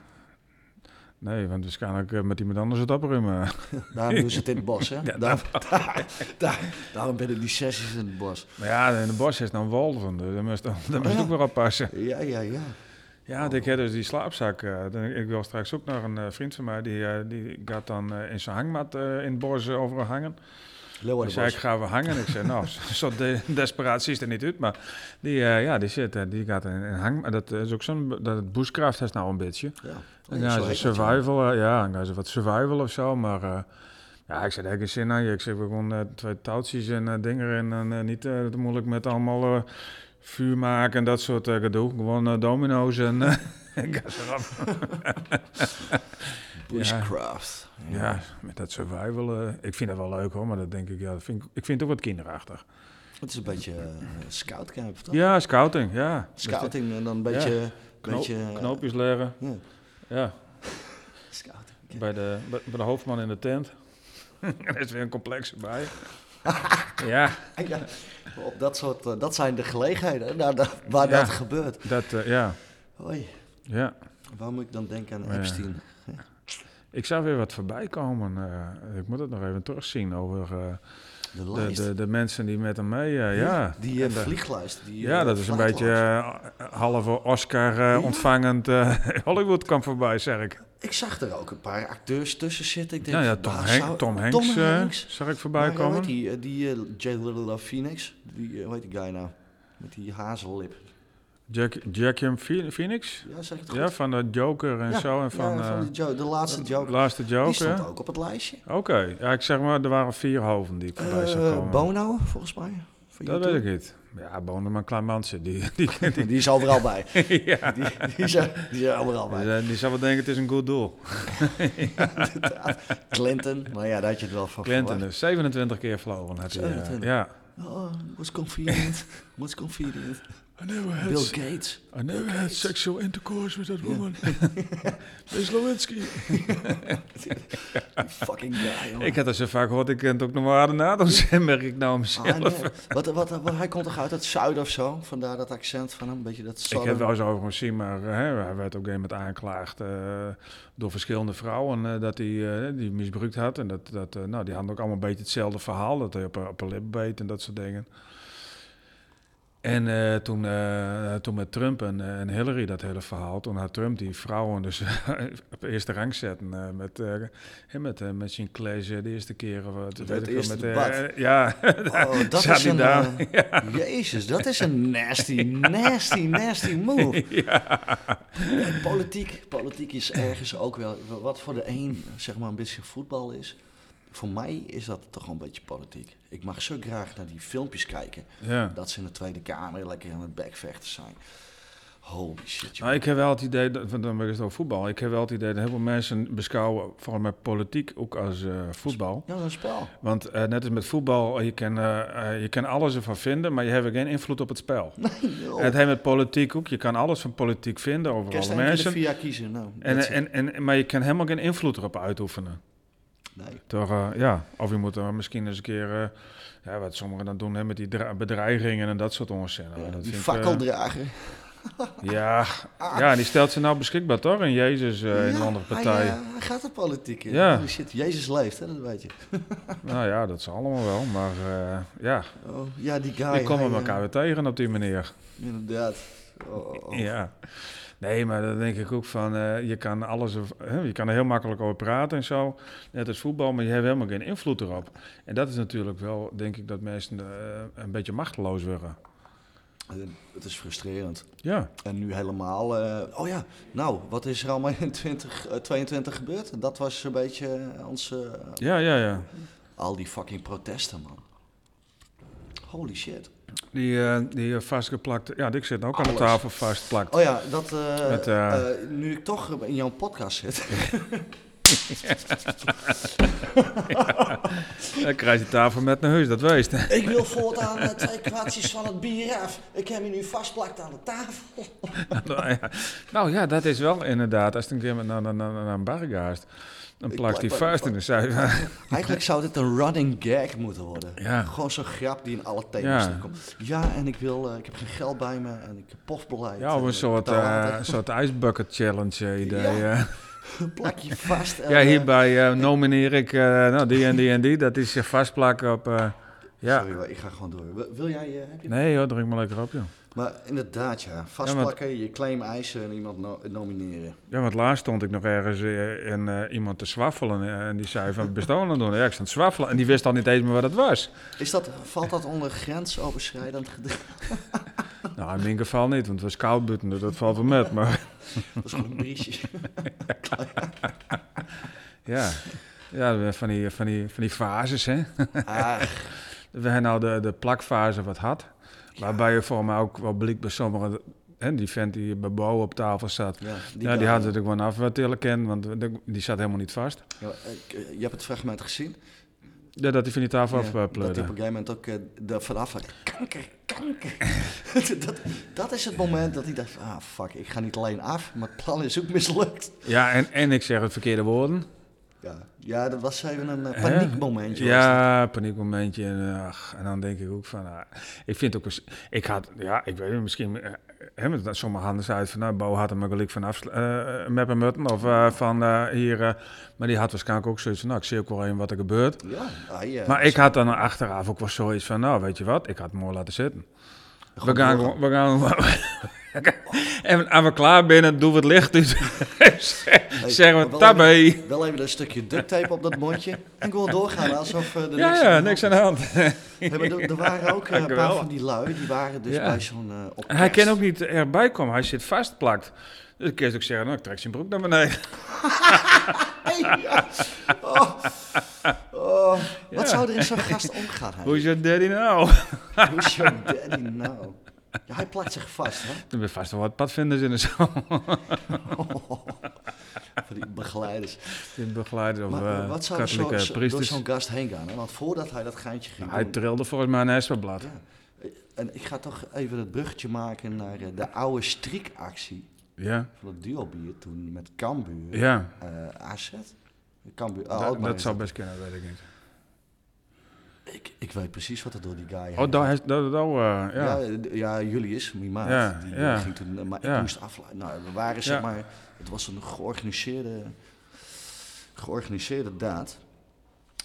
A: Nee, want waarschijnlijk eh, met iemand anders het opruimen.
B: Daarom doen ze het in het bos, hè?
A: (laughs) Ja,
B: Daarom, (laughs) daar, daar, daarom binnen die sessies in het
A: (laughs)
B: bos.
A: Maar ja, in de bos is dan wolven, dus daar moest, daar moest
B: Oh, ja.
A: ook weer op passen.
B: Ja, ja, ja.
A: Ja, ik heb dus die slaapzak. eh, dan- ik wil straks ook naar een eh, vriend van mij, die, eh, die gaat dan eh, in zijn hangmat eh, in het bos eh, overal hangen. Ik zei, ik
B: Leeuwardenbos.
A: ga we hangen. Ik zei, nou, (laughs) zo de, desperaat ziet er niet uit. Maar die, eh, ja, die zit, eh, die gaat in, in hang. Maar dat is ook zo'n, dat het bushcraft is nou een beetje.
B: Ja,
A: Dan
B: Ja,
A: gaan
B: zo
A: ze
B: heet dat, ja.
A: survival, eh, ja, dan gaan ze wat survival of zo. Maar eh, ja, ik zei, daar heb ik geen zin aan je. Ik zeg, we gewoon eh, twee touwtjes en eh, dingen en dan eh, niet eh, te moeilijk met allemaal eh, vuur maken en dat soort eh, gedoe. Gewoon eh, domino's en eh, (laughs) en gas eraf.
B: Bushcraft.
A: Ja, met dat survival. eh, ik vind dat wel leuk hoor, maar dat denk ik, ja, dat vind ik, ik vind het ook wat kinderachtig.
B: Het is een beetje eh, scoutcamp, toch?
A: Ja, scouting, ja.
B: Scouting en dan een beetje...
A: Knoop-
B: beetje eh,
A: knoopjes leggen.
B: Ja,
A: Ja,
B: scouting.
A: bij de, bij bij de hoofdman in de tent. (laughs) er is weer een complex
B: (laughs)
A: bij. ja,
B: Ja, op dat, soort, eh, dat zijn de gelegenheden nou, dat- waar
A: Ja.
B: dat gebeurt.
A: dat, eh, ja,
B: Hoi,
A: ja.
B: waar moet ik dan denken aan
A: Oh ja.
B: Epstein?
A: Ik zag weer wat voorbij komen. eh, ik moet het nog even terugzien over eh,
B: De
A: de,
B: lijst.
A: de, de mensen die met hem mee. eh, ja.
B: die eh,
A: En de-
B: vlieglijst. Die,
A: ja,
B: eh,
A: dat is een beetje
B: flightlijst.
A: eh, halve Oscar-ontvangend eh, (laughs) Hollywood kwam voorbij, zeg ik. Nou
B: Ik zag er ook een paar acteurs tussen zitten. Ik denk,
A: Ja, ja, Tom,
B: daar
A: Hen-
B: zou-
A: Tom Hanks, eh,
B: Hanks.
A: zag ik
B: Maar,
A: voorbij
B: eh, hoe heet
A: komen.
B: die, eh, die eh, J. Little of Phoenix. Die, eh, hoe heet die guy nou? Met die hazellip.
A: Jack, Jackie Phoenix?
B: Ja, zeg ik het goed?
A: Ja, van de Joker en
B: Ja,
A: zo. En
B: ja,
A: van, eh,
B: die jo- de laatste joke.
A: Laatste
B: Die
A: Joker.
B: stond
A: hè?
B: ook op het lijstje.
A: Oké, ja, ik zeg maar, er waren vier hoven die ik voorbij zag
B: Eh,
A: komen.
B: Bono, volgens mij. van
A: dat
B: YouTube.
A: weet ik niet. Ja, Bono, maar een klein mansje. Die, (laughs) die, die,
B: Die is overal
A: (laughs)
B: bij. (laughs)
A: die, ja.
B: Die, die, is, die is overal bij.
A: Dus, eh, die, die zou wel denken, het is een goed doel.
B: Inderdaad. (laughs) Clinton, maar ja, daar had je het wel van
A: Clinton is 27 keer vlogen. Had hij, eh,
B: 27?
A: ja.
B: verwacht. Oh, was convenient, was convenient.
A: I never (laughs) had,
B: Bill Gates. (laughs)
A: I never had sexual intercourse with that woman. Miss Lewinsky.
B: Fucking guy, jongen.
A: Ik had dat zo vaak gehoord, ik kent ook nog maar harde nadoms, (laughs) merk ik nou mezelf.
B: Ah, nee. wat, wat, wat- hij komt toch uit het zuiden of zo? Vandaar dat accent van hem, een beetje dat
A: Ik heb
B: southern.
A: wel eens over hem gezien, maar hè, hij werd op een gegeven moment aangeklaagd eh, door verschillende vrouwen eh, dat hij eh, die misbruikt had. En dat, dat, eh, nou, die hadden ook allemaal een beetje hetzelfde verhaal, dat hij op, een- op een lip beet en dat soort dingen. En eh, toen, eh, toen met Trump en, eh, en Hillary dat hele verhaal, toen had Trump die vrouwen dus (laughs) op eerste rang zetten eh, met, eh, hè, met, eh, met Sinclair eh, de eerste keer. Of, wat,
B: Het
A: weet ik veel,
B: eerste
A: met, eh,
B: bad.
A: ja,
B: Oh,
A: (laughs)
B: dat
A: Zat
B: is
A: hij
B: een...
A: daar?
B: eh, Jezus, dat is een nasty, nasty, nasty
A: (laughs)
B: move. Nee, Politiek, politiek is ergens ook wel... Wat voor de een, zeg maar, een beetje voetbal is... Voor mij is dat toch wel een beetje politiek. Ik mag zo graag naar die filmpjes kijken.
A: ja.
B: Dat ze in de Tweede Kamer lekker aan het bekvechten zijn. Holy shit, joh.
A: Nou, ik heb wel het idee, dat, want dan ben ik het over voetbal. Ik heb wel het idee dat heel veel mensen beschouwen, vooral met politiek, ook als eh, voetbal.
B: Ja, dat is een
A: (laughs)
B: spel.
A: Want eh, net als met voetbal, je kan, eh, eh, je kan alles ervan vinden, maar je hebt geen invloed op het spel.
B: Nee, joh.
A: En het heeft met politiek ook, je kan alles van politiek vinden over
B: Kerst
A: alle
B: en de
A: mensen.
B: via kiezen. Nou,
A: En,
B: dat is-
A: en, en, maar je kan helemaal geen invloed erop uitoefenen.
B: nee.
A: Toch, eh, ja. Of je moet er misschien eens een keer, eh, ja, wat sommigen dan doen, hè, met die dra- bedreigingen en dat soort onzin. Nou,
B: Ja,
A: dat
B: die
A: vind ik, eh,
B: fakkeldrager.
A: ja, ja, die stelt ze nou beschikbaar toch? En Jezus eh, in
B: Ja,
A: een andere
B: hij,
A: partij.
B: eh, hij gaat de politiek in.
A: Ja.
B: Holy Shit, Jezus leeft, hè, dat weet je.
A: Nou ja, dat is allemaal wel. Maar eh, ja,
B: Oh, ja, die guy.
A: die komen
B: hij, eh,
A: elkaar weer tegen op die manier.
B: Inderdaad. Oh, oh, oh.
A: Ja. Nee, maar dan denk ik ook van, eh, je kan alles, er- hè, je kan er heel makkelijk over praten en zo. Net als voetbal, maar je hebt helemaal geen invloed erop. En dat is natuurlijk wel, denk ik, dat mensen eh, een beetje machteloos worden.
B: Eh, Het is frustrerend.
A: Ja,
B: En nu helemaal... eh, oh ja, nou, wat is er allemaal in 2022 gebeurd? Dat was een beetje onze... eh,
A: ja, ja, ja.
B: al die fucking protesten, man. Holy shit.
A: Die, eh, die eh, vastgeplakt, ja, ik zit ook aan
B: Alles.
A: de tafel vastgeplakt.
B: Oh ja, dat... eh,
A: Met, eh,
B: eh, nu ik toch in jouw podcast zit. (laughs)
A: Dan krijg je de tafel met naar huis, dat weest.
B: ik wil voortaan eh, twee kwartjes van het bier af. Ik heb je nu vastplakt aan de tafel.
A: nou, ja. nou ja, dat is wel inderdaad. Als het een keer met- naar, naar, naar, naar een bar gaat, dan
B: Ik
A: plakt die
B: plak-
A: vuist in de zij.
B: Eigenlijk zou dit een running gag moeten worden.
A: Ja.
B: Gewoon zo'n grap die in alle thema's
A: Ja.
B: komt. Ja, en ik, wil, eh, ik heb geen geld bij me en ik heb
A: (laughs)
B: pofbeleid.
A: Ja, of
B: en
A: een
B: ik
A: soort,
B: betaal
A: eh,
B: altijd
A: soort ijsbucket challenge eh, idee.
B: Ja.
A: eh.
B: een plakje vast. en,
A: Ja,
B: eh,
A: hierbij eh, nomineer ik eh, nou, die en die en die. Dat is je vastplakken op... eh, ja.
B: Sorry, hoor, ik ga gewoon door. Wil- Wil jij... eh, heb je...
A: Nee hoor, drink maar lekker op joh.
B: Maar inderdaad, ja. Vastplakken, je claim eisen en iemand no- nomineren.
A: Ja, want laatst stond ik nog ergens eh, en eh, iemand te zwaffelen. eh, en die zei van, bestaan aan het doen? Ja, ik stond te zwaffelen. En die wist al niet eens meer wat het was.
B: Is dat, valt dat onder grensoverschrijdend gedrag? (laughs)
A: Nou, in mijn geval niet, want het was koud buiten. dus Dat valt wel met, maar...
B: Dat is gewoon
A: (laughs)
B: een briesje.
A: Ja, ja van, die, van, die, van die fases, hè.
B: Ah,
A: We hebben nou de, de plakfase wat had. Waarbij je voor mij ook wel blik bij sommigen... Hè, die vent die bij Bo op tafel zat.
B: ja, die
A: ja,
B: kan-
A: die had natuurlijk wel een afweertillen ken, want de- die zat helemaal niet vast.
B: Ja, maar, eh, je hebt het fragment gezien.
A: Ja, dat hij van die tafel
B: Ja, dat hij op een
A: afpleurde.
B: gegeven moment ook eh, er vanaf had. Kanker, kanker. (laughs) dat, dat is het moment dat hij dacht, ah fuck, ik ga niet alleen af, maar het plan is ook mislukt.
A: Ja, en, en ik zeg het verkeerde woorden.
B: Ja, ja dat was even een eh,
A: Hè?
B: paniekmomentje. was dat.
A: Ja, paniekmomentje. En, ach, en dan denk ik ook van, ah, ik vind ook eens, ik had, ja, ik weet niet, misschien, eh, hè, want dat sommige handen zeiden van, nou, Bo had hem ook wel ik van af, met een mutten of eh, van eh, hier, eh, maar die had waarschijnlijk ook zoiets van, nou, ik zie ook wel in wat er gebeurt.
B: Ja, hij, eh,
A: Maar ik had dan achteraf ook wel zoiets van, nou, weet je wat, ik had het mooi laten zitten. We
B: Gewoon
A: gaan,
B: door.
A: gewoon- we gaan (laughs) En als we klaar binnen, doen we het licht uit. (laughs)
B: Hey,
A: zeggen we
B: maar wel even-
A: tabé.
B: Wel even een stukje duct tape op dat mondje en gewoon doorgaan alsof eh, er
A: Ja,
B: niks
A: ja,
B: aan de
A: niks aan
B: hand
A: de hand.
B: was. Nee, maar er, er waren
A: (laughs)
B: ook eh, een paar
A: Geweldig.
B: van die lui, die waren dus
A: Ja.
B: bij zo'n eh op
A: En hij
B: kerst.
A: kan ook niet erbij komen, hij zit vastplakt. Dus ik kan ook zeggen, nou, ik trek zijn broek naar beneden.
B: Hey, ja. Oh. Oh.
A: Ja.
B: Wat zou er in zo'n gast omgaan? Hein?
A: Hoe is je daddy nou? (laughs)
B: Who's your daddy now? Ja, hij plakt zich vast, hè?
A: Er zijn vast wel wat padvinders in de zaal.
C: (laughs)
B: Van die begeleiders.
A: Die begeleider of
B: Maar eh,
A: eh
B: wat zou er zo,
A: katholieke
B: zo- door
A: priesters.
C: Nou,
B: zo'n gast heen gaan? Hè? Want voordat hij dat geintje ging
A: Hij
B: doen...
A: trilde volgens mij een espenblad.
B: Ja. En ik ga toch even het bruggetje maken naar eh, de oude strikactie
C: Ja,
B: van het duobier toen met Cambuur.
C: ja.
B: eh, AZ? Cambuur, eh,
C: Dat,
B: Alkmaar
C: dat
B: is
C: zou best kunnen, weet ik niet.
B: Ik, ik weet precies wat er door die guy heen
A: Oh,
B: ging.
A: daar is dat, dat, eh, ja.
B: Ja. d- ja, Julius, mijn maat,
A: Ja,
B: die
A: ja.
B: ging toen, eh, maar ik
A: Ja.
B: moest afleiden. Nou, we waren zeg
A: Ja.
B: maar, het was een georganiseerde, georganiseerde daad.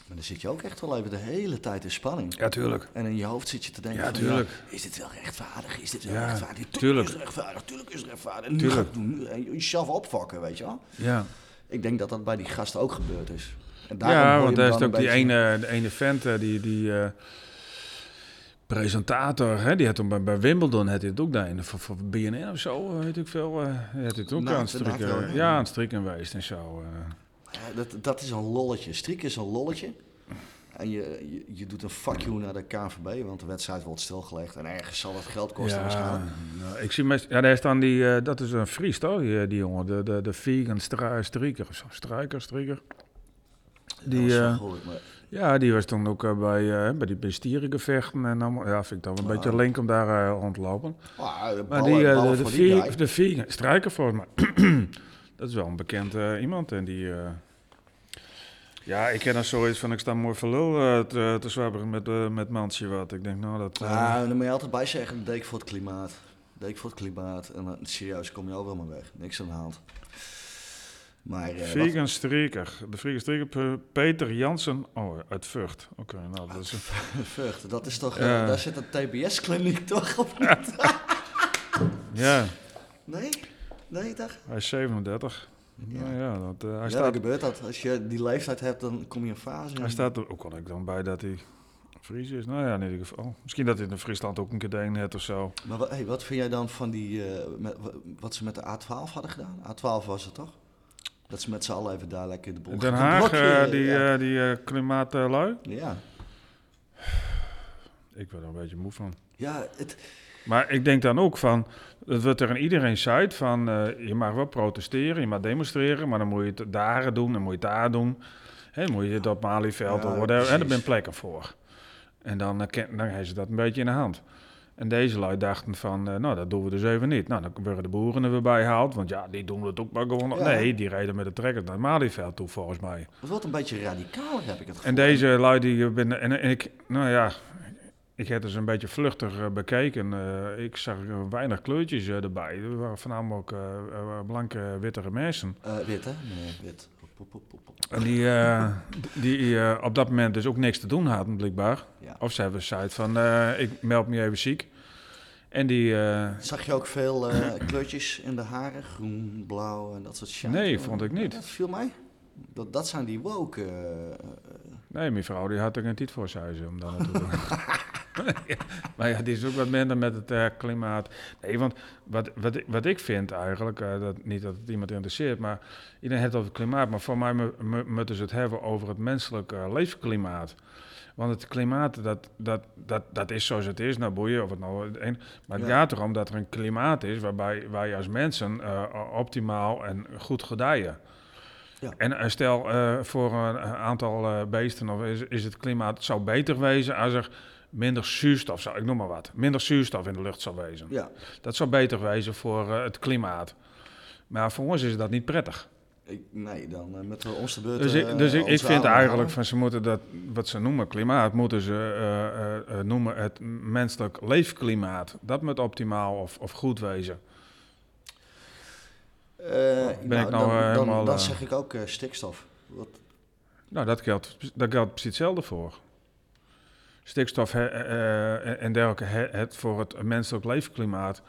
B: Maar dan zit je ook echt wel even de hele tijd in spanning.
C: Ja, tuurlijk.
B: En in je hoofd zit je te denken
C: Ja,
B: van,
C: tuurlijk.
B: is dit wel rechtvaardig? Is dit wel
C: Ja,
B: rechtvaardig? Tuurlijk,
A: tuurlijk.
B: is het rechtvaardig, tuurlijk is het rechtvaardig. En nu
C: Tuurlijk.
B: ga ik doen, nu- en jezelf opfokken, weet je wel.
A: Ja,
B: Ik denk dat dat bij die gasten ook gebeurd is. En daarom hoor
A: ja
B: je
A: want
B: hem
A: daar is
B: dan
A: ook die
B: een beetje-
A: ene, de ene vent, eh, die, die eh, presentator, hè, die had hem bij, bij Wimbledon, had hij het ook daar in, de- voor, voor BNN of zo, eh, weet ik veel, eh had hij het ook
B: Nou,
A: aan het
B: inderdaad
A: strikken,
B: wel, ja.
A: ja, aan het strikken geweest en zo. eh.
B: Ja, dat, dat is een lolletje. Strik is een lolletje. En je, je, je doet een fuck you naar de KNVB, want de wedstrijd wordt stilgelegd. En ergens zal dat geld kosten waarschijnlijk.
A: nou, ik zie meest, ja, daar staan die, eh, dat is een Fries toch, die, die jongen, de, de, de vegan stri- striker of zo, striker, striker. Die,
B: dat was
A: eh,
B: van gehoord, maar
A: ja, die was toen ook eh, bij, eh, bij die bij stierengevechten en allemaal, ja, vind ik dan een beetje link om daar eh, rond te lopen.
B: maar, de
A: Maar
B: ballen-
A: die, eh,
B: ballen
A: de, de,
B: voor die
A: vegan,
B: guy.
A: de vegan strijker volgens mij, (clears throat) dat is wel een bekend eh, iemand en die... eh, ja, ik ken er zoiets van, ik sta mooi voor lul eh, te, te zwabberen met, eh, met Mansje wat. Ik denk, nou, dat... eh,
B: Ah, Ja, en dan moet je altijd bij zeggen, dat deed ik voor het klimaat. Dat deed ik voor het klimaat. En dan serieus, kom je overal mee weg. Niks aan de hand. Maar eh, wat-
A: Vegan Streker. De Vegan Streker Pe- Peter Jansen. Oh, uit Vught. Oké, nou dat is...
B: (laughs) Vught, dat is toch,
A: Ja.
B: eh, daar zit een TBS-kliniek (laughs) toch op? niet?
A: Ja,
B: Nee? Nee, daar?
A: hij is 37. Ja, nou, ja dat, eh, hij,
B: Ja, dan
A: staat,
B: gebeurt dat. Als je die leeftijd hebt, dan kom je in fase.
A: hij staat er... Hoe kon ik dan bij dat hij Fries is? Nou ja, in ieder geval. Misschien dat hij in Friesland ook een keer deed net of zo.
B: Maar wa- hey, wat vind jij dan van die, eh, met- wa- wat ze met de A12 hadden gedaan? A12 was het toch? Dat ze met z'n allen even daar lekker de boel
A: Den Haag,
B: blokkeren,
A: eh, die,
B: ja.
A: eh, die eh, klimaatlui.
B: ja.
A: Ik ben er een beetje moe van.
B: Ja, het,
A: Maar ik denk dan ook van, dat wordt er aan iedereen zuid van, eh, je mag wel protesteren, je mag demonstreren, maar dan moet je het daar doen, dan moet je het daar doen. Hè, dan moet je het op Malieveld
B: Ja,
A: of whatever, en
B: precies.
A: daar ben plekken voor. En dan, eh, ken- dan hebben ze dat een beetje in de hand. En deze lui dachten van, eh, nou dat doen we dus even niet. Nou, dan worden de boeren er weer bij gehaald, want ja, die doen het ook maar gewoon. nog.
B: Ja.
A: Nee, die rijden met de trekker naar het Malieveld toe volgens mij.
B: het wordt een beetje radicaler, heb ik het gevoel.
A: En deze lui die binnen. En, en ik, nou ja, ik heb dus een beetje vluchtig eh, bekeken. Eh, ik zag eh, weinig kleurtjes eh, erbij. Er waren voornamelijk eh, eh, blanke, wittere mensen.
B: Eh, wit, hè? Meneer Wit. Hop, hop, hop, hop, hop.
A: En die, eh, (laughs) d- die eh, op dat moment dus ook niks te doen hadden, blijkbaar.
B: Ja.
A: Of ze hebben gezegd van, eh, ik meld me even ziek. En die, eh,
B: Zag je ook
A: (clears throat)
B: veel eh, kleurtjes in de haren? Groen, blauw en dat soort shit.
A: Nee, vond ik niet.
B: Dat viel mij. Dat, dat zijn die woke... eh, eh,
A: nee, mijn vrouw, die had er geen tijd voor zuizen om daar naartoe te doen. (laughs) maar ja, die is ook wat minder met het eh, klimaat. Nee, want wat, wat, ik- wat ik vind eigenlijk, eh, dat, niet dat het iemand interesseert, maar iedereen heeft het over het klimaat. Maar voor mij mu- mu- moeten ze het hebben over het menselijk eh, leefklimaat. Want het klimaat, dat, dat, dat, dat is zoals het is. Nou, boeien of het nou... het een- maar het
B: Ja.
A: gaat erom dat er een klimaat is waarbij wij als mensen eh, optimaal en goed gedijen.
B: Ja.
A: En eh, stel, eh, voor een aantal eh, beesten of is, is het klimaat... Het zou beter wezen als er minder zuurstof zou... Ik noem maar wat. Minder zuurstof in de lucht zou wezen.
B: ja,
A: Dat zou beter wezen voor eh, het klimaat. Maar voor ons is dat niet prettig.
B: ik, nee, dan eh, met de ons de beurt...
A: Dus ik,
B: eh,
A: dus ik, ik
B: onze
A: vind
B: adem
A: eigenlijk
B: halen.
A: van ze moeten dat, wat ze noemen klimaat, moeten ze eh, eh, eh, noemen het menselijk leefklimaat. Dat moet optimaal of, of goed wezen.
B: Eh,
A: Ben ik nou,
B: dan,
A: eh,
B: dan,
A: helemaal,
B: dan
A: eh,
B: zeg ik ook eh, stikstof. Wat,
A: Nou, dat geldt, dat geldt precies hetzelfde voor. Stikstof hè, eh, eh, en dergelijke, hè, het voor het menselijk leefklimaat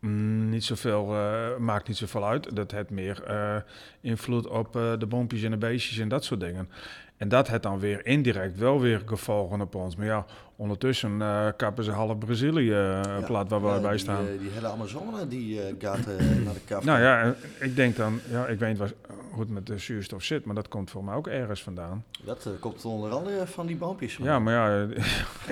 A: mm, niet zoveel, eh, maakt niet zoveel uit. Dat heeft meer eh, invloed op eh, de boompjes en de beestjes en dat soort dingen. En dat heeft dan weer indirect wel weer gevolgen op ons. Maar ja, ondertussen eh, kappen ze half Brazilië eh,
B: Ja.
A: plat waar we
B: Ja,
A: bij
B: die,
A: staan.
B: eh, die hele Amazone die eh, gaat
A: (clears throat)
B: eh, naar de kaf.
A: Nou ja, en ik denk dan, ja, ik weet niet wat- hoe het met de zuurstof zit, maar dat komt voor mij ook ergens vandaan.
B: Dat eh, komt onder andere van die
A: (laughs)
B: boompjes.
A: Ja, maar ja,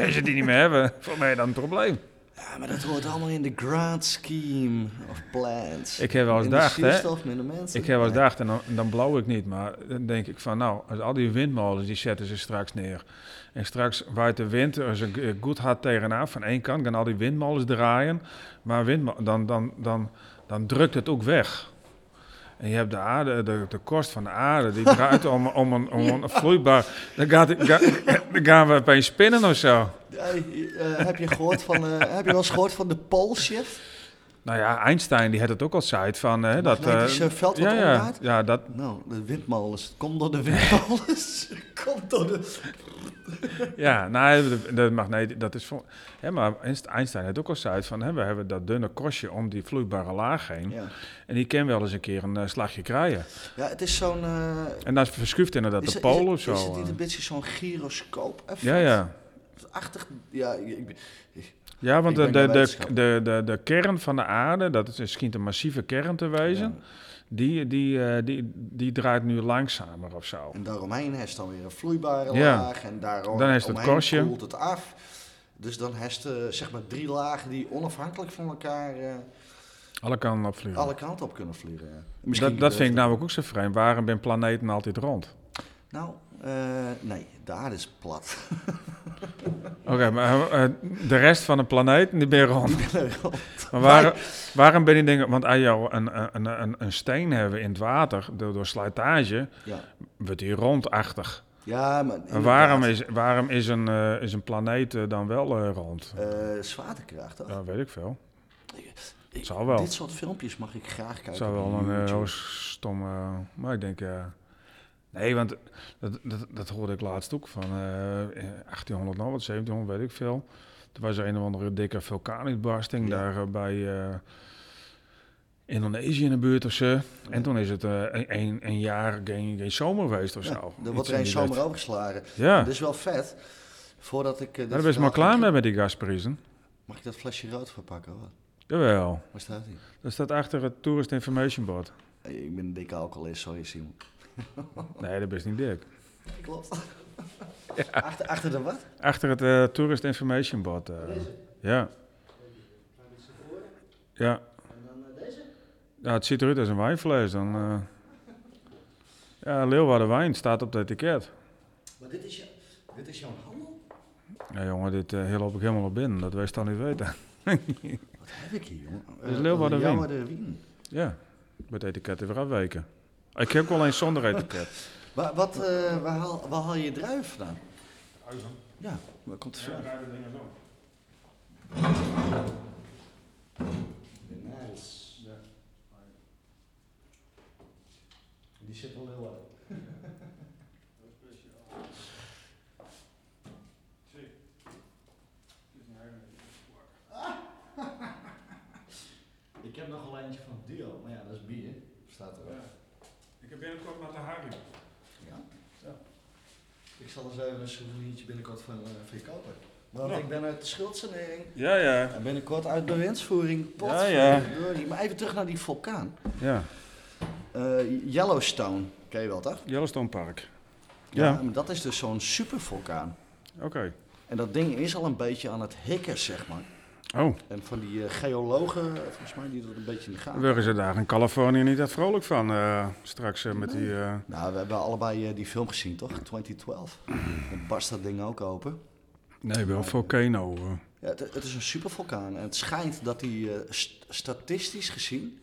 A: als je die niet meer hebben, voor mij dan een probleem.
B: Ja, maar dat hoort allemaal in de grand scheme of plans.
A: Ik heb wel eens
B: In de
A: gedacht, hè.
B: zuurstof, minder mensen.
A: Ik eh, heb wel eens
B: Nee.
A: gedacht, en dan, dan blauw ik niet, maar dan denk ik van nou, als al die windmolens die zetten ze straks neer. En straks waait de wind er zo g- goed hard tegenaan van één kant, gaan al die windmolens draaien, maar windmo- dan, dan, dan, dan drukt het ook weg. En je hebt de aarde, de, de kost van de aarde, die draait om, om, een, om
B: (laughs)
A: een vloeibaar. Dan, gaat, ga- dan gaan we opeens spinnen of zo.
B: Hey, eh, heb, je gehoord van, eh, heb je wel eens gehoord van de pole shift?
A: Nou ja, Einstein die had het ook al zei van hè, dat. eh,
B: magnetische veld wat
A: ja, ja,
B: omdraait?
A: ja, dat,
B: Nou, de windmolens. Het komt door de windmolens. (laughs) Het komt door de...
A: Ja, nou, de, de magneet, dat is van. Hè, maar Einst- Einstein had ook al zei van, hè, we hebben dat dunne korstje om die vloeibare laag heen.
B: Ja,
A: En die kan wel eens een keer een eh, slagje krijgen.
B: ja het is zo'n... eh,
A: En dan verschuift inderdaad
B: is
A: de
B: het-
A: pool of
B: is het- Is
A: zo.
B: het niet een
A: eh.
B: beetje zo'n gyroscoop effect?
A: Ja, ja.
B: Achtig, ja, ik ben-
A: ja, want
B: Ik
A: de,
B: ben
A: de,
B: geen
A: de,
B: wetenschapper.
A: de, de, de kern van de aarde, dat is, het schijnt een massieve kern te wezen,
B: Ja.
A: die, die, eh, die, die draait nu langzamer of zo.
B: En daaromheen is dan weer een vloeibare
A: Ja.
B: laag. En daarom
A: Dan is het
B: omheen
A: korstje.
B: koelt het af. Dus dan heeft eh zeg maar drie lagen die onafhankelijk van elkaar eh,
A: Alle kanten op vliegen.
B: alle kanten op kunnen vliegen. ja.
A: Dat, dat vind ik nou- namelijk ook zo vreemd. Waarom ben planeten altijd rond?
B: Nou, eh, nee, de aarde is plat.
A: Oké, maar eh, eh, de rest van de planeten, die ben (laughs) rond. Maar
B: Wij-
A: waar, waarom ben je dingen? Want als jou een, een- een, een, een steen hebben in het water door, door slijtage,
B: ja.
A: wordt die rondachtig.
B: ja, maar
A: En
B: inderdaad,
A: waarom is, waarom is, een, eh, is een planeet eh, dan wel eh, rond?
B: eh, zwaartekracht, toch?
A: Ja, weet ik veel.
B: Ik-
A: zal wel.
B: Dit soort filmpjes mag ik graag kijken.
A: Het zou
B: op
A: wel een eh,
B: YouTube.
A: heel stomme. Maar ik denk. eh, nee, want dat, dat, dat hoorde ik laatst ook van eh, 1800 nou wat, 1700, weet ik veel. Toen was er een of andere dikke vulkaanuitbarsting
B: Ja.
A: daar eh, bij eh, Indonesië in de buurt of zo. En toen is het eh, een, een- een jaar geen, geen zomer geweest of
B: Ja,
A: zo.
B: er
A: Iets
B: wordt
A: in
B: er een
A: die
B: zomer Dus
A: wet.
B: overgeslagen.
A: Ja,
B: Dat is wel vet. Voordat ik. eh, dit
A: maar daar ben je
B: verhaal-
A: maar klaar mee met die gasprijzen.
B: Mag ik dat flesje rood verpakken? Wat?
A: Jawel,
B: Waar staat hij?
A: dat staat achter het Tourist Information Board.
B: Eh, Ik ben een dikke alcoholist, sorry Simon.
A: Nee, dat is niet dik.
B: Klopt. Achter, achter de wat?
A: Achter het eh, Tourist Information Board. eh, ja. Ja.
B: eh,
A: Ja, het ziet eruit als een wijnfles. Dan, eh ja, Leeuwarden wijn staat op het etiket.
B: Maar dit is, je, dit is jouw handel?
A: Ja, jongen, dit eh heel op ik helemaal op binnen. Dat wij dan niet weten. (laughs)
B: Wat heb ik hier, jongen? Eh,
A: is Leeuwarden wien.
B: Leeuwarden wien.
A: ja, met etiket even afweken. Ik heb ook wel eens zonder (laughs) etiket.
B: Wa- wat, eh, waar, haal, waar haal je druif vandaan? Ja, waar komt het vandaan? De Nijls. Die zit wel heel hard. Ik heb nog wel eentje van Dio, maar ja, dat is bier. Staat er wel.
A: Ik heb binnenkort met de Harry.
B: Ja? Ik zal eens even een souvenirtje binnenkort van, eh, van je kopen. Want
A: Ja.
B: ik ben uit de schuldsanering.
A: Ja, ja.
B: En binnenkort uit bewindsvoering. Pot,
A: Ja, ja.
B: verdorie. Maar even terug naar die vulkaan.
A: Ja,
B: Eh, Yellowstone, ken je wel toch?
A: Yellowstone Park. Ja.
B: maar dat is dus zo'n supervulkaan.
A: Oké.
B: En dat ding is al een beetje aan het hikken, zeg maar.
A: Oh,
B: En van die eh, geologen, eh, volgens mij, die dat een beetje in de gaten.
A: worden ze daar in Californië niet echt vrolijk van eh, straks eh, met die... eh,
B: Nou, we hebben allebei eh, die film gezien, toch?
A: (clears throat)
B: 2012. Dan barst dat ding ook open.
A: Nee, wel een volcano. eh.
B: Ja, het, het is een supervulkaan. En het schijnt dat die eh, st- statistisch gezien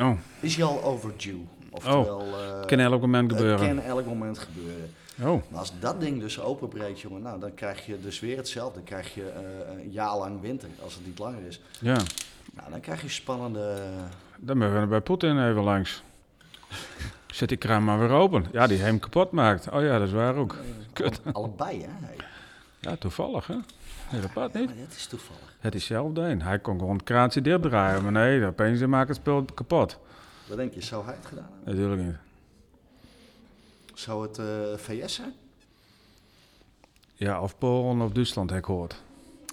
A: Oh,
B: is hij al overdue. Oftewel, eh,
A: kan elk moment
B: het
A: gebeuren.
B: kan elk moment gebeuren.
A: Oh,
B: Maar als dat ding dus openbreekt, jongen, nou, dan krijg je dus weer hetzelfde. Dan krijg je eh, een jaar lang winter, als het niet langer is.
A: ja.
B: Nou, dan krijg je spannende...
A: Dan moeten we bij Poetin even langs. Zet die kraan maar weer open. Ja, die hem kapot maakt. Oh ja, dat is waar ook. (laughs) Kut.
B: eh, Allebei, hè? Hey.
A: Ja, toevallig, hè? Nee, dat pad niet.
B: Maar dat is toevallig.
A: Het is hetzelfde een. Hij kon gewoon het kraantje dichtdraaien. Maar nee, opeens maakt het spel kapot.
B: Wat denk je, zou hij het gedaan hebben?
A: Natuurlijk niet.
B: Zou het eh, VS zijn?
A: Ja, of Polen of Duitsland, heb ik gehoord.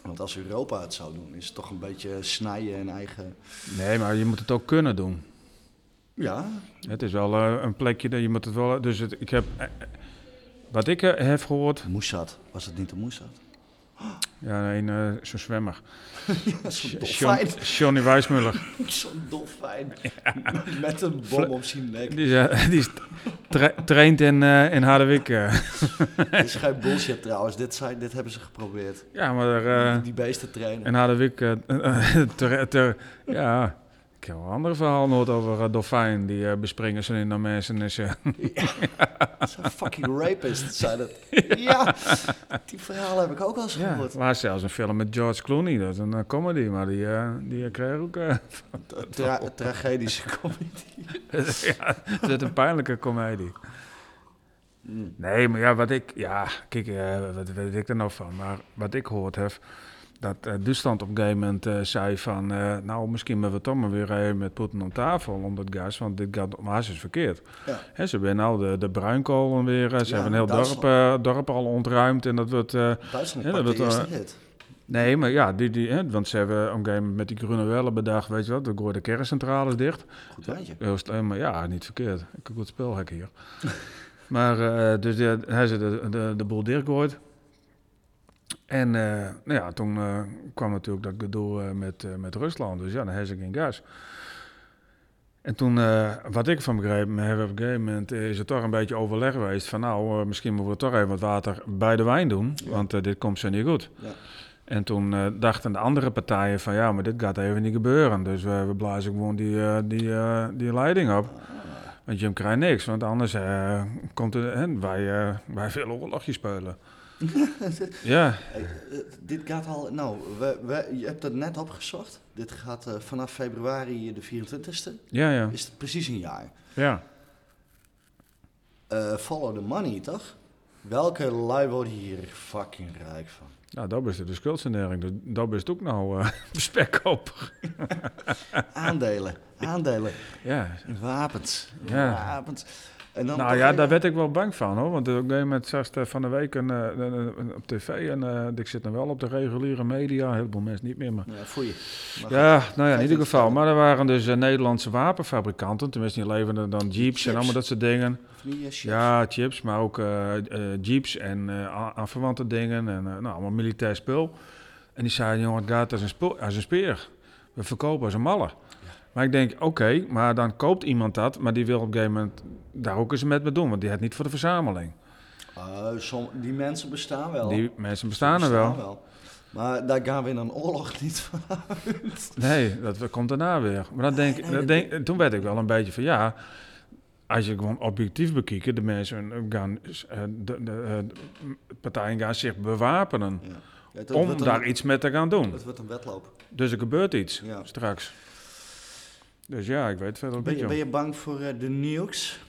B: Want als Europa het zou doen, is het toch een beetje snijden en eigen...
A: Nee, maar je moet het ook kunnen doen.
B: Ja,
A: Het is wel eh, een plekje dat je moet het wel. Dus het, ik heb. eh, eh, wat ik eh, heb gehoord.
B: (laughs) Moesad. Was het niet de Moesad?
A: Ja, een eh, zo'n zwemmer. John,
B: Zo'n dolfijn. (laughs)
A: Johnny Wijsmuller.
B: Zo'n dolfijn. Met een bom op zijn nek.
A: Die, is, eh, (laughs) die is tra- traint in, eh, in Harderwijk. eh.
B: Dit is geen bullshit trouwens. Dit, zijn, dit hebben ze geprobeerd.
A: Ja, maar daar, eh
B: Die beesten trainen.
A: in Harderwijk... eh, (laughs) ter- ter- ja, ik heb wel een ander verhaal nooit over eh, dolfijn. Die eh, bespringen ze in de mensen. en ze-
B: Dat zijn fucking rapists,
A: (laughs)
B: zijn het. Ja, die verhalen heb ik ook al eens
A: ja,
B: gehoord.
A: laatst zelfs een film met George Clooney. Dat is een eh, comedy, maar die, eh, die kreeg ook... eh,
B: Tra-
A: (laughs)
B: tragedische comedy.
A: ja, het werd een pijnlijke komedie.
B: Mm.
A: Nee, maar ja, wat ik... Ja, kijk, eh, wat weet ik er nou van? Maar wat ik gehoord heb... Dat eh, Duitsland op een gegeven moment eh, zei van... eh, nou, misschien moeten we toch maar weer even met Poetin om tafel om dat gas... want dit gaat om is verkeerd.
B: Ja.
A: Hè, ze hebben nou de, de bruinkolen weer... eh, ze
B: Ja,
A: hebben een heel dorp, eh, dorp al ontruimd en dat wordt... eh,
B: Duitsland
A: Ja, dat
B: pakt de
A: wordt, eh,
B: eerste hit.
A: Nee, maar ja, die, die, hè, want ze hebben op een gegeven moment met die groene wellen bedacht, weet je wat, dan gooien de kerncentrales dicht.
B: Goed wijntje.
A: Heel slim, maar ja, niet verkeerd. Ik heb een goed spelhek hier. (laughs) maar eh, dus de, hij ze de, de, de boel dichtgooit. En eh, nou ja, toen eh, kwam natuurlijk dat gedoe eh, met, eh, met Rusland. Dus ja, dan hebben ze geen gas. En toen, eh, wat ik van begrepen heb, op een gegeven moment eh, is er toch een beetje overleg geweest van nou, eh, misschien moeten we toch even wat water bij de wijn doen, want eh, dit komt ze niet goed.
B: Ja.
A: En toen eh, dachten de andere partijen van ja, maar dit gaat even niet gebeuren, dus eh, we blazen gewoon die, eh, die, eh, die leiding op. Want Jim krijgt niks, want anders eh, komt er, hè, wij, eh, wij willen oorlogje spelen. ja,
B: Hey, eh, dit gaat al, nou, we, we, je hebt het net opgezocht. Dit gaat eh, vanaf februari eh, de 24e.
A: ja, ja,
B: Is het precies een jaar.
A: ja.
B: Eh, follow the money, toch? Welke lui worden hier fucking rijk van?
A: Nou, dat is het, de schuldsanering, dus dat is het ook nou eh (laughs) spekkoper.
B: Aandelen, aandelen,
A: Ja,
B: wapens,
A: Ja.
B: wapens. En dan
A: nou
B: toch
A: ja,
B: weer-
A: daar werd ik wel bang van hoor. Want op een gegeven moment zag ik van de week een, eh, een- een- op tv. En eh, ik zit dan wel op de reguliere media. Een heleboel mensen niet meer. Maar...
B: Ja, voor je. Maar
A: Ja, nou ja,
B: Ga
A: in
B: je
A: ieder
B: het
A: geval.
B: vertellen?
A: Maar er waren dus eh, Nederlandse wapenfabrikanten. Tenminste, die leverden dan jeeps en
B: Chips.
A: allemaal dat soort dingen.
B: goed, van die, eh, shit.
A: Ja, chips, maar ook eh, eh, jeeps en eh, a- aanverwante dingen. En eh, nou, allemaal militair spul. En die zeiden, jongen, het gaat als een, spo- als een speer. We verkopen als een malle. Maar ik denk, oké, maar dan koopt iemand dat. Maar die wil op een gegeven moment daar ook eens met me doen. Want die had niet voor de verzameling.
B: Eh, som- die mensen bestaan wel.
A: Die mensen bestaan er wel.
B: Maar daar gaan we in een oorlog (laughs) niet van uit.
A: Nee, dat komt daarna weer. Maar dan denk,
B: nee,
A: dan
B: dat-
A: denk, toen werd ik wel een beetje van ja. Als je gewoon objectief bekijkt, de mensen gaan, eh, de, de, eh, de partijen gaan zich bewapenen
B: Ja. Ja, het
A: om
B: wordt een-
A: daar iets mee te gaan doen.
B: Het wordt een wedloop.
A: Dus er gebeurt iets
B: Ja.
A: straks. Dus ja, ik weet verder een
B: Ben je,
A: beetje.
B: ben je bang voor eh, de nukes?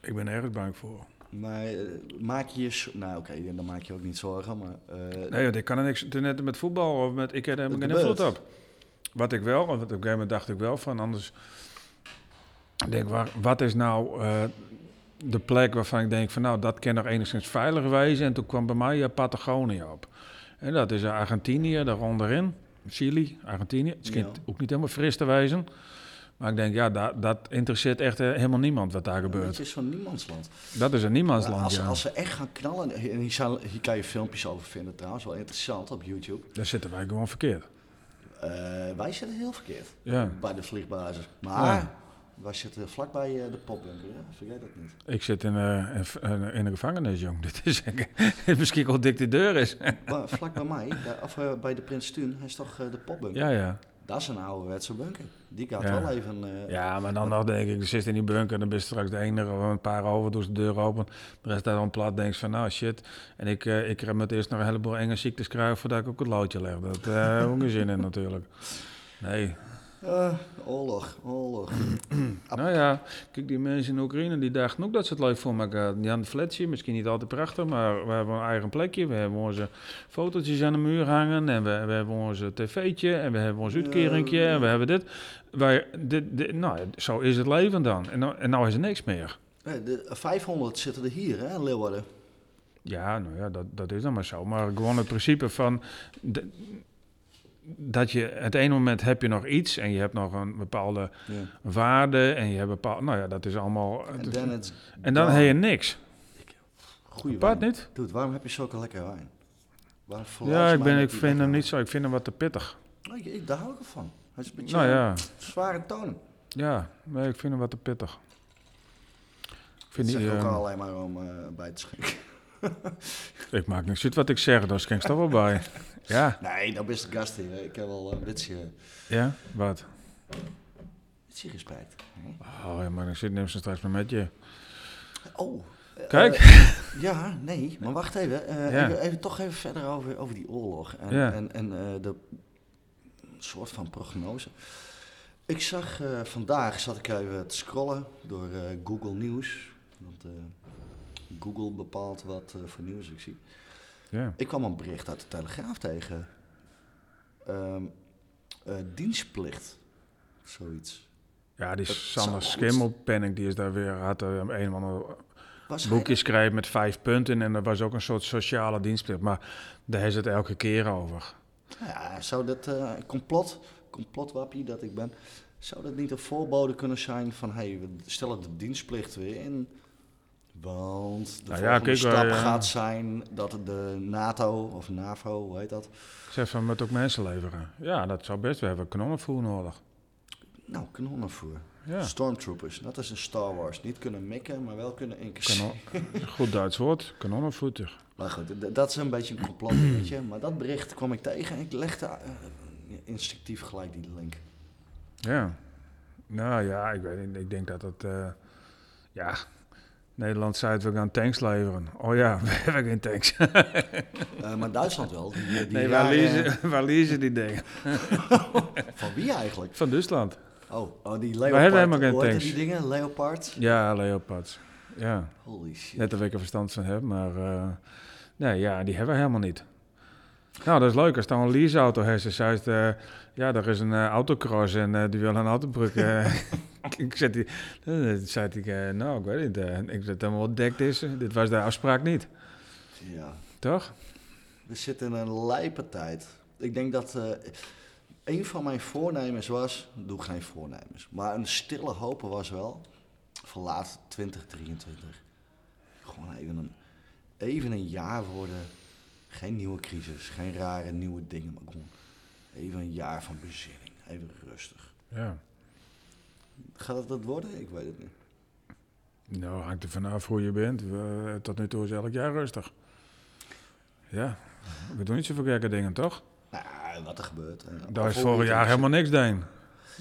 A: Ik ben erg bang voor.
B: Maar eh, maak je je... zo- Nou oké, dan maak je ook niet zorgen, maar... eh,
A: Nee, want ik kan er niks. Toen net met voetbal of met ik heb er
B: Het
A: geen
B: gebeurt.
A: invloed op. Wat ik wel, want op een gegeven moment dacht ik wel van anders. Ik denk, waar, wat is nou eh, de plek waarvan ik denk van nou dat kan nog enigszins veilig wijzen. En toen kwam bij mij eh, Patagonië op. En dat is eh, Argentinië, daar onderin. Chili, Argentinië. Het is
B: Ja.
A: ook niet helemaal fris te wijzen. Maar ik denk, ja, dat, dat interesseert echt eh, helemaal niemand wat daar
B: Het
A: gebeurt.
B: is zo'n niemandsland.
A: Dat is een niemandsland,
B: Als,
A: ja.
B: als ze echt gaan knallen, eh, en hier, zijn- hier kan je filmpjes over vinden trouwens, wel interessant op YouTube.
A: Daar zitten wij gewoon verkeerd.
B: Eh, wij zitten heel verkeerd
A: Ja.
B: bij de vliegbasis. Maar
A: Ja.
B: wij zitten vlakbij eh, de popbunker, hè? vergeet dat niet.
A: Ik zit in, eh, een v- een- in een gevangenis, jong. (laughs) Dit is echt- (laughs) misschien hoe dik die deur is. (laughs)
B: Maar vlak bij mij, daar- of eh, bij de Prins Tuun, hij is toch eh, de popbunker.
A: ja, ja.
B: Dat is een ouderwetse bunker. Die gaat
A: Ja.
B: wel even... eh,
A: Ja, maar dan nog denk ik, je zit in die bunker, dan ben je straks de enige, of een paar over, doet de deur open. De rest daar dan plat, denk je van, nou shit. En ik, eh, ik heb met eerst nog een heleboel enge ziektes krijgen voordat ik ook het loodje leg. Dat eh (laughs) heb ik ook geen zin in natuurlijk. Nee,
B: eh, oorlog, oorlog.
A: nou ja, kijk, die mensen in Oekraïne die dachten ook dat ze het leuk voor elkaar hadden. Die hadden een flatje, misschien niet altijd prachtig, maar we hebben een eigen plekje. We hebben onze fotootjes aan de muur hangen en we, we hebben onze tv'tje en we hebben ons
B: Ja,
A: uitkeringje en we hebben dit. Wij, dit, dit- nou, ja, zo is het leven dan. En nou, en nou is er niks meer.
B: Eh, de 500 zitten er hier, hè, in Leeuwarden.
A: Ja, nou ja, dat, dat is dan maar zo. Maar gewoon het principe van... de- dat je, het ene moment heb je nog iets en je hebt nog een bepaalde waarde en je hebt bepaalde... Nou ja, dat is allemaal...
B: En dan het...
A: dus en dan heb je niks.
B: Goeie
A: Apart
B: wijn.
A: niet?
B: Dude, waarom heb je zulke lekkere wijn? Maar volgens
A: Ja, ik,
B: mij
A: ben,
B: dat
A: ik
B: die-
A: vind hem niet zo. Ik vind hem wat te pittig.
B: Oh, ik- ik- daar hou ik wel van. Hij is een beetje
A: Nou ja,
B: een zware toon.
A: ja. Nee, ik vind hem wat te pittig. Ik,
B: Dat
A: vind
B: zeg
A: die,
B: ik ook
A: eh,
B: alleen maar om eh, bij te schenken. (laughs)
A: ik maak niks uit wat ik zeg, daar schenk toch wel
B: (laughs)
A: bij. Ja,
B: Nee, nou beste gasten, hè. ik heb eh, al een beetje,
A: ja, wat?
B: beetje respect.
A: Oh, ja, maar ik zit neem ze straks maar met je.
B: Oh. eh,
A: Kijk.
B: eh, ja, nee, maar wacht even. eh,
A: Ja.
B: even, even- Toch even verder over, over die oorlog en,
A: Ja.
B: en, en eh, de soort van prognose. Ik zag eh, vandaag, zat ik even te scrollen door eh, Google Nieuws. Want eh, Google bepaalt wat eh, voor nieuws ik zie.
A: Ja.
B: Ik kwam een bericht uit de Telegraaf tegen. Ehm, eh, dienstplicht, zoiets.
A: Ja, die
B: Dat
A: Sander
B: zou goed.
A: Schimmelpenning, die is daar weer, had er een of ander
B: Was hij
A: boekje schrijven met vijf punten. En er was ook een soort sociale dienstplicht. Maar daar is het elke keer over.
B: Ja, zou dat eh, complot, complotwappie dat ik ben, zou dat niet een voorbode kunnen zijn van hey, we stellen de dienstplicht weer in? Want de
A: Nou ja,
B: volgende
A: kijk,
B: stap
A: wij, eh,
B: gaat zijn dat de NATO of NAVO, hoe heet dat?
A: Ik zeg van, moet ook mensen leveren. Ja, dat zou best. We hebben knonnenvoer nodig.
B: Nou, kanonnenvoer.
A: Ja,
B: Stormtroopers, dat is een Star Wars. Niet kunnen mikken, maar wel kunnen incasseren.
A: kanon, goed Duits woord, kanonnenvoer. toch?
B: Maar goed, d- dat is een beetje een complot, weet je. Maar dat bericht kwam ik tegen en ik legde eh, instinctief gelijk die link.
A: Ja. Nou ja, ik weet niet. Ik denk dat dat... eh, ja, Nederland zei het, we gaan tanks leveren. Oh ja, (laughs) we hebben geen tanks.
B: Eh, maar Duitsland wel. Die, die
A: Nee, waar
B: jaren-
A: lezen, waar lezen die dingen?
B: Van wie eigenlijk?
A: Van Duitsland.
B: Oh, oh die Leopard.
A: hebben helemaal geen
B: Hoe heette
A: tanks.
B: die dingen? Leopard?
A: Ja, Leopards. Ja,
B: Holy shit.
A: net dat ik er verstand van heb, maar... eh, nee, ja, die hebben we helemaal niet. Nou, dat is leuk. Als dan een leaseauto heeft, ze zei het, eh, ja, er is een eh, autocross en eh, die wil een autobrug. eh, (laughs) ik- ik zet die... eh, Dan zei ik, eh, nou, ik weet niet. eh, ik zet helemaal wat dekt is. Dit was de afspraak niet,
B: Ja.
A: toch?
B: We zitten in een lijpe tijd. Ik denk dat eh, een van mijn voornemens was, doe geen voornemens, maar een stille hoop was wel, verlaat 2023. Gewoon even een, even een jaar worden. Geen nieuwe crisis, geen rare nieuwe dingen, maar gewoon even een jaar van bezinning. Even rustig.
A: Ja.
B: Gaat het dat worden? Ik weet het niet.
A: Nou, hangt er vanaf hoe je bent. We- eh, tot nu toe is elk jaar rustig. Ja, we doen niet zoveel gekke dingen, toch?
B: Nou, wat er gebeurt. eh,
A: Daar is
B: voorbeeld
A: vorig jaar
B: is-
A: helemaal niks deed.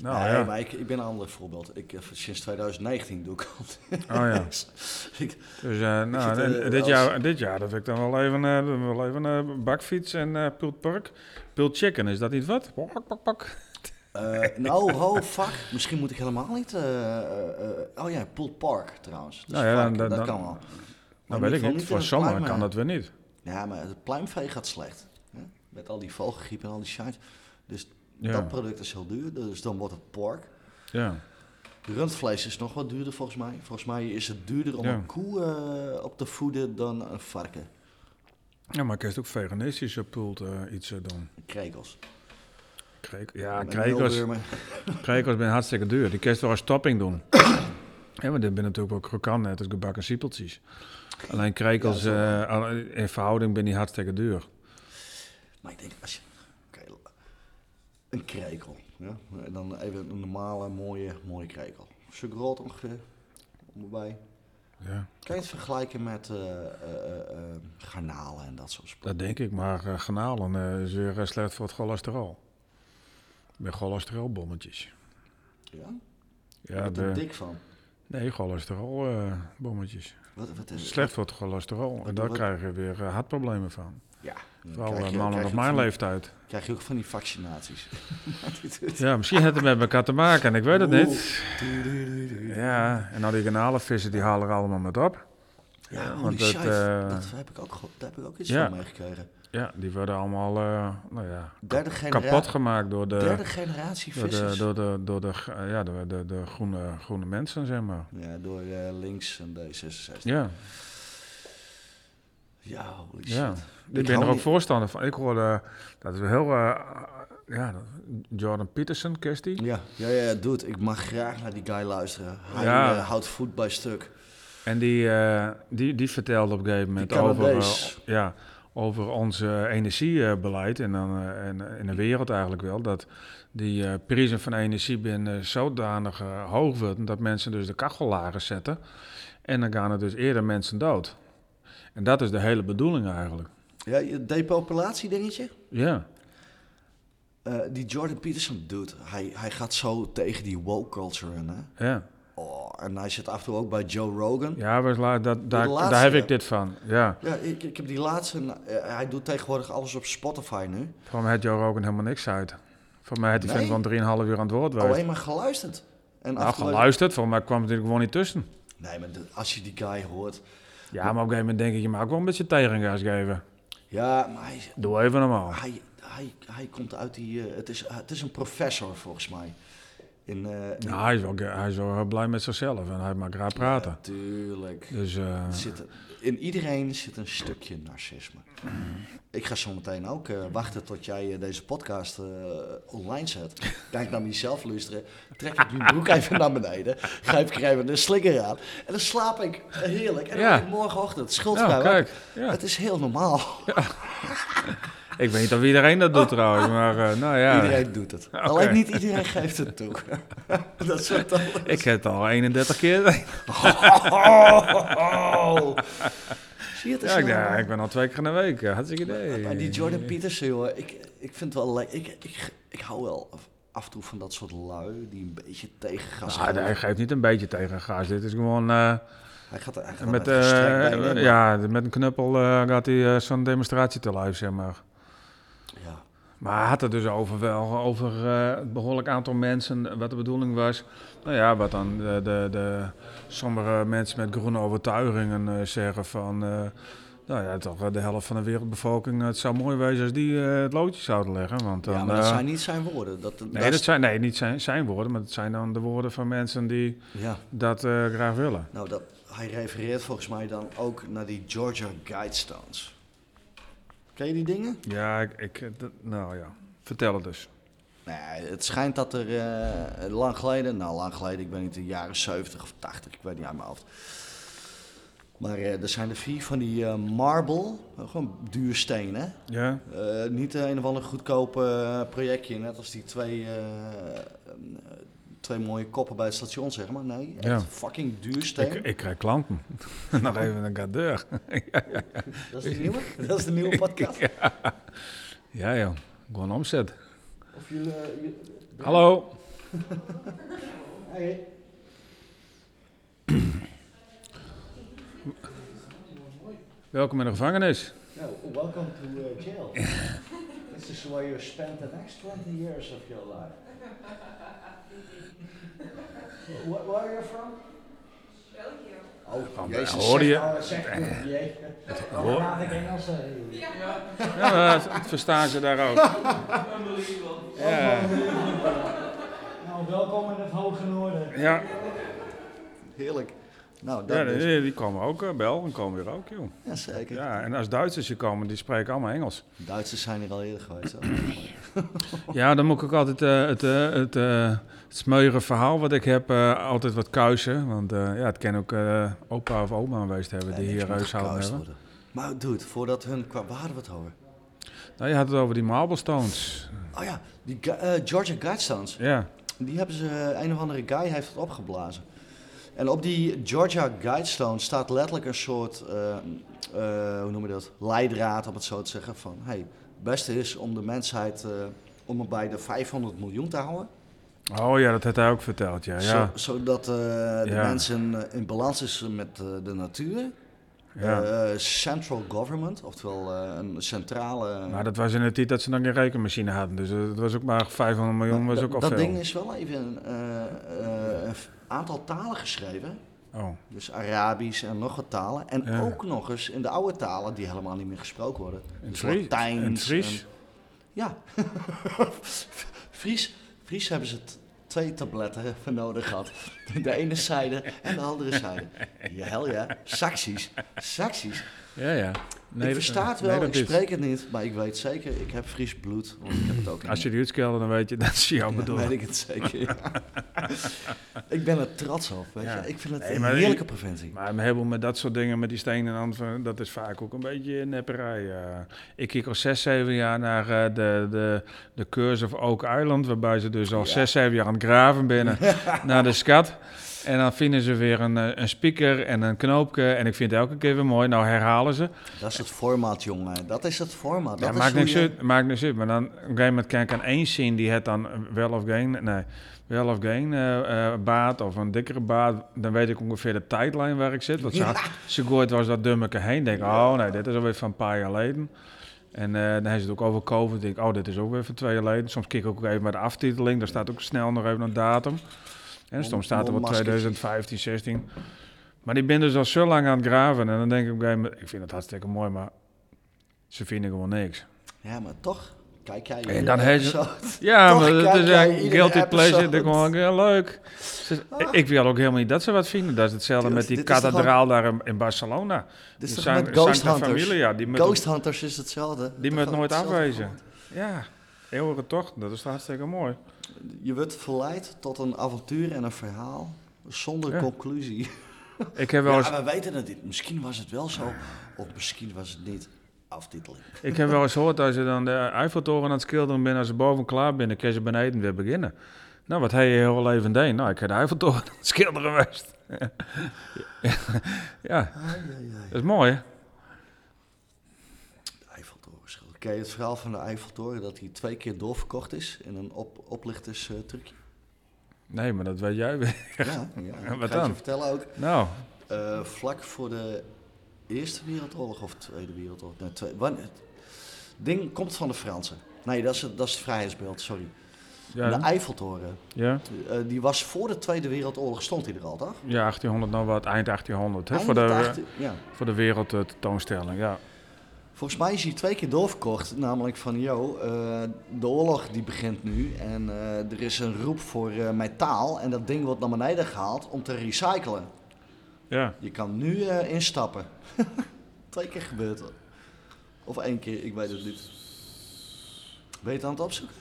A: Nou
B: nee,
A: ja.
B: maar ik, ik ben een ander voorbeeld. Ik, eh, sinds 2019 doe ik (laughs) al.
A: Oh ja.
B: ik,
A: Dus eh, nou,
B: zit, eh,
A: en
B: wel
A: dit,
B: eens-
A: jaar, dit jaar, dat ik dan wel even, eh, wel even eh, bakfiets en eh pulled pork. Pulled chicken, is dat niet wat? Pak, pak, pak.
B: eh,
A: (laughs)
B: nou, ho, fuck. Misschien moet ik helemaal niet... eh, eh, eh, oh ja, Pool Park trouwens. Dus
A: Nou ja,
B: fuck,
A: dan-
B: dat
A: dan-
B: kan wel.
A: Nou
B: Maar
A: weet
B: in
A: ik
B: ieder geval
A: niet,
B: in
A: voor
B: het
A: sommigen
B: pluimvee.
A: kan dat weer niet.
B: Ja, maar het pluimvee gaat slecht. Hè? Met al die vogelgriep en al die shit. Dus
A: Ja.
B: dat product is heel duur. Dus dan wordt het pork.
A: Ja,
B: Rundvlees is nog wat duurder volgens mij. Volgens mij is het duurder om
A: Ja.
B: een koe eh, op te voeden dan een varken.
A: ja maar ik kan ook veganistische pulled eh, iets eh, doen.
B: Krekels.
A: Kreek, ja,
B: Met
A: krekels,
B: meelwormen.
A: krekels zijn hartstikke duur. Die kun je toch als topping (coughs) doen. ja, maar dit ben natuurlijk ook krokant, net als gebakken siepeltjes. Alleen krekels
B: Ja,
A: eh, alle- in verhouding ben die hartstikke duur.
B: Maar ik denk, als je... oké, een krekel. Ja? En dan even een normale, mooie, mooie krekel. Zo groot ongeveer. Onbij.
A: Ja,
B: Kan je het vergelijken met eh, eh, eh, eh, garnalen en dat soort spullen?
A: dat denk ik. Maar eh granalen eh, is weer eh, slecht voor het cholesterol. Bij cholesterolbommetjes.
B: Ja? Daar
A: Ja,
B: ben ik
A: de,
B: dik van.
A: nee, cholesterolbommetjes.
B: Wat, wat is
A: Slecht voor het cholesterol. En
B: Wat-
A: daar
B: wat-
A: krijgen we weer eh, hartproblemen van.
B: Ja. Dan
A: Vooral
B: krijg
A: eh,
B: je-
A: mannen
B: krijg
A: op
B: je
A: mijn
B: ook van-
A: leeftijd.
B: Krijg je ook van die vaccinaties.
A: (laughs) Ja, misschien heeft het met elkaar te maken. Ik weet het niet.
B: Doei, doei, doei, doei.
A: Ja, en al die garnalenvissen die halen er allemaal met op.
B: Ja,
A: Ja,
B: holy
A: want het,
B: shit.
A: eh,
B: dat heb ik ook, geho- daar heb ik ook iets
A: Ja.
B: van meegekregen.
A: Ja, die worden allemaal eh, nou ja,
B: Derde, genera
A: kapot gemaakt door de,
B: derde generatie
A: door de,
B: vissers.
A: door de, door de, eh, ja, de, de, de groene, groene mensen, zeg maar.
B: Ja, door eh, links en D66.
A: Ja,
B: Ja, holy shit.
A: ja. Ik ben
B: Ik hou
A: er ook
B: niet-
A: voorstander van. Ik hoorde, eh, dat is wel heel, eh, ja, dat- Jordan Peterson, kist die?
B: Ja, ja, ja, dude, ik mag graag naar die guy luisteren. Hij
A: Ja.
B: eh, houdt voet bij stuk.
A: En die, eh, die, die vertelde op een gegeven moment
B: Die
A: over, eh,
B: Canadees.
A: ja, over ons eh, energiebeleid en, dan, eh, en in de wereld eigenlijk wel, dat die eh, prijzen van energie binnen zodanig eh, hoog worden dat mensen dus de kachel lager zetten en dan gaan er dus eerder mensen dood. En dat is de hele bedoeling eigenlijk.
B: Ja, je depopulatie dingetje.
A: Ja,
B: Eh, die Jordan Peterson doet, hij, hij gaat zo tegen die woke culture in. Hè?
A: ja.
B: Oh, en hij zit af en toe ook bij Joe Rogan.
A: Ja, we sla- dat, daar,
B: laatste,
A: daar heb
B: ja.
A: ik dit van. Ja,
B: Ja, ik, ik heb die laatste. eh, hij doet tegenwoordig alles op Spotify nu.
A: voor mij had Joe Rogan helemaal niks uit. Voor mij had die
B: Nee. Oh,
A: vent van 3,5 uur aan het woord geweest.
B: Alleen maar geluisterd. En
A: Nou,
B: af en toe-
A: geluisterd, voor mij kwam het er gewoon niet tussen.
B: Nee, maar de- als je die guy hoort.
A: Ja, maar op een gegeven moment denk ik, je mag ook wel een beetje tegengas geven.
B: Ja, maar hij,
A: Doe even normaal.
B: hij, hij, hij komt uit die. eh, het, is, het is een professor volgens mij. In, eh, in-
A: Nou, hij is wel, ge- hij is wel blij met zichzelf en hij mag graag praten.
B: Tuurlijk.
A: Dus eh,
B: Er Zit, in iedereen zit een stukje narcisme. Ik ga zometeen ook eh, wachten tot jij eh, deze podcast eh, online zet. Kijk naar mezelf luisteren. Trek ik mijn broek even naar beneden. Grijp ik er even een slikker aan. En dan slaap ik heerlijk. En dan
A: Ja.
B: ben ik morgenochtend schuldvrij.
A: nou,
B: wakker.
A: kijk. Ja.
B: Het is heel normaal.
A: Ik weet niet of iedereen dat doet
B: (laughs)
A: trouwens, maar eh, nou ja.
B: Iedereen doet het. Alleen niet iedereen geeft het toe. (laughs) Dat is wat anders.
A: Ik heb het al 31 keer. (laughs)
B: (laughs) Zie je het? is
A: Oh. ja, ik,
B: heel
A: ja,
B: normaal.
A: ik ben al twee keer in de week. eh, Hartstikke idee.
B: Maar die Jordan Peterson, joh, ik, ik vind wel lekker. Ik, ik, ik hou wel af en toe van dat soort lui die een beetje tegengas
A: Nou,
B: geven.
A: hij geeft niet een beetje tegengas. Dit is gewoon... eh,
B: Hij gaat, hij gaat
A: Met,
B: met,
A: eh,
B: gestrekt been in.
A: ja, met een knuppel eh, gaat hij eh, zo'n demonstratie te lijf, zeg maar.
B: Ja.
A: Maar hij had het dus over wel, over eh, een behoorlijk aantal mensen, wat de bedoeling was. Nou ja, wat dan de, de, de, sommige mensen met groene overtuigingen eh, zeggen van... eh, nou ja, toch eh, de helft van de wereldbevolking, eh, het zou mooi wezen als die eh, het loodje zouden leggen. Want dan,
B: Ja, maar dat
A: eh,
B: zijn niet zijn woorden. Dat, dat,
A: nee, dat zijn, nee, niet zijn, zijn woorden, maar het zijn dan de woorden van mensen die
B: ja.
A: dat eh, graag willen.
B: Nou, dat, hij refereert volgens mij dan ook naar die Georgia Guidestones. Ken je die dingen?
A: Ja, ik, ik, eh, dat- nou ja, vertel het dus.
B: Nee, het schijnt dat er eh, lang geleden, nou lang geleden, ik ben niet in de jaren 70 of 80, ik weet niet uit mijn hoofd. Maar eh, er zijn er vier van die eh, marble, eh, gewoon duur steen hè.
A: Ja?
B: Eh, niet eh, een of ander goedkope eh, projectje, net als die twee, eh, eh, twee mooie koppen bij het station, zeg maar. Nee, echt
A: Ja.
B: fucking duur steen.
A: Ik, ik krijg
B: (laughs)
A: klanten. (laughs) Nog
B: Oh.
A: even een gadeur.
B: Dat is de nieuwe? (laughs) Dat is de nieuwe podcast?
A: Ja joh, gewoon omzet.
B: Of jullie... eh, jullie-
A: Hallo.
B: Hey.
A: Welkom in de gevangenis.
B: Nou, welcome to eh, jail. (laughs) This is where you spend the next 20 years of your
A: (laughs)
B: life. Wh- where are you from? Oh,
A: Van-
B: jezus,
A: hoor je?
B: zeg nou, zeg nou, jeetje.
A: Hoor-
B: Praat ik Engels? eh? (laughs)
A: Ja, eh, het verstaan ze daar ook. Ja.
B: Nou, welkom in het Hoge Noorden.
A: Ja,
B: Heerlijk. Nou, dat
A: ja,
B: is...
A: die, die komen ook, eh, Belgen komen weer ook joh.
B: Ja, zeker.
A: Ja, en als Duitsers hier komen, die spreken allemaal Engels.
B: Duitsers zijn er al eerder geweest. hè?
A: Ja, dan moet ik ook altijd eh, het, eh, het, eh, het smeuïge verhaal wat ik heb, eh, altijd wat kuisen. Want eh, ja, het kan ook eh, opa of oma geweest hebben die
B: Nee, niks
A: hier
B: moet
A: reus zouden
B: gekuist
A: hebben.
B: worden. Maar dude, voordat hun... Qua, waar hadden we het over?
A: Nou, je had het over die Marblestones.
B: Oh ja, die Gu- eh, Georgia Guidestones.
A: Ja,
B: Die hebben ze, eh, een of andere guy heeft het opgeblazen. En op die Georgia Guidestone staat letterlijk een soort, eh, eh, hoe noem je dat, leidraad om het zo te zeggen. Van, hey, het beste is om de mensheid, eh, om het bij de 500 miljoen te houden.
A: oh ja, dat had hij ook verteld. Ja, ja.
B: Zo- zodat eh, de
A: Ja.
B: mensen eh, in balans is met eh, de natuur.
A: ja.
B: Eh, central government, oftewel eh, een centrale...
A: Maar dat was in de tijd dat ze nog geen rekenmachine hadden. Dus eh, dat was ook maar 500 miljoen, was
B: dat-
A: ook al
B: dat
A: veel.
B: ding is wel even eh, eh, een aantal talen geschreven.
A: Oh,
B: Dus Arabisch en nog wat talen. En
A: Ja.
B: ook nog eens in de oude talen die helemaal niet meer gesproken worden.
A: in
B: Dus
A: Fries.
B: Latijns
A: In
B: en-
A: Fries.
B: ja. (laughs) Fries, Fries hebben ze t- twee tabletten voor nodig gehad. De ene zijde en de andere zijde. Ja, hel ja. Saxisch. Saxisch.
A: Ja, ja.
B: ik
A: Nee,
B: versta het
A: eh,
B: wel,
A: nee,
B: ik
A: dat is-
B: spreek het niet. Maar ik weet zeker, ik heb Fries bloed. Want ik heb het ook in
A: Als je die uitskelde, dan weet je dat ze jou
B: Dan
A: bedoelen.
B: weet ik het zeker. ja. (laughs) Ik ben er trots op. Weet
A: Ja.
B: je. Ik vind het
A: Nee,
B: een
A: maar-
B: heerlijke provincie.
A: Maar een heleboel met dat soort dingen, met die stenen en handen, dat is vaak ook een beetje nepperij. eh. ik kijk al zes, zeven jaar naar eh, de, de, de Curse of Oak Island, waarbij ze dus al
B: Ja.
A: zes, zeven jaar aan het graven binnen naar de skat. En dan vinden ze weer een, eh, een speaker en een knoopje. En ik vind het elke keer weer mooi. Nou herhalen ze.
B: Dat is het format, jongen. Dat is het format.
A: Ja,
B: Dat
A: maakt
B: is
A: niks
B: hoe je-
A: uit, maakt niks uit. Maar dan op een gegeven moment kan ik aan één zien die het dan wel of geen, nee, wel of geen eh, eh, baat of een dikkere baat. Dan weet ik ongeveer de tijdlijn waar ik zit. Want ze, had- ze gooit was dat dummeke heen. Denk, oh nee, dit is alweer van een paar jaar geleden. En eh, dan heeft ze het ook over COVID. Denk, oh, dit is ook weer van twee jaar geleden. Soms kijk ik ook even bij de aftiteling. Daar staat ook snel nog even een datum. En soms staat er wel
B: Mondmaskers.
A: 2015, 16. Maar die ben dus al zo lang aan het graven. En dan denk ik op een gegeven moment, ik vind het hartstikke mooi, maar ze vinden gewoon niks.
B: Ja, maar toch. Kijk jij...
A: En dan
B: (laughs)
A: heeft ze-
B: episode.
A: Ja,
B: Toch
A: maar het
B: kijk
A: is
B: jij
A: een
B: iedere
A: guilty
B: episode.
A: pleasure. Ik denk gewoon, ja, leuk. Ze- ik- Ik wil ook helemaal niet dat ze wat vinden. Dat is hetzelfde
B: Dude,
A: met die
B: Ah. dit is toch
A: kathedraal daar in, in Barcelona.
B: Dit is
A: Die
B: toch
A: San-
B: met Ghost
A: Santa
B: Hunters?
A: Familia, die moet-
B: Ghost Hunters is hetzelfde.
A: Die
B: Dat
A: moet
B: gaat
A: nooit
B: hetzelfde
A: afwezen.
B: format.
A: Ja, eeuwige tocht. Dat is toch hartstikke mooi.
B: Je wordt verleid tot een avontuur en een verhaal zonder
A: Ja.
B: conclusie.
A: Ik heb wel eens
B: Ja, we weten dat dit. Misschien was het wel zo, of misschien was het niet. Aftiteling.
A: Ik heb wel eens gehoord, als je dan de Eiffeltoren aan het schilderen bent, als je boven klaar bent, dan kun je beneden weer beginnen. Nou, wat heb je heel leven deed? Nou, ik heb de Eiffeltoren aan het schilderen geweest. (laughs) ja, dat is mooi, hè?
B: De Eiffeltoren. Ken je het verhaal van de Eiffeltoren dat hij twee keer doorverkocht is in een op oplichters eh, trucje?
A: Nee, maar dat weet jij weer.
B: Ja, ja.
A: (laughs) wat
B: dat ga ik
A: dan?
B: je vertellen ook.
A: Nou,
B: Eh, vlak voor de Eerste Wereldoorlog of Tweede Wereldoorlog. Nee, twee, wanneer- het ding komt van de Fransen. Nee, dat is het, dat is het vrijheidsbeeld, sorry.
A: ja,
B: De Eiffeltoren,
A: ja,
B: eh, die was voor de Tweede Wereldoorlog, stond hij er al, toch?
A: ja, 1800 nou wat, eind 1800, hè? Voor
B: Eind
A: de,
B: het
A: eh,
B: achttiende- ja.
A: voor de wereldtentoonstelling, ja.
B: Volgens mij is hij twee keer doorverkocht. Namelijk van, yo, eh, de oorlog die begint nu. En eh, er is een roep voor eh metaal. En dat ding wordt naar beneden gehaald om te recyclen.
A: Ja,
B: Je kan nu eh, instappen. (laughs) twee keer gebeurt dat. Of één keer, ik weet het niet. Ben je het aan het opzoeken?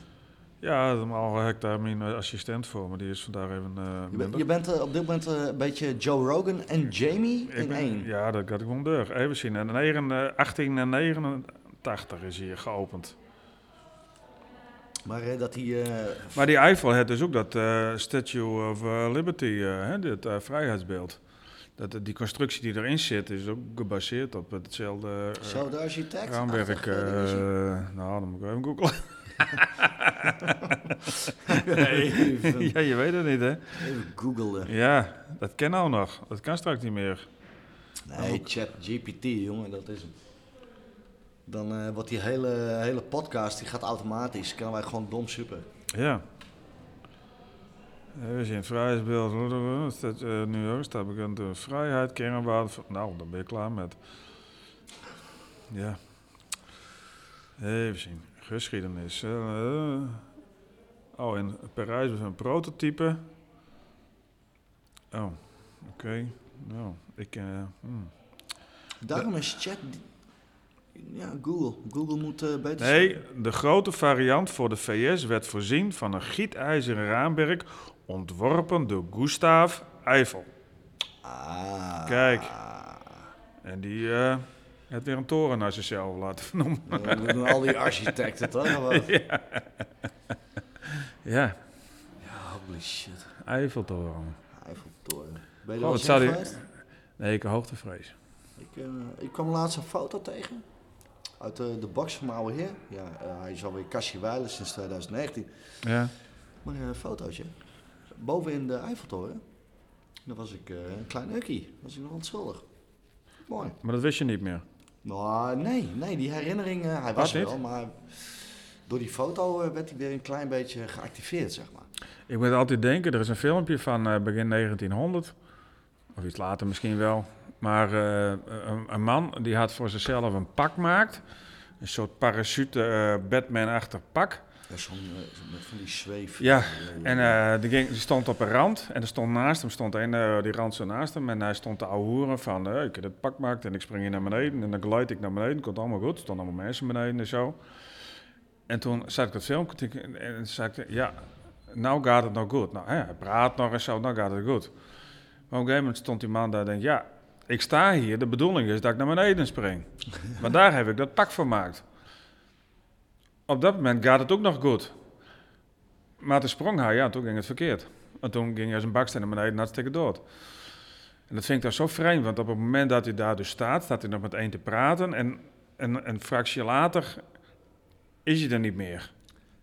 A: ja normaal heb ik daar mijn assistent voor, maar die is vandaag even eh,
B: Je,
A: minder.
B: bent- je bent eh, op dit moment eh, een beetje Joe Rogan en Jamie
A: Ik
B: in
A: ben-
B: één.
A: Ja, dat had ik wel deur. Even zien. En 9, eh, 1889 is hier geopend.
B: Maar eh, dat hij... eh
A: Maar die Eiffel had dus ook dat eh, Statue of eh, Liberty, eh, hè, dit eh, vrijheidsbeeld. Dat, eh, die constructie die erin zit, is ook gebaseerd op hetzelfde eh,
B: zo, de architect.
A: raamwerk.
B: achtig, eh, dingetje. (laughs)
A: eh, nou, dan moet ik even googlen.
B: even,
A: (laughs) ja, je weet het niet, hè?
B: even googelen.
A: Ja, dat ken nou nog. Dat kan straks niet meer.
B: Nee, chat GPT, jongen, dat is hem. Dan eh, wordt die hele, hele podcast, die gaat automatisch. Kan wij gewoon dom super.
A: Ja. Even zien, vrijheidsbeeld. Uh, New York staat bekend door vrijheid, kernwaarden. van- Nou, daar ben je klaar met. Ja. Even zien. Geschiedenis. eh, oh, in Parijs was een prototype. Oh, oké. Nou, ik... eh, hmm.
B: Daarom is chat... Ja, Google. Google moet eh, beter zijn.
A: Nee, de grote variant voor de VS werd voorzien van een gietijzeren raamwerk... ontworpen door Gustav Eiffel.
B: Ah.
A: Kijk. En die eh, heeft weer een toren naar zichzelf laten (laughs) vernoemen.
B: Ja, Dat doen al die
A: (laughs)
B: architecten toch? of wat?
A: Ja,
B: Holy shit.
A: Eiffeltoren.
B: Eiffeltoren. Ben je er
A: Oh,
B: wel
A: wat
B: eens
A: zou
B: in
A: die-
B: geweest?
A: Nee, ik heb hoogtevrees.
B: Ik, eh, ik kwam laatst een foto tegen. Uit eh, de box van mijn oude heer. Ja, eh, hij is alweer Cassie Weiler sinds 2019.
A: Ja.
B: Maar een fotootje. Boven in de Eiffeltoren. Daar was ik eh, een klein ukkie. Was ik nog onschuldig. Mooi.
A: Maar dat wist je niet meer.
B: Nou, nee, nee, die herinnering, eh, hij
A: Wat
B: was er
A: niet?
B: wel, maar door die foto eh, werd hij weer een klein beetje geactiveerd, zeg maar.
A: Ik moet altijd denken, er is een filmpje van eh, begin 1900. Of iets later misschien wel. Maar eh, een, een man die had voor zichzelf een pak maakt. Een soort parachute eh, Batman-achtig pak.
B: Ja, zo'n, eh, met van die zweef.
A: Ja, En eh, die, ging, die stond op een rand en er stond naast hem, stond een, eh, die rand zo naast hem. En hij stond te ouwehoeren van, eh, ik heb het pak gemaakt en ik spring hier naar beneden. En dan glijd ik naar beneden, komt allemaal goed. Er stonden allemaal mensen beneden en zo. En toen zat ik het filmpje te- en toen zei ik, ja, nou gaat het nog goed. Nou, hè, hij praat nog en zo, nou gaat het goed. Maar op een gegeven moment stond die man daar en denkt, ja, ik sta hier, de bedoeling is dat ik naar beneden spring. maar daar heb ik dat pak voor gemaakt. Op dat moment gaat het ook nog goed. Maar toen sprong hij, ja, toen ging het verkeerd. En toen ging hij zijn baksteen naar beneden en hartstikke dood. En dat vind ik dan zo vreemd, want op het moment dat hij daar dus staat, staat hij nog met één te praten. En, en een fractie later is hij er niet meer.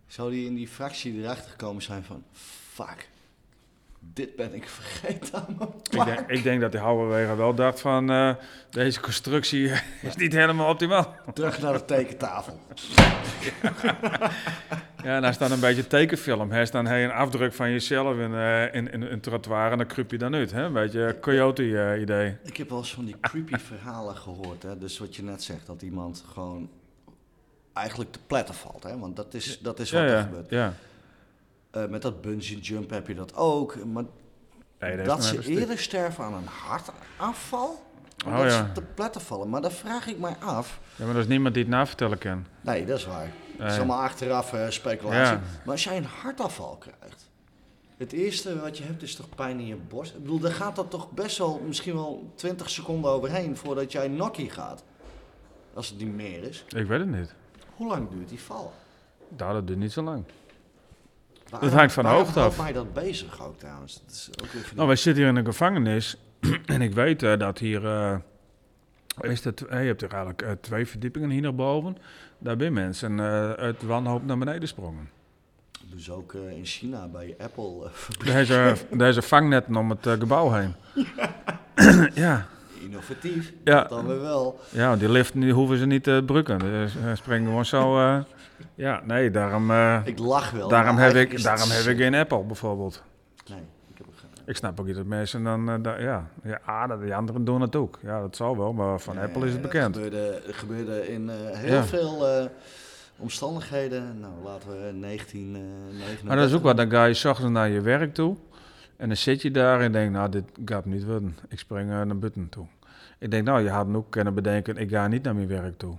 B: Zou die in die fractie erachter gekomen zijn van... Fuck, dit ben ik vergeten aan mijn
A: Ik denk, ik denk dat die Houwerwegen wel dacht van, eh, deze constructie (laughs) is niet helemaal optimaal.
B: Terug naar de tekentafel.
A: Ja, en daar staat een beetje tekenfilm. Hè? Dan heb je een afdruk van jezelf in, eh in, in een trottoir en dan kruip je dan uit. Hè? Een beetje eh, coyote-idee.
B: Ik heb wel eens van die creepy verhalen gehoord. Hè? Dus wat je net zegt, dat iemand gewoon eigenlijk te pletten valt. Hè? Want dat is, dat is wat
A: ja,
B: er
A: ja,
B: gebeurt.
A: ja.
B: Eh, met dat bungee jump heb je dat ook. Maar
A: Nee, is
B: dat
A: nog
B: ze
A: even stuk.
B: eerder sterven aan een hartaanval, dan
A: Oh,
B: dat
A: ja.
B: ze te pletten vallen. Maar dan vraag ik mij af...
A: Ja, maar dat is niemand die het navertellen kan.
B: Nee, dat is waar. Het is
A: Nee.
B: allemaal achteraf eh, speculatie.
A: Ja.
B: Maar als jij een hartafval krijgt, het eerste wat je hebt is toch pijn in je borst? Ik bedoel, daar gaat dat toch best wel misschien wel 20 seconden overheen voordat jij nokkie gaat. Als het niet meer is.
A: Ik weet het niet.
B: Hoe lang duurt die val?
A: Nou, dat duurt niet zo lang.
B: Waarom-
A: hangt van de
B: waarom
A: hoogte
B: houdt
A: af.
B: mij dat bezig ook trouwens. Dat is ook weer van die-
A: Nou, wij zitten hier in een gevangenis. (clears throat) en ik weet eh, dat hier. eh, is dat, eh, je hebt hier eigenlijk eh, twee verdiepingen hier naar boven. Daar ben mensen eh uit wanhoop naar beneden sprongen.
B: Dus ook eh, in China bij Apple. eh, (laughs)
A: Deze, deze vangnetten om het eh, gebouw heen. (clears throat) ja.
B: innovatief.
A: Ja.
B: Dat dan weer wel.
A: ja, want die lift die hoeven ze niet te brukken. Ze eh, springen gewoon zo. eh, ja, nee, daarom, eh,
B: Ik lach wel.
A: daarom,
B: maar
A: heb,
B: eigenlijk
A: ik,
B: is dat
A: daarom heb ik geen Apple bijvoorbeeld.
B: zin. Nee, ik heb het geen.
A: Ik snap ook niet dat mensen dan. eh, daar- ja, ja ah, dat- die anderen doen het ook. Ja, dat zal wel, maar van Apple is het
B: Eh,
A: bekend.
B: gebeurde, gebeurde in eh, heel
A: Ja.
B: veel eh, omstandigheden. Nou, laten we eh, 1999.
A: Maar dat is ook wat, dan ga je 's ochtends naar je werk toe. En dan zit je daar en denk, nou, dit gaat hem niet worden. Ik spring eh, naar buiten toe. Ik denk, nou, je had me ook kunnen bedenken, ik ga niet naar mijn werk toe.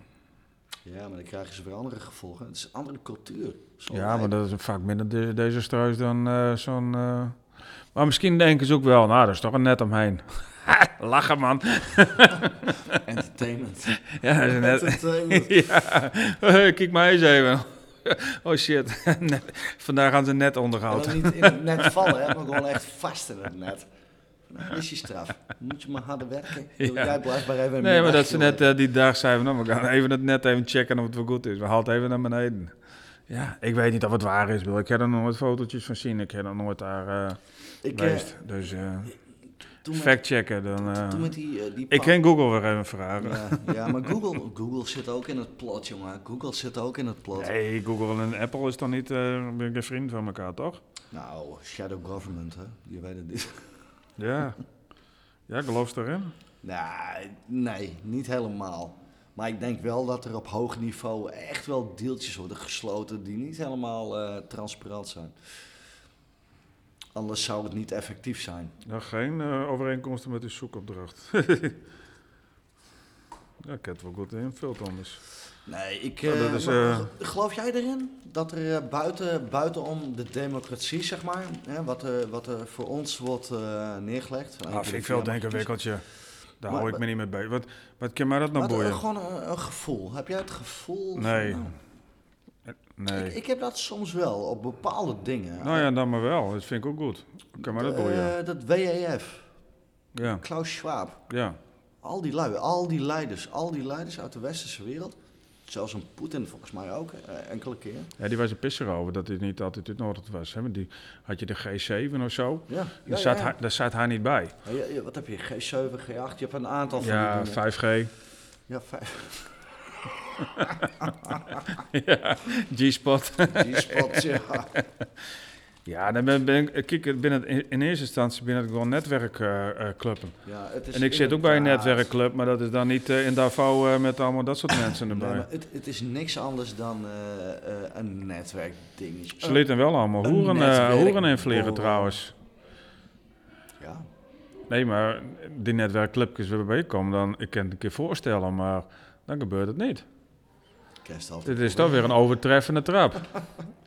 B: Ja, maar dan krijgen ze weer andere gevolgen. Het is een andere cultuur. Zo
A: ja, maar
B: lijkt-
A: dat is vaak minder de- desastreus dan eh, zo'n... eh, Maar misschien denken ze ook wel, nou, dat is toch een net omheen. (laughs) Lachen, man.
B: (laughs)
A: (laughs)
B: Entertainment.
A: Ja, dat is een net...
B: Entertainment.
A: (laughs) ja, kijk maar eens even. (laughs) oh shit, (laughs) Net- vandaag gaan ze net
B: En
A: ondergehaald.
B: dan
A: (laughs)
B: niet in het net vallen, hè, maar gewoon echt vast in het net. Nou, dat is je straf. Moet je maar harder werken.
A: (laughs)
B: Wil
A: Ja.
B: Jij blijft maar even een
A: Nee, maar dat
B: middagje
A: ze net
B: doen.
A: eh, die dag zeiden, van, nou, we gaan even het net even checken of het wel goed is. We halen het even naar beneden. Ja, ik weet niet of het waar is. Wil. Ik heb er nog nooit fotootjes van zien. Ik heb er nooit daar eh
B: Ik, eh,
A: geweest. Dus eh,
B: toen, met,
A: fact checken. Dan, eh,
B: toen met die, eh, die
A: ik
B: pa-
A: ken Google weer even vragen.
B: Ja, ja, maar Google, Google zit ook in het plot, jongen. Google zit ook in het plot.
A: Nee, Google en Apple is toch niet eh ben ik vriend van elkaar, toch?
B: Nou, shadow government, hè? Je weet het niet. (laughs)
A: Ja. Ja, ik geloof het erin.
B: Nee, nee, niet helemaal. Maar ik denk wel dat er op hoog niveau echt wel deeltjes worden gesloten die niet helemaal eh, transparant zijn. Anders zou het niet effectief zijn.
A: Ja, geen eh, overeenkomsten met uw zoekopdracht. (laughs) ja, ik heb het wel goed invult
B: Ah,
A: anders.
B: Nee, ik.
A: Nou, dat
B: eh,
A: is,
B: maar
A: eh,
B: g- Geloof jij erin dat er eh, buiten, buitenom de democratie, zeg maar, hè, wat, er wat er voor ons wordt eh, neergelegd? van een
A: Ah,
B: van
A: vind
B: de
A: ik veel
B: vier
A: denken,
B: machtjes.
A: wikkeltje. Daar
B: Maar- oh,
A: hou ik me niet mee bij. Wat, wat kan mij dat nou
B: Maar dat-
A: boeien?
B: gewoon een, een gevoel. Heb jij het gevoel? van,
A: Nee.
B: nou,
A: Nee.
B: Ik, ik heb dat soms wel op bepaalde dingen.
A: nou ja, dan maar wel. Dat vind ik ook goed. Kan mij dat boeien?
B: Eh, dat WEF,
A: ja,
B: Klaus Schwab,
A: ja.
B: al die lui, al die leiders, al die leiders uit de westerse wereld. Zelfs een Poetin volgens mij ook, eh, enkele keer.
A: ja. Die was een pisser over dat dit niet altijd het noord was. Hè? Want die had je de G7 of zo.
B: Ja, ja,
A: Daar, zat
B: ja.
A: Hij, daar zat hij niet bij.
B: Ja, ja, ja, wat heb je, G7, G8, je hebt een aantal van die
A: Ja,
B: dingen.
A: 5G.
B: Ja, vijf. (laughs)
A: ja, G-spot. (laughs)
B: Die spot, ja.
A: Ja, dan ben, ben ik, kijk, binnen, in, in eerste instantie ben ik gewoon netwerkclubben.
B: ja het is
A: en ik zit ook bij een
B: inderdaad-
A: netwerkclub, maar dat is dan niet eh, in Davao eh, met allemaal dat soort mensen
B: (laughs) Nee,
A: erbij.
B: maar het, het is niks anders dan eh, eh, een netwerkdingetje.
A: Ze lieten wel allemaal
B: Een
A: hoeren, eh,
B: netwerk-
A: hoeren invliegen
B: Oh.
A: trouwens.
B: Ja,
A: Nee, maar die netwerkclubjes waarbij ik kom, dan, ik kan het een keer voorstellen, maar dan gebeurt het niet.
B: kerst altijd.
A: Dit is toch weer een overtreffende
B: (laughs)
A: trap.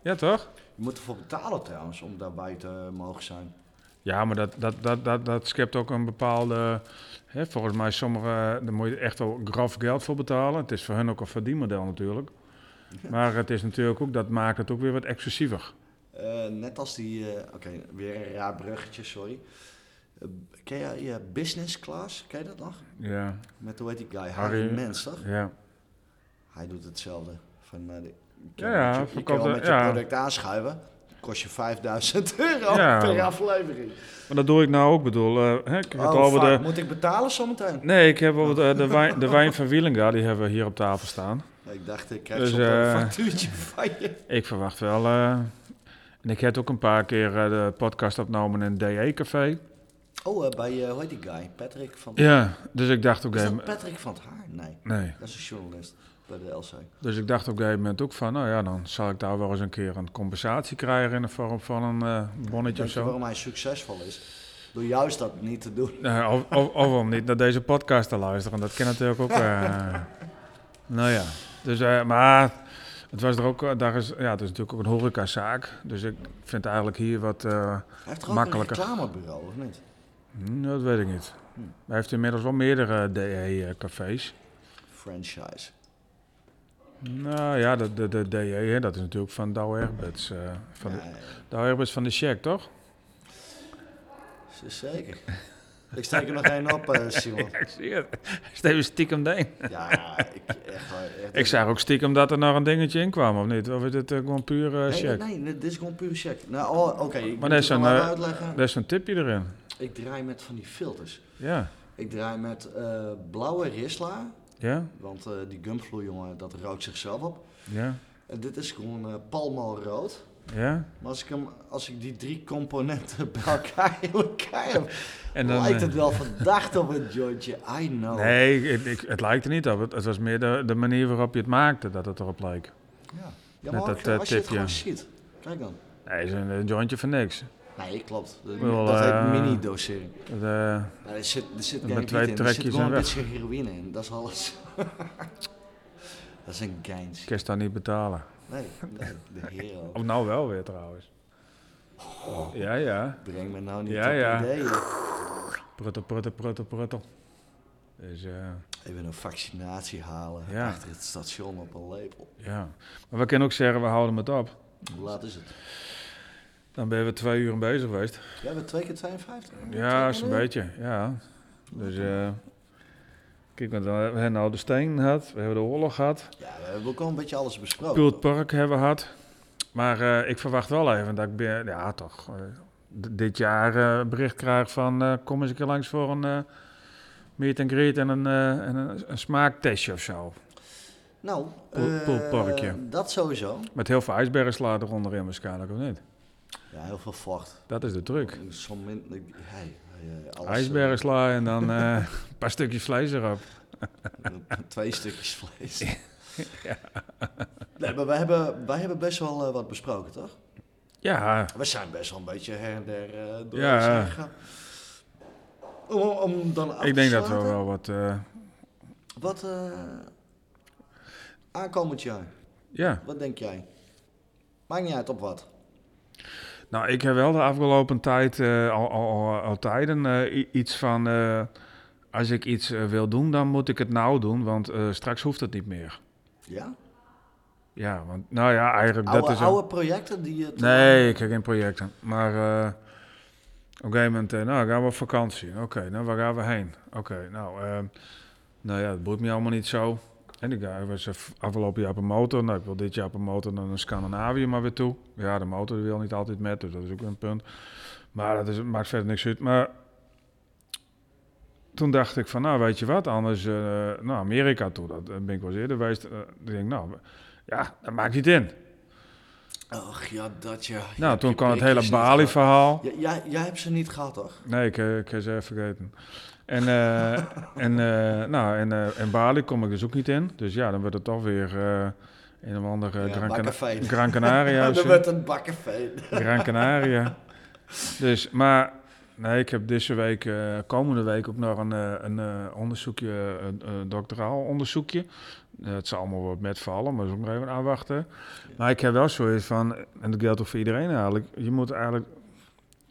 A: Ja, toch?
B: Je moet ervoor betalen trouwens, om daarbij te eh, mogen zijn.
A: Ja, maar dat, dat, dat, dat, dat schept ook een bepaalde... Hè, volgens mij sommige... Daar moet je echt wel grof geld voor betalen. Het is voor hen ook een verdienmodel
B: (laughs)
A: natuurlijk. Maar het is natuurlijk ook... Dat maakt het ook weer wat excessiever.
B: Eh, net als die, eh, oké, weer een raar bruggetje, sorry. Eh, ken jij je business class, ken je dat nog?
A: Ja,
B: Met hoe heet die guy? Harry,
A: Harry-
B: Mens, toch?
A: ja.
B: Hij doet hetzelfde. Van, eh, de, je
A: Ja, ja,
B: met je, je kan
A: verkoopt
B: wel
A: het,
B: met
A: ja.
B: je product aanschuiven, kost je 5000 (laughs) euro
A: Ja.
B: per aflevering.
A: Maar dat doe ik nou ook. Ik bedoel, eh, hè, ik heb het
B: Oh,
A: over
B: fuck,
A: de...
B: moet ik betalen zometeen?
A: Nee, ik heb over de, de, wijn, de wijn van Wielinga. Die hebben we hier op tafel staan.
B: Ik dacht, ik krijg
A: Dus,
B: zo'n een
A: eh,
B: factuurtje (laughs) van je.
A: Ik verwacht wel. eh, en ik heb ook een paar keer eh, de podcast opgenomen in E een DE-café.
B: Oh, eh, bij, eh, hoe heet die guy? Patrick van...
A: Ja, dus ik dacht op een
B: Is
A: gegeven
B: dat
A: moment.
B: Patrick van het Haar? Nee,
A: Nee.
B: dat is een journalist bij de LC.
A: Dus ik dacht op een gegeven moment ook van, nou ja, dan zal ik daar wel eens een keer een compensatie krijgen in de vorm van een eh, bonnetje
B: Denk
A: of
B: je
A: zo.
B: waarom hij succesvol is? Door juist dat niet te doen.
A: Nee, of, of, of om niet naar deze podcast te luisteren, dat ken natuurlijk ook. (laughs) eh. nou ja, dus, eh, maar het was er ook, eh, daar is, ja, het is natuurlijk ook een horecazaak. Dus ik vind eigenlijk hier wat, eh,
B: Hij heeft toch ook
A: Makkelijker.
B: een reclamebureau, of niet?
A: hm, dat weet ik niet. Hij heeft inmiddels wel meerdere eh, E, DE-cafés.
B: Franchise.
A: Nou ja, de, de, de DE, hè, dat is natuurlijk van Douwe Egberts. eh, van,
B: Ja, ja,
A: Douwe Egberts van de Shack, toch?
B: z- zeker. Ik steek er nog één op, eh, Simon.
A: Ik zie het. (laughs) Steven stiekem deen.
B: Ja, ik, echt, waar, echt
A: Ik zag ook stiekem dat er nog een dingetje in kwam, of niet? Of is het eh, gewoon puur eh,
B: Nee,
A: check?
B: nee, nee, dit is gewoon puur check. Nou, oh, oké, ik
A: Maar
B: moet
A: dat
B: het
A: is een,
B: nog even
A: eh,
B: uitleggen.
A: Daar is een tipje erin.
B: Ik draai met van die filters.
A: Ja.
B: Ik draai met eh, blauwe Risla,
A: Ja?
B: want eh, die gumfloe, jongen, dat rookt zichzelf op.
A: Ja?
B: En dit is gewoon eh, palmo rood.
A: Ja?
B: Maar als ik, hem, als ik die drie componenten (laughs) bij elkaar in elkaar heb,
A: En eh,
B: lijkt het
A: (laughs)
B: wel verdacht op een jointje. I know.
A: Nee, ik, ik- het lijkt er niet op. Het, het was meer de, de manier waarop je het maakte dat het erop leek.
B: Ja, ja
A: Net
B: maar ook,
A: dat, eh,
B: als je het
A: tipje.
B: gewoon ziet. Kijk dan.
A: Nee, het is een, een jointje voor niks.
B: Nee, klopt. Dat,
A: Wel,
B: dat
A: eh,
B: heet mini-dosering.
A: Het, eh,
B: Maar er zit, er zit
A: Met
B: geen wiet
A: twee
B: in, er zit
A: trekjes
B: gewoon
A: en
B: een
A: weg.
B: beetje heroïne in. Dat is alles. (laughs) dat is een geins.
A: ik kan dat niet betalen.
B: Nee, nee, de hero.
A: Of nou wel weer trouwens.
B: Oh.
A: Ja, ja.
B: Breng me nou niet
A: Ja,
B: op
A: ja.
B: ideeën.
A: Pruttel, pruttel, pruttel, pruttel. Dus eh,
B: Even een vaccinatie halen
A: Ja.
B: achter het station op een lepel.
A: ja. Maar we kunnen ook zeggen, we houden het op.
B: Hoe laat is het?
A: Dan ben we twee uur bezig geweest.
B: Jij bent twee keer 52?
A: Ja, is een beetje, ja. Dus, eh kijk, want we hebben nou de steen gehad, we hebben de oorlog gehad,
B: Ja, we hebben ook al een beetje alles besproken.
A: Pult Park hebben we gehad. Maar eh, ik verwacht wel even dat ik, ben, ja toch, eh, d- dit jaar eh, bericht krijg van eh, kom eens een keer langs voor een eh meet and greet en een, eh, en een, een smaaktestje of zo.
B: Nou,
A: Poel-
B: eh,
A: poelparkje.
B: dat sowieso.
A: Met heel veel ijsbergen slaan eronder in waarschijnlijk, of niet?
B: Ja, heel veel vocht.
A: Dat is de truc.
B: Zo min, hey, hey, alles,
A: Ijsbergen slaan en dan eh, (laughs) een paar stukjes vlees erop.
B: eh, twee stukjes vlees.
A: (laughs)
B: Nee, maar wij hebben, wij hebben best wel eh, wat besproken, toch?
A: Ja,
B: We zijn best wel een beetje her en der eh door
A: Ja.
B: zijn gegaan. Om, om dan af
A: ik
B: te
A: denk dat we
B: sluiten,
A: wel wat... eh,
B: Wat eh, aankomend jaar,
A: ja,
B: wat denk jij? Maakt niet uit op wat.
A: Nou, ik heb wel de afgelopen tijd, eh, al, al, al, al tijden, eh, i- iets van... eh, als ik iets eh, wil doen, dan moet ik het nou doen, want eh, straks hoeft het niet meer.
B: Ja?
A: Ja, want nou ja, eigenlijk dat
B: Oude,
A: is... een-
B: oude projecten die je... te-
A: Nee, ik heb geen projecten. Maar eh, op een gegeven moment, eh, nou, gaan we op vakantie. Oké, nou, waar gaan we heen? Oké, nou, eh, nou ja, dat boeit me allemaal niet zo. En ik eh, was af- afgelopen jaar op een motor. Nou, ik wil dit jaar op een motor naar Scandinavië maar weer toe. Ja, de motor die wil niet altijd met, dus dat is ook een punt. Maar dat is, het maakt verder niks uit. Maar toen dacht ik van, nou, weet je wat, anders eh naar Amerika toe. Dat eh, ben ik wel eens eerder geweest. Eh, ik denk, nou, ja, dat maakt niet in.
B: Ach ja, dat ja. Je
A: Nou,
B: hebt
A: toen
B: je
A: kwam het
B: prikjes
A: hele
B: niet gehad.
A: Bali-verhaal.
B: J- Jij, jij hebt ze niet gehad, toch?
A: Nee, ik, eh, ik heb ze even vergeten. En, eh, (laughs) en, eh, nou, en, eh, en Bali kom ik dus ook niet in. Dus ja, dan werd het toch weer eh, een of ander eh,
B: Ja,
A: Gran, Cana-
B: bakkenfeit.
A: Gran
B: (laughs)
A: Canaria.
B: Ja,
A: of
B: dat
A: zo.
B: werd een bakkenveen.
A: Gran Canaria. Dus, maar nee, ik heb deze week, eh, komende week ook nog een, eh, een eh, onderzoekje, een, eh, doctoraal onderzoekje. het zal allemaal wat met vallen, maar dat is ook nog even aanwachten. Maar ik heb wel zoiets van, eh, en dat geldt ook voor iedereen eigenlijk, je moet eigenlijk,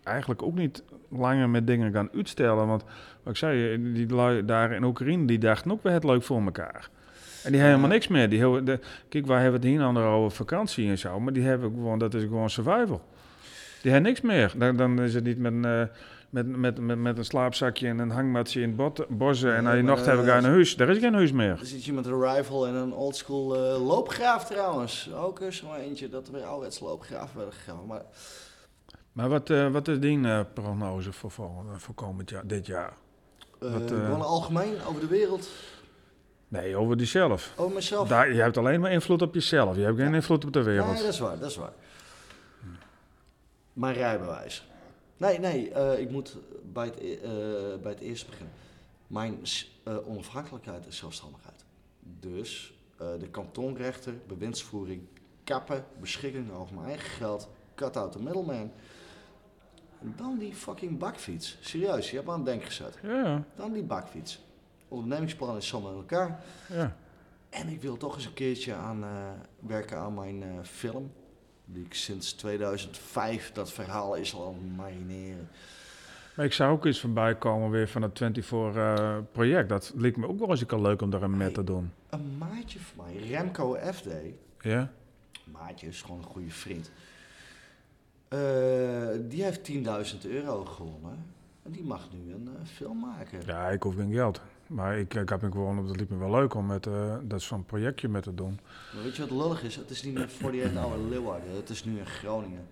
A: eigenlijk ook niet langer met dingen gaan uitstellen. Want wat ik zei, eh, die lui daar in Oekraïne, die dachten ook, we het leuk voor elkaar. En die hebben helemaal niks meer. Die heel, de, kijk, wij hebben het hier aan over vakantie en zo, maar die hebben gewoon, dat is gewoon survival. Die hebben niks meer. Dan, dan is het niet met een, eh, met, met, met, met een slaapzakje en een hangmatje in het bot, bos en
B: Nee,
A: aan je
B: maar,
A: nacht hebben we
B: eh,
A: gaan naar huis. Daar is geen huis meer.
B: Er zit hier met een rifle en een oldschool eh loopgraaf trouwens. Ook eens maar eentje dat er weer ouderwets loopgraaf werden gegaan. Maar
A: Maar wat, eh, wat is die eh, prognose voor, volgende, voor komend jaar, dit jaar?
B: eh,
A: Wat, eh,
B: gewoon algemeen over de wereld,
A: Nee, over jezelf.
B: over mezelf.
A: Daar, je hebt alleen maar invloed op jezelf. Je hebt geen invloed op de wereld.
B: Nee, dat is waar, dat is waar. Mijn rijbewijs. Nee, nee, eh, ik moet bij het, e- eh, bij het eerste beginnen. Mijn s- eh, onafhankelijkheid en zelfstandigheid. Dus eh, de kantonrechter, bewindsvoering, kappen, beschikking over mijn eigen geld, cut out the middleman. En dan die fucking bakfiets. Serieus, je hebt me aan het denken gezet.
A: Ja,
B: Dan die bakfiets. Ondernemingsplan is samen in elkaar.
A: ja.
B: En ik wil toch eens een keertje aan, eh, werken aan mijn eh, film. Die ik sinds 2005, dat verhaal is al aan het marineren.
A: Maar ik zou ook eens voorbij komen weer van het 24-project. dat leek me ook wel eens een keer leuk om daar een met te doen.
B: Een maatje van mij, Remco FD.
A: Ja?
B: Maatje is gewoon een goede vriend. Eh, die heeft 10.000 euro gewonnen. En die mag nu een eh, film maken.
A: Ja, ik hoef geen geld. Maar ik, ik heb me gewoon, dat liep me wel leuk om met, eh, dat zo'n projectje met te doen.
B: Maar weet je wat lullig is? Het is niet meer 48 Hour Leeuwarden. Het is nu in Groningen.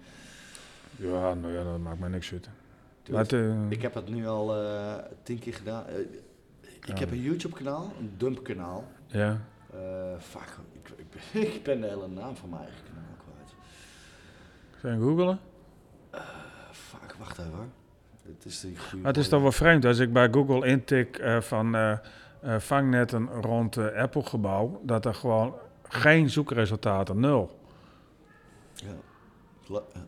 A: Ja, nou ja, dat maakt mij niks uit. Maar
B: Dude,
A: het, eh,
B: Dus Ik heb het nu al eh, tien keer gedaan. Eh, ik
A: Ja.
B: heb een YouTube kanaal, een dump kanaal.
A: ja.
B: Eh, fuck, ik, ik, ben, (laughs) ik ben de hele naam van mijn eigen kanaal kwijt.
A: Zijn googelen?
B: Eh, fuck, wacht even hoor. Het is die goede.
A: Maar Ah, het is toch wel vreemd als ik bij Google intik eh, van eh, eh, vangnetten rond het Apple-gebouw, dat er gewoon geen zoekresultaten, nul.
B: Ja. La- eh.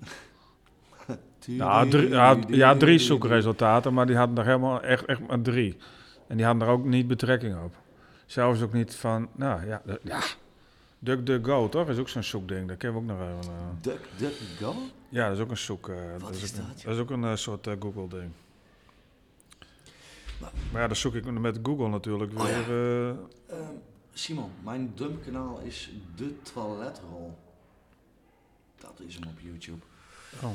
A: (laughs) Nou, drie, ja, d- ja, drie zoekresultaten, maar die hadden er helemaal echt, echt maar drie. En die hadden er ook niet betrekking op. Zelfs ook niet van, nou ja, d- ja. DuckDuckGo, toch? Is ook zo'n zoekding. Daar kennen we ook nog even. eh.
B: Duck, duck, go?
A: Ja, dat is ook een zoek. eh,
B: Wat
A: is
B: is
A: ook een-
B: dat, joh?
A: dat is ook een eh, soort Google-ding.
B: Maar-
A: Maar ja, dan zoek ik met Google natuurlijk
B: Oh, ja.
A: weer. eh,
B: Ehm, Simon, mijn dump kanaal is de toiletrol. Dat is hem op YouTube.
A: oh.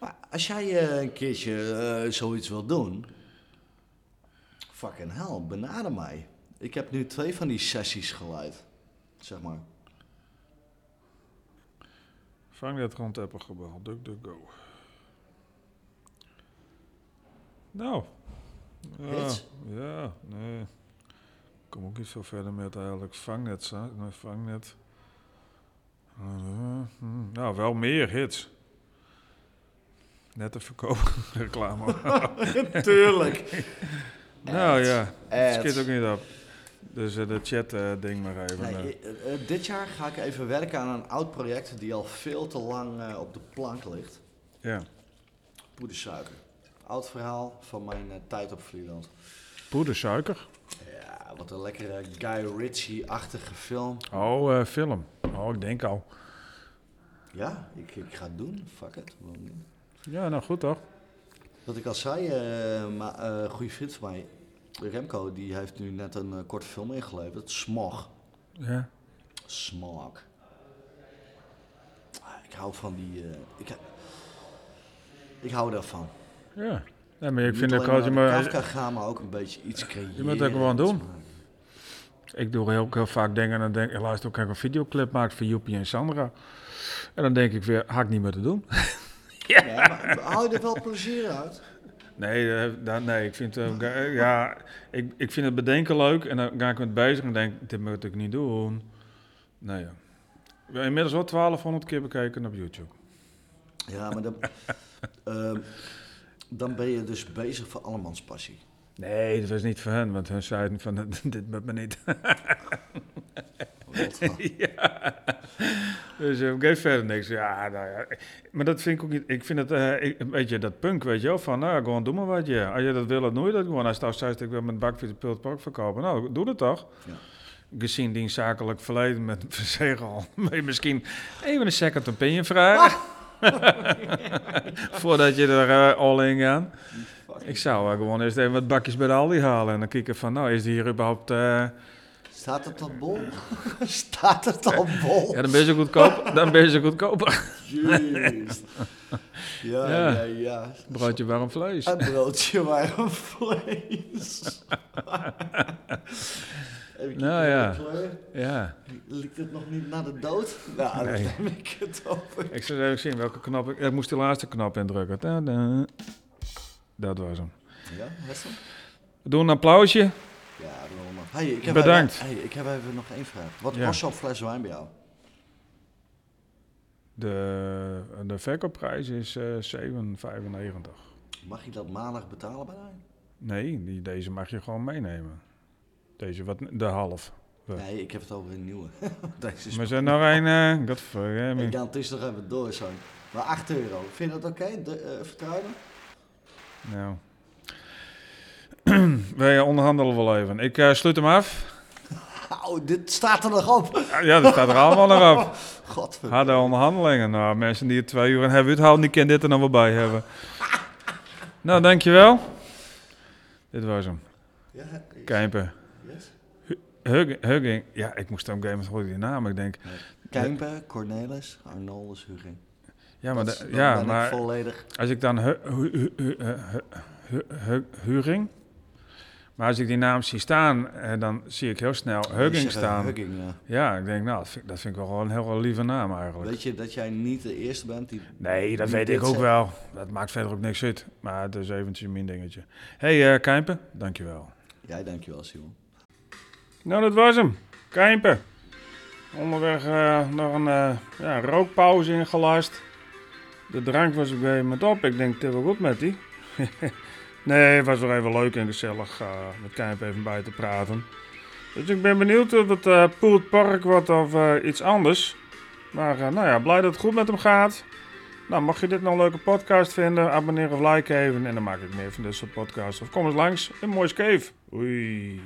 B: Maar als jij eh, een keertje eh, zoiets wil doen, fucking hell, benader mij. Ik heb nu twee van die sessies geleid, zeg maar.
A: Vang dat rond Apple gebouw. Duck, duck, go. Nou. Ja,
B: Hits?
A: ja, nee. Ik kom ook niet veel verder met eigenlijk vangnet. za- nee, vangnet. Eh, hm, Nou, wel meer hits. Net te verkopen (laughs)
B: (laughs)
A: reclame.
B: Tuurlijk.
A: nou ja, het
B: Ads.
A: schiet ook niet op. Dus eh, de chat eh, ding maar even.
B: Nee,
A: eh.
B: eh, eh, dit jaar ga ik even werken aan een oud project die al veel te lang eh, op de plank ligt.
A: ja.
B: Poedersuiker. Oud verhaal van mijn eh, tijd op Vlieland.
A: Poedersuiker.
B: Ja, wat een lekkere Guy Ritchie-achtige film.
A: Oh, eh, film. Oh, ik denk al.
B: Ja, ik, ik ga het doen. Fuck it. Waarom niet?
A: Ja, nou goed toch?
B: Wat ik al zei, eh maar, eh, een goede vriend van mij, Remco, die heeft nu net een eh, korte film ingeleverd. Smog.
A: Ja.
B: Smog. Ah, Ik hou van die... eh, ik, ik hou daarvan.
A: Ja. Nee, maar ik vind
B: Niet
A: ook
B: alleen
A: als je
B: naar de
A: maar...
B: Kafka gaan, maar ook een beetje iets creëren.
A: Je moet dat gewoon doen.
B: iets maken.
A: Ik doe heel, heel vaak dingen en dan denk ik, luister ook, ik een videoclip maakt van Joepie en Sandra. En dan denk ik weer, had ik niet meer te doen.
B: Ja, maar haal je er wel plezier uit?
A: (laughs) Nee, eh, dan, nee ik, vind, eh, ga- eh, ja, ik, ik vind het bedenken leuk en dan ga ik met bezig en denk, dit moet ik niet doen. Nou ja. We hebben Inmiddels wel 1200 keer bekeken op YouTube.
B: Ja, maar dan, ehm, dan ben je dus bezig voor allemans passie.
A: (laughs) Nee, dat was niet voor hen, want hun zeiden van, dit moet me niet. (laughs) ja. Dus eh, geeft verder niks. Ja, nou ja. Maar dat vind ik ook niet. Ik vind het eh, ik- een beetje dat punk, weet je wel. Van nou, gewoon doe maar wat je. Als je dat wil, dan doe je dat gewoon. Als het zegt, ik wil mijn bakfiets op het park verkopen. Nou, doe dat toch.
B: Ja.
A: Gezien die zakelijk verleden met (laughs) verzegel. Maar je misschien even een second opinion vragen. (laughs) Voordat je er eh, all in gaat. Ik zou eh, gewoon eerst even wat bakjes bij de Aldi halen. En dan kijken van, nou, is die hier überhaupt... eh,
B: Staat het al bol? (laughs) Staat het al bol?
A: Ja, dan ben je goedkoop. Dan ben je goedkoper.
B: Jeez. Ja,
A: Ja.
B: ja, ja.
A: Broodje warm vlees.
B: Een broodje warm
A: (laughs)
B: vlees. Even
A: Nou ja.
B: kijken, kleur.
A: Ja.
B: Liep het nog niet naar de dood? Nou,
A: Nee.
B: daar neem ik het over.
A: Ik zou even zien welke knop... Ik, ik moest die laatste knop indrukken. Tada. Dat was hem.
B: Ja, Hessel?
A: We doen een applausje.
B: Ja, Roma. Hey, ik heb
A: Bedankt.
B: Even, hey, ik heb even nog één vraag. Wat
A: Ja.
B: was zo'n fles wijn bij jou?
A: De, de verkoopprijs is eh 7,95.
B: Mag je dat maandag betalen bij mij?
A: Nee, die, deze mag je gewoon meenemen. Deze, wat, de half. Ja.
B: Nee, ik heb het over een nieuwe. (laughs) Deze is...
A: Maar zijn nog een... eh godverdomme.
B: Ik kan het dus nog even door zo. Maar 8 euro. Vind je dat oké? De- eh, vertrouwen?
A: Nou. (clears throat) Wij onderhandelen wel even. Ik eh, sluit hem af.
B: Oh, dit staat er nog op. (laughs)
A: Ja, dat staat er allemaal nog op.
B: Godver.
A: Harde onderhandelingen. Nou, mensen die het twee uur en hebben uithouden, die kunnen dit er nog wel bij
B: (laughs)
A: hebben. Nou, dankjewel. Dit was hem.
B: Ja,
A: Kuiper.
B: yes.
A: Hug- Hugging. Ja, ik moest hem gamen horen die naam. Ik denk,
B: Kuimper, Cornelis, Arnoldus, Hugging.
A: ja, maar,
B: Dat is-
A: da-
B: dan
A: ja,
B: ben ik
A: maar
B: volledig...
A: als ik dan hu- hu- hu- hu- hu- hu- hu- Huring. Maar als ik die naam zie staan, eh, dan zie ik heel snel
B: Ik
A: Hugging
B: zeg, eh,
A: staan.
B: Hugging, ja.
A: Ja, ik denk, nou, dat vind, dat vind ik wel gewoon een heel lieve naam eigenlijk.
B: Weet je dat jij niet de eerste bent die...
A: Nee, dat
B: Wie
A: weet
B: dit
A: ik ook
B: zegt.
A: wel. Dat maakt verder ook niks uit. Maar het is eventjes mijn dingetje. Hé, hey, Kijmpen, dankjewel.
B: Jij dankjewel, Simon.
C: Nou, dat was hem. Kijmpen. Onderweg eh, nog een eh, ja, rookpauze ingelast. De drank was op een gegeven moment op. Ik denk, het is wel goed met die. (laughs) nee, het was wel even leuk en gezellig eh, met Kijmpen even bij te praten. Dus ik ben benieuwd of het eh Poelt Park wordt of eh, iets anders. Maar eh, nou ja, blij dat het goed met hem gaat. Nou, mocht je dit nou een leuke podcast vinden, abonneer of like even. En dan maak ik meer van dit soort podcasts. Of kom eens langs in Moois Cave. Oei.